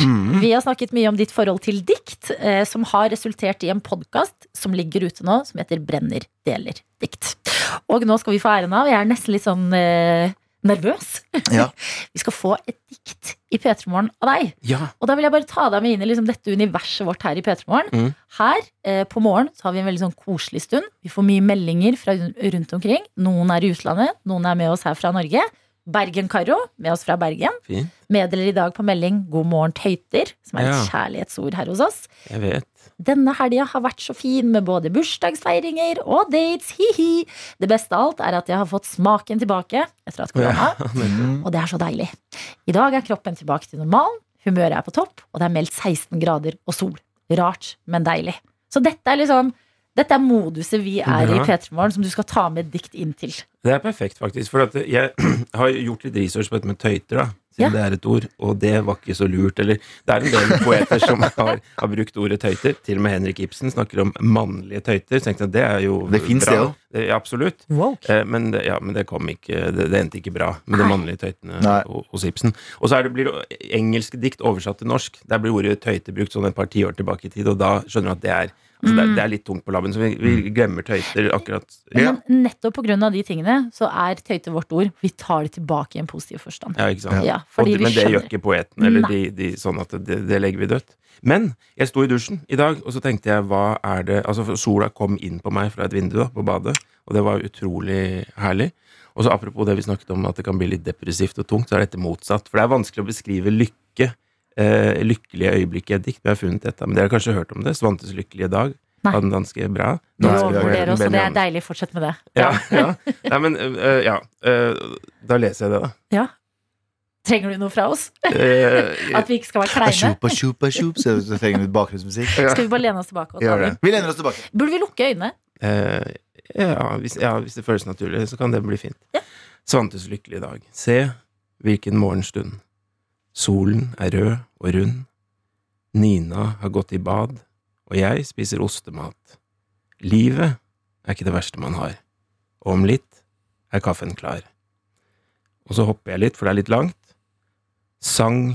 Speaker 2: Vi har snakket mye om ditt forhold til dikt, eh, som har resultert i en podkast som ligger ute nå, som heter Brenner deler dikt. Og nå skal vi få æren av. Jeg er nesten litt sånn eh, nervøs.
Speaker 3: Ja.
Speaker 2: vi skal få et dikt i P3 Morgen av deg.
Speaker 9: Ja.
Speaker 2: Og da vil jeg bare ta deg med inn i liksom dette universet vårt her i P3 Morgen.
Speaker 9: Mm.
Speaker 2: Her eh, på morgen så har vi en veldig sånn koselig stund. Vi får mye meldinger fra run- rundt omkring. Noen er i utlandet, noen er med oss her fra Norge. Bergen-Karo, med oss fra Bergen,
Speaker 9: Fint.
Speaker 2: meddeler i dag på melding 'God morgen, tøyter', som er et
Speaker 9: Ja.
Speaker 2: kjærlighetsord her hos oss.
Speaker 9: Jeg vet.
Speaker 2: Denne helga har vært så fin med både bursdagsfeiringer og dates, hi-hi. Det beste av alt er at jeg har fått smaken tilbake etter at korona. Og det er så deilig. I dag er kroppen tilbake til normalen, humøret er på topp, og det er meldt 16 grader og sol. Rart, men deilig. Så dette er liksom dette er moduset vi er i
Speaker 9: Bra.
Speaker 2: P3 Morgen, som du skal ta med et dikt inn til.
Speaker 9: Det er perfekt, faktisk. For at jeg har gjort litt research på dette med tøyter, da. Siden
Speaker 2: Ja.
Speaker 9: det er et ord. Og det var ikke så lurt. Eller det er en del poeter som har, har brukt ordet tøyter. Til og med Henrik Ibsen snakker om mannlige tøyter. Så tenkte jeg at det er jo
Speaker 3: Det finnes det
Speaker 9: bra.
Speaker 3: også.
Speaker 9: Ja, Absolutt. Eh, Men det, ja, men det kom ikke Det, det endte ikke bra med de mannlige tøytene
Speaker 3: Nei.
Speaker 9: ho- hos Ibsen. Og så er det, blir det engelske dikt oversatt til norsk. Der blir ordet tøyte brukt sånn et par tiår tilbake i tid, og da skjønner du at det er altså det, er- det er litt tungt på labben, så vi, vi glemmer tøyter akkurat ja.
Speaker 2: Men nettopp pga. de tingene så er tøyte vårt ord. Vi tar det tilbake i en positiv forstand.
Speaker 9: Ja, ikke sant?
Speaker 2: Ja,
Speaker 9: og,
Speaker 2: fordi vi
Speaker 9: men det gjør
Speaker 2: skjønner.
Speaker 9: ikke poeten, eller de, de, sånn at det, det legger vi dødt. Men jeg sto i dusjen i dag, og så tenkte jeg hva er det Altså, for sola kom inn på meg fra et vindu da, på badet, og det var utrolig herlig. Og så apropos det vi snakket om, at det kan bli litt depressivt og tungt, så er dette motsatt. For det er vanskelig å beskrive lykke, eh, lykkelige øyeblikk i et dikt. Vi har funnet dette, men dere har kanskje hørt om det? Svantes lykkelige dag
Speaker 2: Nei.
Speaker 9: av den danske bra.
Speaker 2: Du
Speaker 9: danske
Speaker 2: overvurderer
Speaker 9: poeten
Speaker 2: oss, og det er
Speaker 9: Benjamin.
Speaker 2: deilig. Fortsett med det.
Speaker 9: Ja, ja. Nei, men eh, ja. eh, da leser jeg det, da.
Speaker 2: Trenger du noe fra oss?
Speaker 9: Eh,
Speaker 2: At vi ikke skal være kleine?
Speaker 3: Ashup, ashup, ashup. Så jeg trenger litt bakgrunnsmusikk.
Speaker 2: Skal vi bare lene oss tilbake? og ta
Speaker 3: Gjør det.
Speaker 2: den?
Speaker 3: Vi lener oss tilbake.
Speaker 2: Burde vi lukke øynene?
Speaker 9: Eh, ja, hvis, ja, hvis det føles naturlig, så kan det bli fint. Svantes lykkelige dag. Se hvilken morgenstund. Solen er rød og rund. Nina har gått i bad, og jeg spiser ostemat. Livet er ikke det verste man har. Og om litt er kaffen klar. Og så hopper jeg litt, for det er litt langt. Sang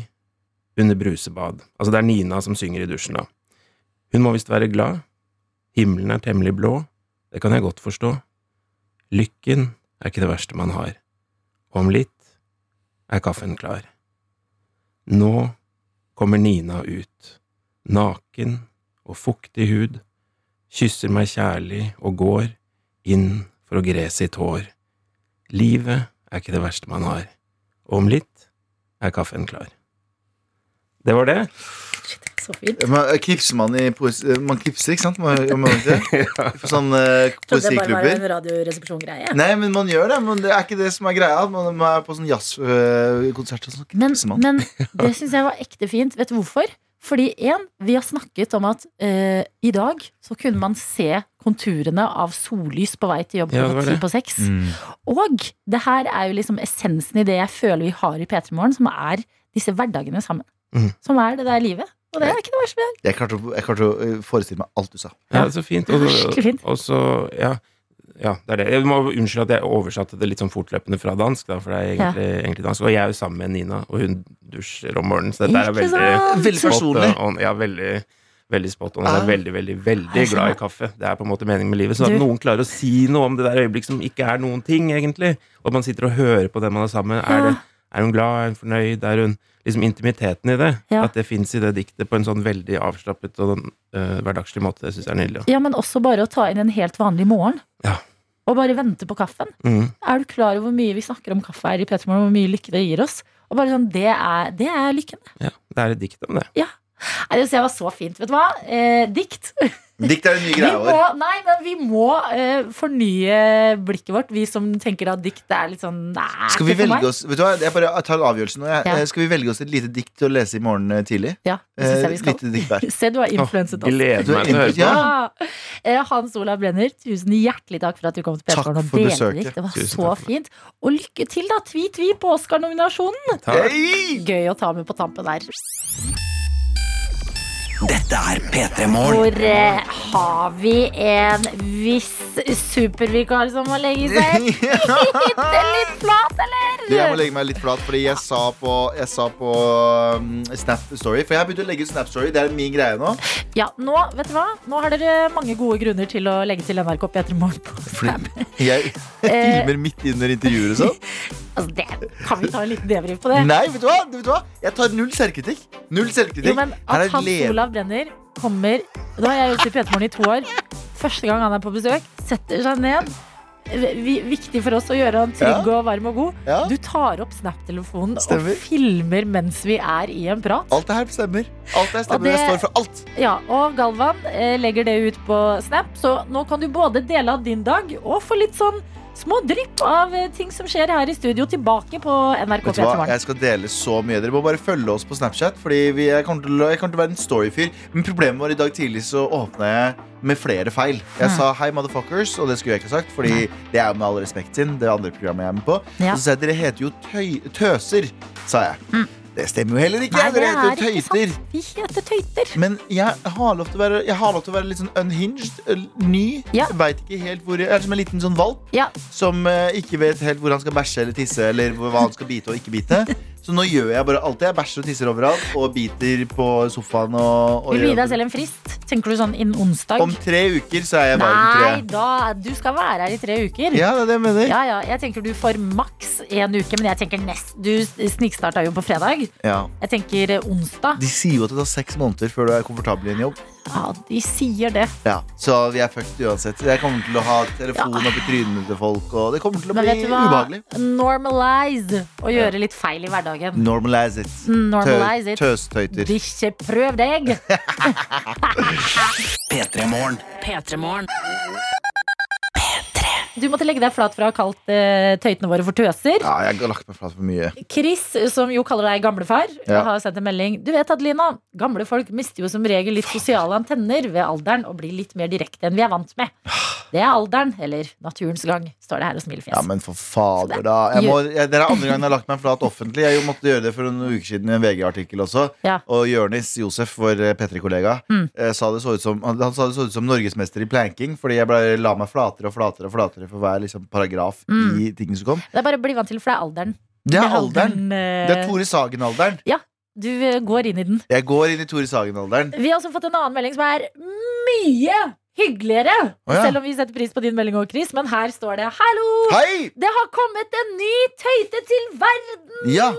Speaker 9: under brusebad. Altså, det er Nina som synger i dusjen, da. Hun må visst være glad. Himmelen er temmelig blå. Det kan jeg godt forstå. Lykken er ikke det verste man har. Og om litt er kaffen klar. Nå kommer Nina ut, naken og fuktig hud, kysser meg kjærlig og går inn for å gre sitt hår. Livet er ikke det verste man har. Og om litt er kaffen klar. Det var det.
Speaker 2: Så fint.
Speaker 3: Man knipser man eh, i poesi eh, Man knipser, ikke sant? Man, gjør man ikke det? På sånne eh,
Speaker 2: Trodde det bare var en
Speaker 3: poesiklubber.
Speaker 2: radioresepsjon-greie.
Speaker 3: Nei, men man gjør det. Men det er ikke det som er greia. Man man er på sånn jazzkonsert og sånn.
Speaker 2: Men,
Speaker 3: Knipser man.
Speaker 2: men det syns jeg var ekte fint. Vet du hvorfor? Fordi en, vi har snakket om at eh, i dag så kunne man se konturene av sollys på vei til jobb
Speaker 9: Ja, det
Speaker 2: klokka
Speaker 9: var
Speaker 2: ti
Speaker 9: det.
Speaker 2: på seks.
Speaker 4: Mm.
Speaker 2: Og det her er jo liksom essensen i det jeg føler vi har i P3 Morgen, som er disse hverdagene sammen.
Speaker 9: Mhm.
Speaker 2: Som er det der livet. Og det er ikke noe verst med det.
Speaker 3: Jeg klarte, å, jeg klarte å eh, forestille meg alt du sa.
Speaker 9: Ja, så fint. Og,
Speaker 2: Skikkelig fint.
Speaker 9: og så, ja, ja, det er det. Jeg må unnskylde at jeg oversatte det litt sånn fortløpende fra dansk, da, for det er egentlig, egentlig dansk. Og jeg er jo sammen med Nina, og hun dusjer om morgenen, så dette er
Speaker 2: Ikke
Speaker 9: veldig
Speaker 2: sant?
Speaker 3: Veldig
Speaker 9: spot
Speaker 3: personlig.
Speaker 9: on. Ja, veldig, veldig spot on. Jeg
Speaker 3: Ah.
Speaker 9: er veldig, veldig, veldig
Speaker 2: skjønner.
Speaker 9: glad i kaffe. Det er på en måte meningen med livet. Så at
Speaker 2: Du-
Speaker 9: noen klarer å si noe om det der øyeblikket som ikke er noen ting, egentlig, og at man sitter og hører på den man er sammen med, er,
Speaker 2: Ja.
Speaker 9: det- er hun glad, er hun fornøyd, er hun Liksom intimiteten i det.
Speaker 2: Ja.
Speaker 9: At det fins i det diktet på en sånn veldig avslappet og eh, hverdagslig måte. Det syns jeg er nydelig. da.
Speaker 2: Ja, men også bare å ta inn en helt vanlig morgen.
Speaker 9: Ja.
Speaker 2: Og bare vente på kaffen.
Speaker 9: Mm.
Speaker 2: Er du klar over hvor mye vi snakker om kaffe her i P3 Morgen, hvor mye lykke det gir oss? Og bare sånn, det er, det er lykken.
Speaker 9: Ja, det er et dikt om det.
Speaker 2: Nei, det synes jeg var så fint. Vet du hva? Eh, dikt.
Speaker 3: Dikt er det nye
Speaker 2: Vi
Speaker 3: greia
Speaker 2: må,
Speaker 3: vår.
Speaker 2: nei, men vi må eh, fornye blikket vårt, vi som tenker at dikt er litt sånn Nei,
Speaker 3: Skal vi
Speaker 2: ikke for meg.
Speaker 3: velge oss Vet du hva, jeg bare tar en avgjørelse nå. Jeg,
Speaker 2: Ja.
Speaker 3: eh, Skal vi velge oss et lite dikt til å lese i morgen eh, tidlig?
Speaker 2: Ja, det synes jeg vi
Speaker 3: Eh,
Speaker 2: skal.
Speaker 3: lite dikt hver.
Speaker 2: Se, du har influenset
Speaker 9: Åh,
Speaker 2: oss.
Speaker 9: Gleder meg til å høre på.
Speaker 3: Ja.
Speaker 2: Ja. Eh, Hans Olav Brenner, tusen hjertelig takk for at du kom til
Speaker 3: Takk
Speaker 2: P3 og
Speaker 3: for
Speaker 2: delte
Speaker 3: besøket.
Speaker 2: dikt. Det var
Speaker 9: Tusen
Speaker 2: så
Speaker 9: takk for
Speaker 2: fint. Og lykke til, da. Tvi, tvi på Oscar-nominasjonen.
Speaker 9: Takk.
Speaker 2: Gøy å ta med på tampen der.
Speaker 1: Dette er P3 Morgen.
Speaker 2: Hvor eh, har vi en viss supervikar som må legge seg bitte litt flat, eller?
Speaker 3: Du, jeg må legge meg litt flat, fordi jeg sa på, jeg sa på um, Snap Story For jeg har begynt å legge ut Snap Story. Det er min greie nå.
Speaker 2: Ja, nå, vet du hva? Nå har dere mange gode grunner til å legge til NRK P3 Morgen på Snap.
Speaker 3: Jeg
Speaker 2: Eh.
Speaker 3: filmer midt under intervjuer og sånn.
Speaker 2: Altså, det, kan vi ta en liten debrief på det?
Speaker 3: Nei, vet du hva? vet du hva? Jeg tar null selvkritikk. Null selvkritikk.
Speaker 2: Jo, men
Speaker 3: Her er
Speaker 2: at Hans
Speaker 3: le-
Speaker 2: Olav Brenner kommer Nå har jeg gjort det i P3morgen i to år. Første gang han er på besøk, setter seg ned. Vi, viktig for oss å gjøre han trygg og varm og god.
Speaker 3: Ja,
Speaker 2: Du tar opp Snap-telefonen og
Speaker 3: Stemmer.
Speaker 2: filmer mens vi er i en prat.
Speaker 3: alt det her stemmer. Alt det her stemmer.
Speaker 2: Og det-
Speaker 3: Jeg står for alt.
Speaker 2: Ja, Og Galvan eh, legger det ut på Snap, så nå kan du både dele av din dag og få litt sånn små drypp av eh, ting som skjer her i studio, tilbake på NRK
Speaker 3: Vet du hva?
Speaker 2: P3morgen.
Speaker 3: Jeg skal dele så mye. Dere må bare følge oss på Snapchat. Fordi vi, jeg, kommer til, å- jeg kommer til å være en storyfyr. Men problemet var i dag tidlig så åpna jeg med flere feil. Jeg
Speaker 2: Hmm.
Speaker 3: sa hei, motherfuckers, og det skulle jeg ikke ha sagt. Fordi det er jo med all respekt sin. Det andre programmet jeg er med på.
Speaker 2: Ja. Hmm.
Speaker 3: Og så sa jeg dere heter jo tøy, tøser, sa jeg. Det stemmer jo heller ikke.
Speaker 2: Nei, det
Speaker 3: dere
Speaker 2: er
Speaker 3: heter jo
Speaker 2: ikke
Speaker 3: tøyter.
Speaker 2: sant. Vi heter tøyter.
Speaker 3: Men jeg har lov til å være, jeg har lov til å være litt sånn unhinged, ø, ny.
Speaker 2: Ja.
Speaker 3: Jeg Vet ikke helt hvor jeg jeg er som en liten sånn valp
Speaker 2: Ja.
Speaker 3: som eh, ikke vet helt hvor han skal bæsje eller tisse. Eller hvor- hva han skal bite og ikke bite Så nå gjør jeg bare alt det. Jeg bæsjer og tisser overalt og biter på sofaen. Og, og
Speaker 2: Vil du gi
Speaker 3: gjør-
Speaker 2: deg selv en frist? Tenker du sånn innen onsdag?
Speaker 3: Om tre uker så er jeg
Speaker 2: Nei,
Speaker 3: varm tre.
Speaker 2: da, du skal være her i tre uker.
Speaker 3: Ja, det er det jeg mener.
Speaker 2: Ja, ja, jeg tenker du får maks én uke, men jeg tenker nest Du snikstarta jo på fredag.
Speaker 3: Ja.
Speaker 2: Jeg tenker eh, onsdag.
Speaker 3: De sier jo at det tar seks måneder før du er komfortabel i en jobb.
Speaker 2: Ja, de sier det.
Speaker 3: Ja. Så vi er fucked uansett. Jeg kommer til å ha telefon opp i trynene til folk, og det kommer til å
Speaker 2: Men vet
Speaker 3: bli
Speaker 2: du hva?
Speaker 3: ubehagelig.
Speaker 2: Normalize å gjøre litt feil i hverdagen.
Speaker 3: Normalize it.
Speaker 2: Normalize
Speaker 3: Mm.
Speaker 2: it.
Speaker 3: Tø- Tøstøyter.
Speaker 2: Ikke prøv deg!
Speaker 1: P3 Morgen.
Speaker 5: P3morgen.
Speaker 2: Du måtte legge deg flat for å ha kalt eh, tøytene våre for tøser.
Speaker 3: Ja, jeg har lagt meg flat for mye.
Speaker 2: Chris, som jo kaller deg gamlefar,
Speaker 3: Ja.
Speaker 2: har sendt en melding. Du vet, Adelina, gamle folk mister jo som regel litt sosiale antenner ved alderen og blir litt mer direkte enn vi er vant med. Det er alderen, eller naturens gang, står det her og smiler fjes.
Speaker 3: Ja, men for fader, da. Jeg må, jeg, det er andre gangen jeg har lagt meg flat offentlig. Jeg måtte gjøre det for noen uker siden i en VG-artikkel også.
Speaker 2: Ja.
Speaker 3: Og Jørnis Josef, vår eh, P3-kollega,
Speaker 2: Mm.
Speaker 3: eh, sa det så ut som han, han sa det så ut som norgesmester i planking, fordi jeg bare la meg flatere og flatere og flatere for hver liksom, paragraf
Speaker 2: Mm.
Speaker 3: i tingene som kom.
Speaker 2: Det er bare å bli vant til, for det er alderen.
Speaker 3: Det er alderen.
Speaker 2: eh,
Speaker 3: Det er Tore Sagen-alderen.
Speaker 2: Du eh, går inn i den.
Speaker 3: Jeg går inn i Tore Sagen-alderen.
Speaker 2: Vi har også fått en annen melding som er mye hyggeligere.
Speaker 3: Å, ja.
Speaker 2: Selv om vi setter pris på din melding òg, Chris, men her står det 'Hallo!
Speaker 3: Hei!
Speaker 2: Det har kommet en ny tøyte til verden!'
Speaker 3: Ja,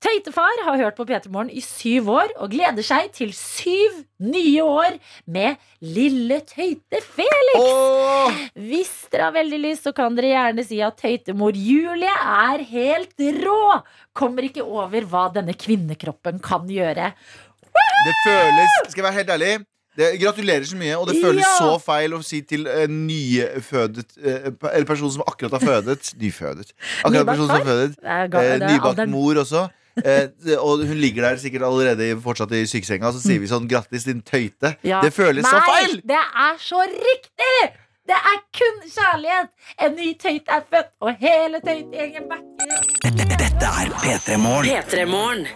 Speaker 2: Tøytefar har hørt på P3 Morgen i syv år og gleder seg til syv nye år med lille tøyte Felix.
Speaker 3: Åh!
Speaker 2: Hvis dere har veldig lyst, så kan dere gjerne si at tøytemor Julie er helt rå. Kommer ikke over hva denne kvinnekroppen kan gjøre.
Speaker 3: Det føles Skal jeg være helt ærlig? Det, gratulerer så mye, og det føles
Speaker 2: Ja.
Speaker 3: så feil å si til en nyfødet eh, pe- Eller person som akkurat har fødet Nyfødet. Akkurat
Speaker 2: Nybakt
Speaker 3: person som har fødet.
Speaker 2: Det er ga-
Speaker 3: Eh,
Speaker 2: det er
Speaker 3: Nybakt
Speaker 2: alderen.
Speaker 3: mor også. Eh, og hun ligger der sikkert allerede i- fortsatt i sykesenga, så sier vi sånn 'grattis, din tøyte'.
Speaker 2: Mm. Ja.
Speaker 3: Det føles så
Speaker 2: Nei,
Speaker 3: feil!
Speaker 2: Det er så riktig! Det er kun kjærlighet! En ny tøyt er født, og hele tøytegjengen backer.
Speaker 5: P3-morgen.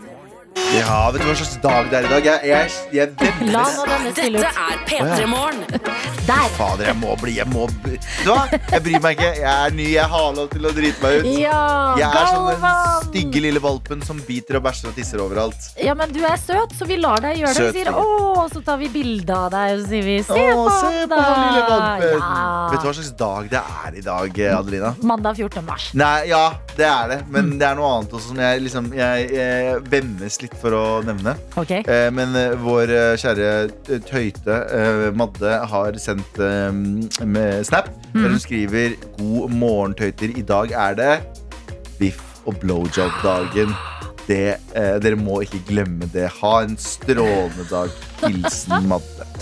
Speaker 3: Ja, vet du hva slags dag det er i dag? Jeg, jeg, jeg
Speaker 2: La
Speaker 3: venter
Speaker 2: nå denne stille
Speaker 5: Dette
Speaker 2: ut.
Speaker 5: er P3-morgen.
Speaker 2: Der!
Speaker 3: Fader, jeg må bli Jeg må bli Vet du hva? Jeg bryr meg ikke. Jeg er ny. Jeg har lov til å drite meg ut.
Speaker 2: Ja,
Speaker 3: Jeg er sånn som den
Speaker 2: Galvan!
Speaker 3: stygge lille valpen som biter og bæsjer og tisser overalt.
Speaker 2: Ja, men du er søt, så vi lar deg gjøre det.
Speaker 3: Søt,
Speaker 2: Vi sier
Speaker 3: Sigrid.
Speaker 2: åh, så tar vi bilde av deg, og så sier vi se
Speaker 3: Å,
Speaker 2: på
Speaker 3: se
Speaker 2: han,
Speaker 3: på
Speaker 2: da!
Speaker 3: han lille valpen! Vet du
Speaker 2: Ja.
Speaker 3: hva slags dag det er i dag, eh, Adelina?
Speaker 2: Mandag 14. mars.
Speaker 3: Nei, ja, det er det. Men
Speaker 2: Mm.
Speaker 3: det er noe annet også som jeg, liksom, jeg, eh, vemmes litt for å nevne.
Speaker 2: Ok?
Speaker 3: Eh, men eh, vår eh, kjære eh, tøyte eh, Madde har sendt eh, med snap
Speaker 2: Mm.
Speaker 3: der hun skriver 'God morgen, tøyter. I dag er det biff og blowjob-dagen'. Det, eh, dere må ikke glemme det. Ha en strålende dag. Hilsen Madde.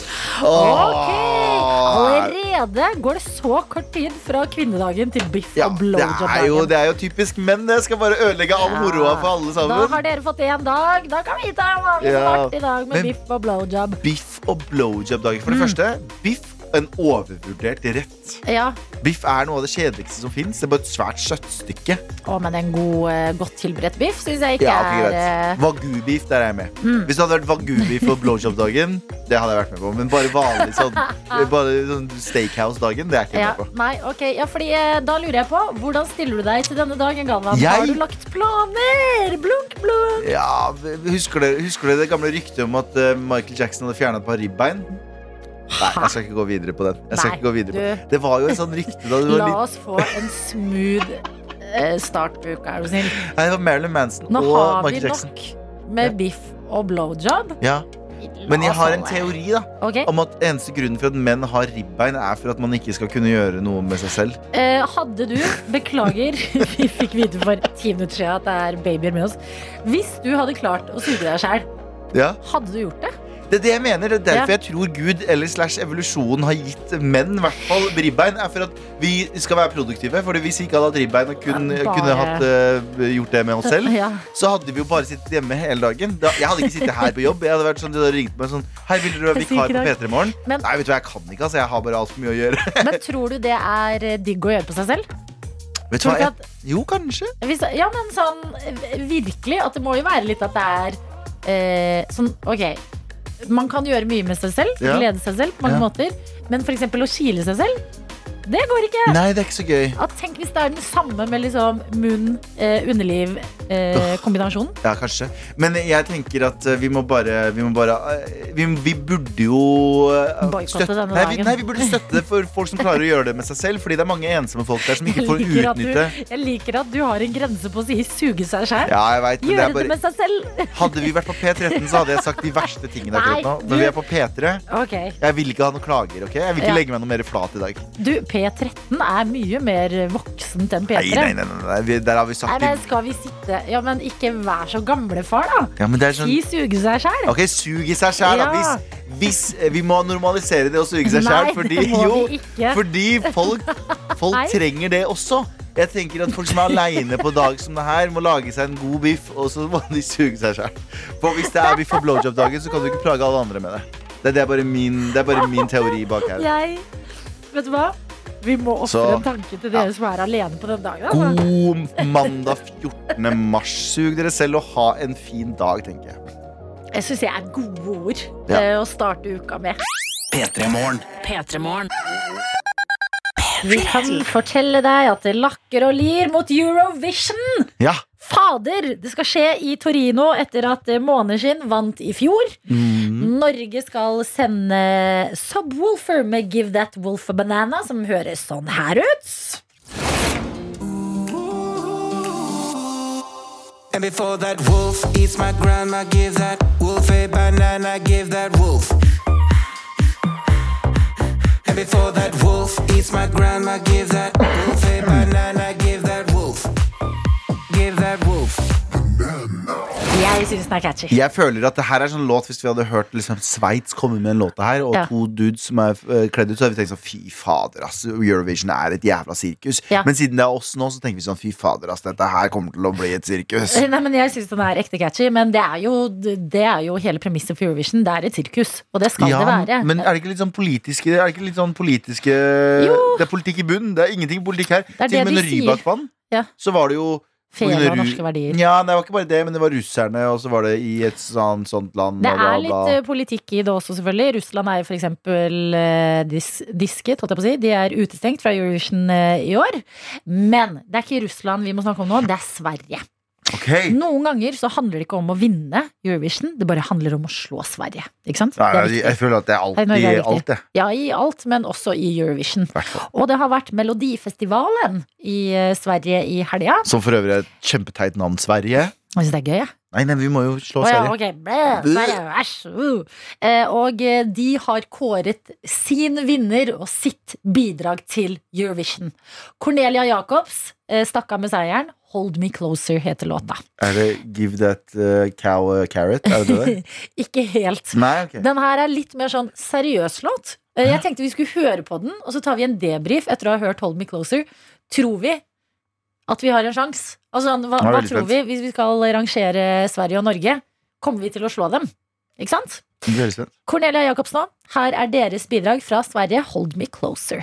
Speaker 2: Ok!
Speaker 3: Åh.
Speaker 2: Allerede går det så kort tid fra kvinnedagen til biff
Speaker 3: Ja,
Speaker 2: og
Speaker 3: det er, jo,
Speaker 2: blowjob-dagen.
Speaker 3: det er jo typisk menn. Det skal bare ødelegge all
Speaker 2: Ja.
Speaker 3: moroa for alle
Speaker 2: Da
Speaker 3: sammen.
Speaker 2: har dere fått én dag. Da kan vi ta en vanlig
Speaker 3: Ja.
Speaker 2: svart i dag med
Speaker 3: Men-
Speaker 2: biff og blowjob.
Speaker 3: Biff og blowjob-dagen. For det
Speaker 2: Mm.
Speaker 3: første, biff en overvurdert rett.
Speaker 2: Ja.
Speaker 3: Biff er noe av det kjedeligste som fins. Det er bare et svært kjøttstykke.
Speaker 2: Å, men en god, eh, godt tilberedt biff syns jeg ikke
Speaker 3: Ja, ok,
Speaker 2: er
Speaker 3: greit.
Speaker 2: eh,
Speaker 3: Wagyu-beef, der er jeg med.
Speaker 2: Hmm.
Speaker 3: Hvis det hadde vært wagyu-beef og blowjob-dagen, det hadde jeg vært med på. Men bare vanlig sånn, bare sånn steakhouse-dagen, det er jeg ikke
Speaker 2: ja,
Speaker 3: med på.
Speaker 2: nei, ok ja, fordi, eh, Da lurer jeg på, hvordan stiller du deg til denne dagen, Galvan?
Speaker 3: Jeg-
Speaker 2: Har du lagt planer? Blunk, blunk!
Speaker 3: Ja, husker dere, husker dere det gamle ryktet om at eh, Michael Jackson hadde fjerna et par ribbein? Nei, jeg skal ikke gå videre på den. Jeg skal
Speaker 2: Nei,
Speaker 3: ikke gå videre på
Speaker 2: du.
Speaker 3: Det var jo et sånt rykte da du var
Speaker 2: La
Speaker 3: liten.
Speaker 2: oss få en smooth eh, start på uka, er du snill.
Speaker 3: Nei, det var Marilyn Manson
Speaker 2: Nå
Speaker 3: og
Speaker 2: har vi
Speaker 3: Michael Jackson.
Speaker 2: nok med biff og blowjob.
Speaker 3: Ja.
Speaker 2: La
Speaker 3: Men jeg
Speaker 2: oss
Speaker 3: har en
Speaker 2: holde.
Speaker 3: teori da
Speaker 2: Ok,
Speaker 3: om at eneste grunnen for at menn har ribbein, er for at man ikke skal kunne gjøre noe med seg selv.
Speaker 2: eh, Hadde du, beklager, vi fikk vite for ti minutter siden at det er babyer med oss. Hvis du hadde klart å suge deg sjæl,
Speaker 3: Ja.
Speaker 2: hadde du gjort det?
Speaker 3: Det er det jeg mener. Det er derfor jeg tror Gud eller slash evolusjonen har gitt menn i hvert fall ribbein. er for at vi skal være produktive. Fordi hvis vi ikke hadde hatt ribbein og kun,
Speaker 2: Ja, bare-
Speaker 3: kunne hatt, eh, gjort det med oss selv,
Speaker 2: Ja.
Speaker 3: så hadde vi jo bare sittet hjemme hele dagen. Da, jeg hadde ikke sittet her på jobb. Jeg hadde vært sånn, De hadde ringt meg sånn Hei, vil dere være
Speaker 2: Jeg sier
Speaker 3: vikar
Speaker 2: ikke
Speaker 3: på
Speaker 2: i dag.
Speaker 3: P3 i morgen?
Speaker 2: Men-
Speaker 3: Nei, vet du hva, jeg kan ikke, altså. Jeg har bare altfor mye å gjøre.
Speaker 2: Men tror du det er eh, digg å gjøre på seg selv?
Speaker 3: Vet du
Speaker 2: Tror
Speaker 3: hva,
Speaker 2: du ikke
Speaker 3: jeg, jo, kanskje.
Speaker 2: Hvis, ja, men sånn eh, virkelig at det må jo være litt at det er eh, sånn Ok, man kan gjøre mye med seg selv,
Speaker 3: Ja.
Speaker 2: glede seg selv på mange
Speaker 3: Ja.
Speaker 2: måter, men f.eks. å kile seg selv, det går ikke.
Speaker 3: Nei, det er ikke så gøy.
Speaker 2: At tenk hvis det er den samme med liksom munn, eh, underliv, eh, kombinasjonen.
Speaker 3: Ja, kanskje. Men jeg tenker at eh, vi må bare Vi, må bare, eh, vi, vi burde jo eh,
Speaker 2: Boykotte
Speaker 3: støtte-
Speaker 2: denne
Speaker 3: nei, vi,
Speaker 2: dagen.
Speaker 3: nei, vi burde støtte det for folk som klarer å gjøre det med seg selv. Fordi det er mange ensomme folk der som ikke får
Speaker 2: liker at
Speaker 3: utnytte.
Speaker 2: du, jeg liker at du har en grense på å si 'suge seg sjæl'.
Speaker 3: Ja, jeg vet, men det
Speaker 2: Gjøre
Speaker 3: er
Speaker 2: det
Speaker 3: bare,
Speaker 2: med seg selv.
Speaker 3: hadde vi vært på P13, så hadde jeg sagt de verste tingene
Speaker 2: Nei,
Speaker 3: akkurat nå.
Speaker 2: du-
Speaker 3: Men vi er på P3.
Speaker 2: Ok.
Speaker 3: Jeg vil ikke ha noen klager. ok? Jeg vil ikke
Speaker 2: Ja.
Speaker 3: legge meg noe mer flat i dag.
Speaker 2: Du, P13 er mye mer voksent enn
Speaker 3: Nei,
Speaker 2: P3.
Speaker 3: nei, nei, nei, nei. Vi, Der har vi
Speaker 2: Nei,
Speaker 3: sagt
Speaker 2: men
Speaker 3: det.
Speaker 2: skal vi sitte Ja, men ikke vær så gamlefar, da.
Speaker 3: Ja, men det er sånn,
Speaker 2: Si 'suge seg sjæl'.
Speaker 3: Ok, sug i seg sjæl,
Speaker 2: Ja.
Speaker 3: da. Hvis, hvis eh, vi må normalisere det å suge seg sjæl,
Speaker 2: Nei,
Speaker 3: fordi
Speaker 2: det må
Speaker 3: jo
Speaker 2: vi ikke.
Speaker 3: Fordi folk,
Speaker 2: Nei.
Speaker 3: folk trenger det også. Jeg tenker at Folk som er aleine på dag som det her, må lage seg en god biff, og så må de suge seg sjøl. For hvis det er biff og blowjob-dagen, så kan du ikke plage alle andre med det. Det er, det er, bare, min, det er bare min teori bak her.
Speaker 2: Jeg Vet du hva? Vi må ofre
Speaker 3: Så-
Speaker 2: en tanke til dere som er alene på den dagen. altså.
Speaker 3: God mandag 14. mars. Sug dere selv og ha en fin dag, tenker jeg.
Speaker 2: Jeg syns jeg er gode ord
Speaker 3: Ja.
Speaker 2: eh, å starte uka med.
Speaker 5: P3-morgen.
Speaker 2: Vi kan fortelle deg at det lakker og lir mot Eurovision.
Speaker 3: Ja.
Speaker 2: Fader! Det skal skje i Torino etter at eh, Måneskinn vant i fjor. Norge skal sende Subwoolfer med Give That Wolf a Banana, som høres sånn her ut.
Speaker 10: And before that wolf eats my grandma, give that wolf a banana, give that wolf. And before that wolf eats my grandma, give that wolf a banana, give that wolf. Give that wolf.
Speaker 2: Jeg syns den er catchy.
Speaker 3: Jeg føler at det her er sånn låt Hvis vi hadde hørt liksom, Sveits komme med en låt her, og
Speaker 2: Ja.
Speaker 3: to dudes som er eh, kledd ut, så hadde vi tenkt sånn fy fader, ass. Eurovision er et jævla sirkus.
Speaker 2: Ja.
Speaker 3: Men siden det er oss nå, så tenker vi sånn fy fader, ass, dette her kommer til å bli et sirkus.
Speaker 2: Eh, Nei, men Jeg syns den er ekte catchy, men det er, jo, det er jo hele premisset for Eurovision. Det er et sirkus, og det skal det være.
Speaker 3: men er det ikke litt sånn politiske Er det ikke litt sånn politiske
Speaker 2: Jo.
Speaker 3: Det er politikk i bunnen. Det er ingenting politikk her.
Speaker 2: er
Speaker 3: Til
Speaker 2: det
Speaker 3: og med
Speaker 2: de
Speaker 3: når
Speaker 2: sier.
Speaker 3: Rybak vant,
Speaker 2: Ja.
Speaker 3: så var det jo
Speaker 2: Fele
Speaker 3: under
Speaker 2: og
Speaker 3: Ru-
Speaker 2: norske verdier.
Speaker 3: Ja, nei, det var ikke bare det, men det var russerne, og så var det i et sånt, sånt land,
Speaker 2: Det
Speaker 3: og bla,
Speaker 2: er
Speaker 3: bla.
Speaker 2: litt eh, politikk i det også, selvfølgelig. Russland er jo for eksempel eh, dis disket, holdt jeg på å si. De er utestengt fra Eurovision eh, i år. Men det er ikke Russland vi må snakke om nå, det er Sverige.
Speaker 3: Ok.
Speaker 2: Noen ganger så handler det ikke om å vinne Eurovision, det bare handler om å slå Sverige. Ikke sant?
Speaker 3: Nei,
Speaker 2: Det er
Speaker 3: jeg,
Speaker 2: viktig.
Speaker 3: jeg føler at det er
Speaker 2: Nei,
Speaker 3: alltid
Speaker 2: Norge er viktig.
Speaker 3: alt, det.
Speaker 2: Ja, i alt, men også i Eurovision. Og det har vært Melodifestivalen i eh, Sverige i helga.
Speaker 3: Som for øvrig er et kjempeteit navn, Sverige.
Speaker 2: Jeg syns det er gøy, jeg.
Speaker 3: Nei, nei, vi må jo slå
Speaker 2: Å ja,
Speaker 3: Sverige.
Speaker 2: ok. Blæ, Sverige, æsj, uh. Eh, Og eh, de har kåret sin vinner og sitt bidrag til Eurovision. Cornelia Jacobs eh, stakk av med seieren. 'Hold Me Closer' heter låta.
Speaker 3: Er det Give That uh, Cow a Carrot? Er det det?
Speaker 2: Ikke helt.
Speaker 3: nei, ok.
Speaker 2: Den her er litt mer sånn seriøs låt. Eh, Jeg tenkte vi skulle høre på den, og så tar vi en debrief etter å ha hørt 'Hold Me Closer'. Tror vi at vi har en sjanse? Altså, sånn, hva,
Speaker 3: Jeg er
Speaker 2: hva
Speaker 3: veldig
Speaker 2: tror
Speaker 3: spent.
Speaker 2: vi hvis vi skal rangere Sverige og Norge? Kommer vi til å slå dem? Ikke sant?
Speaker 3: Vi høres igjen.
Speaker 2: Cornelia Jacobsen òg. Her er deres bidrag fra Sverige, 'Hold Me Closer'.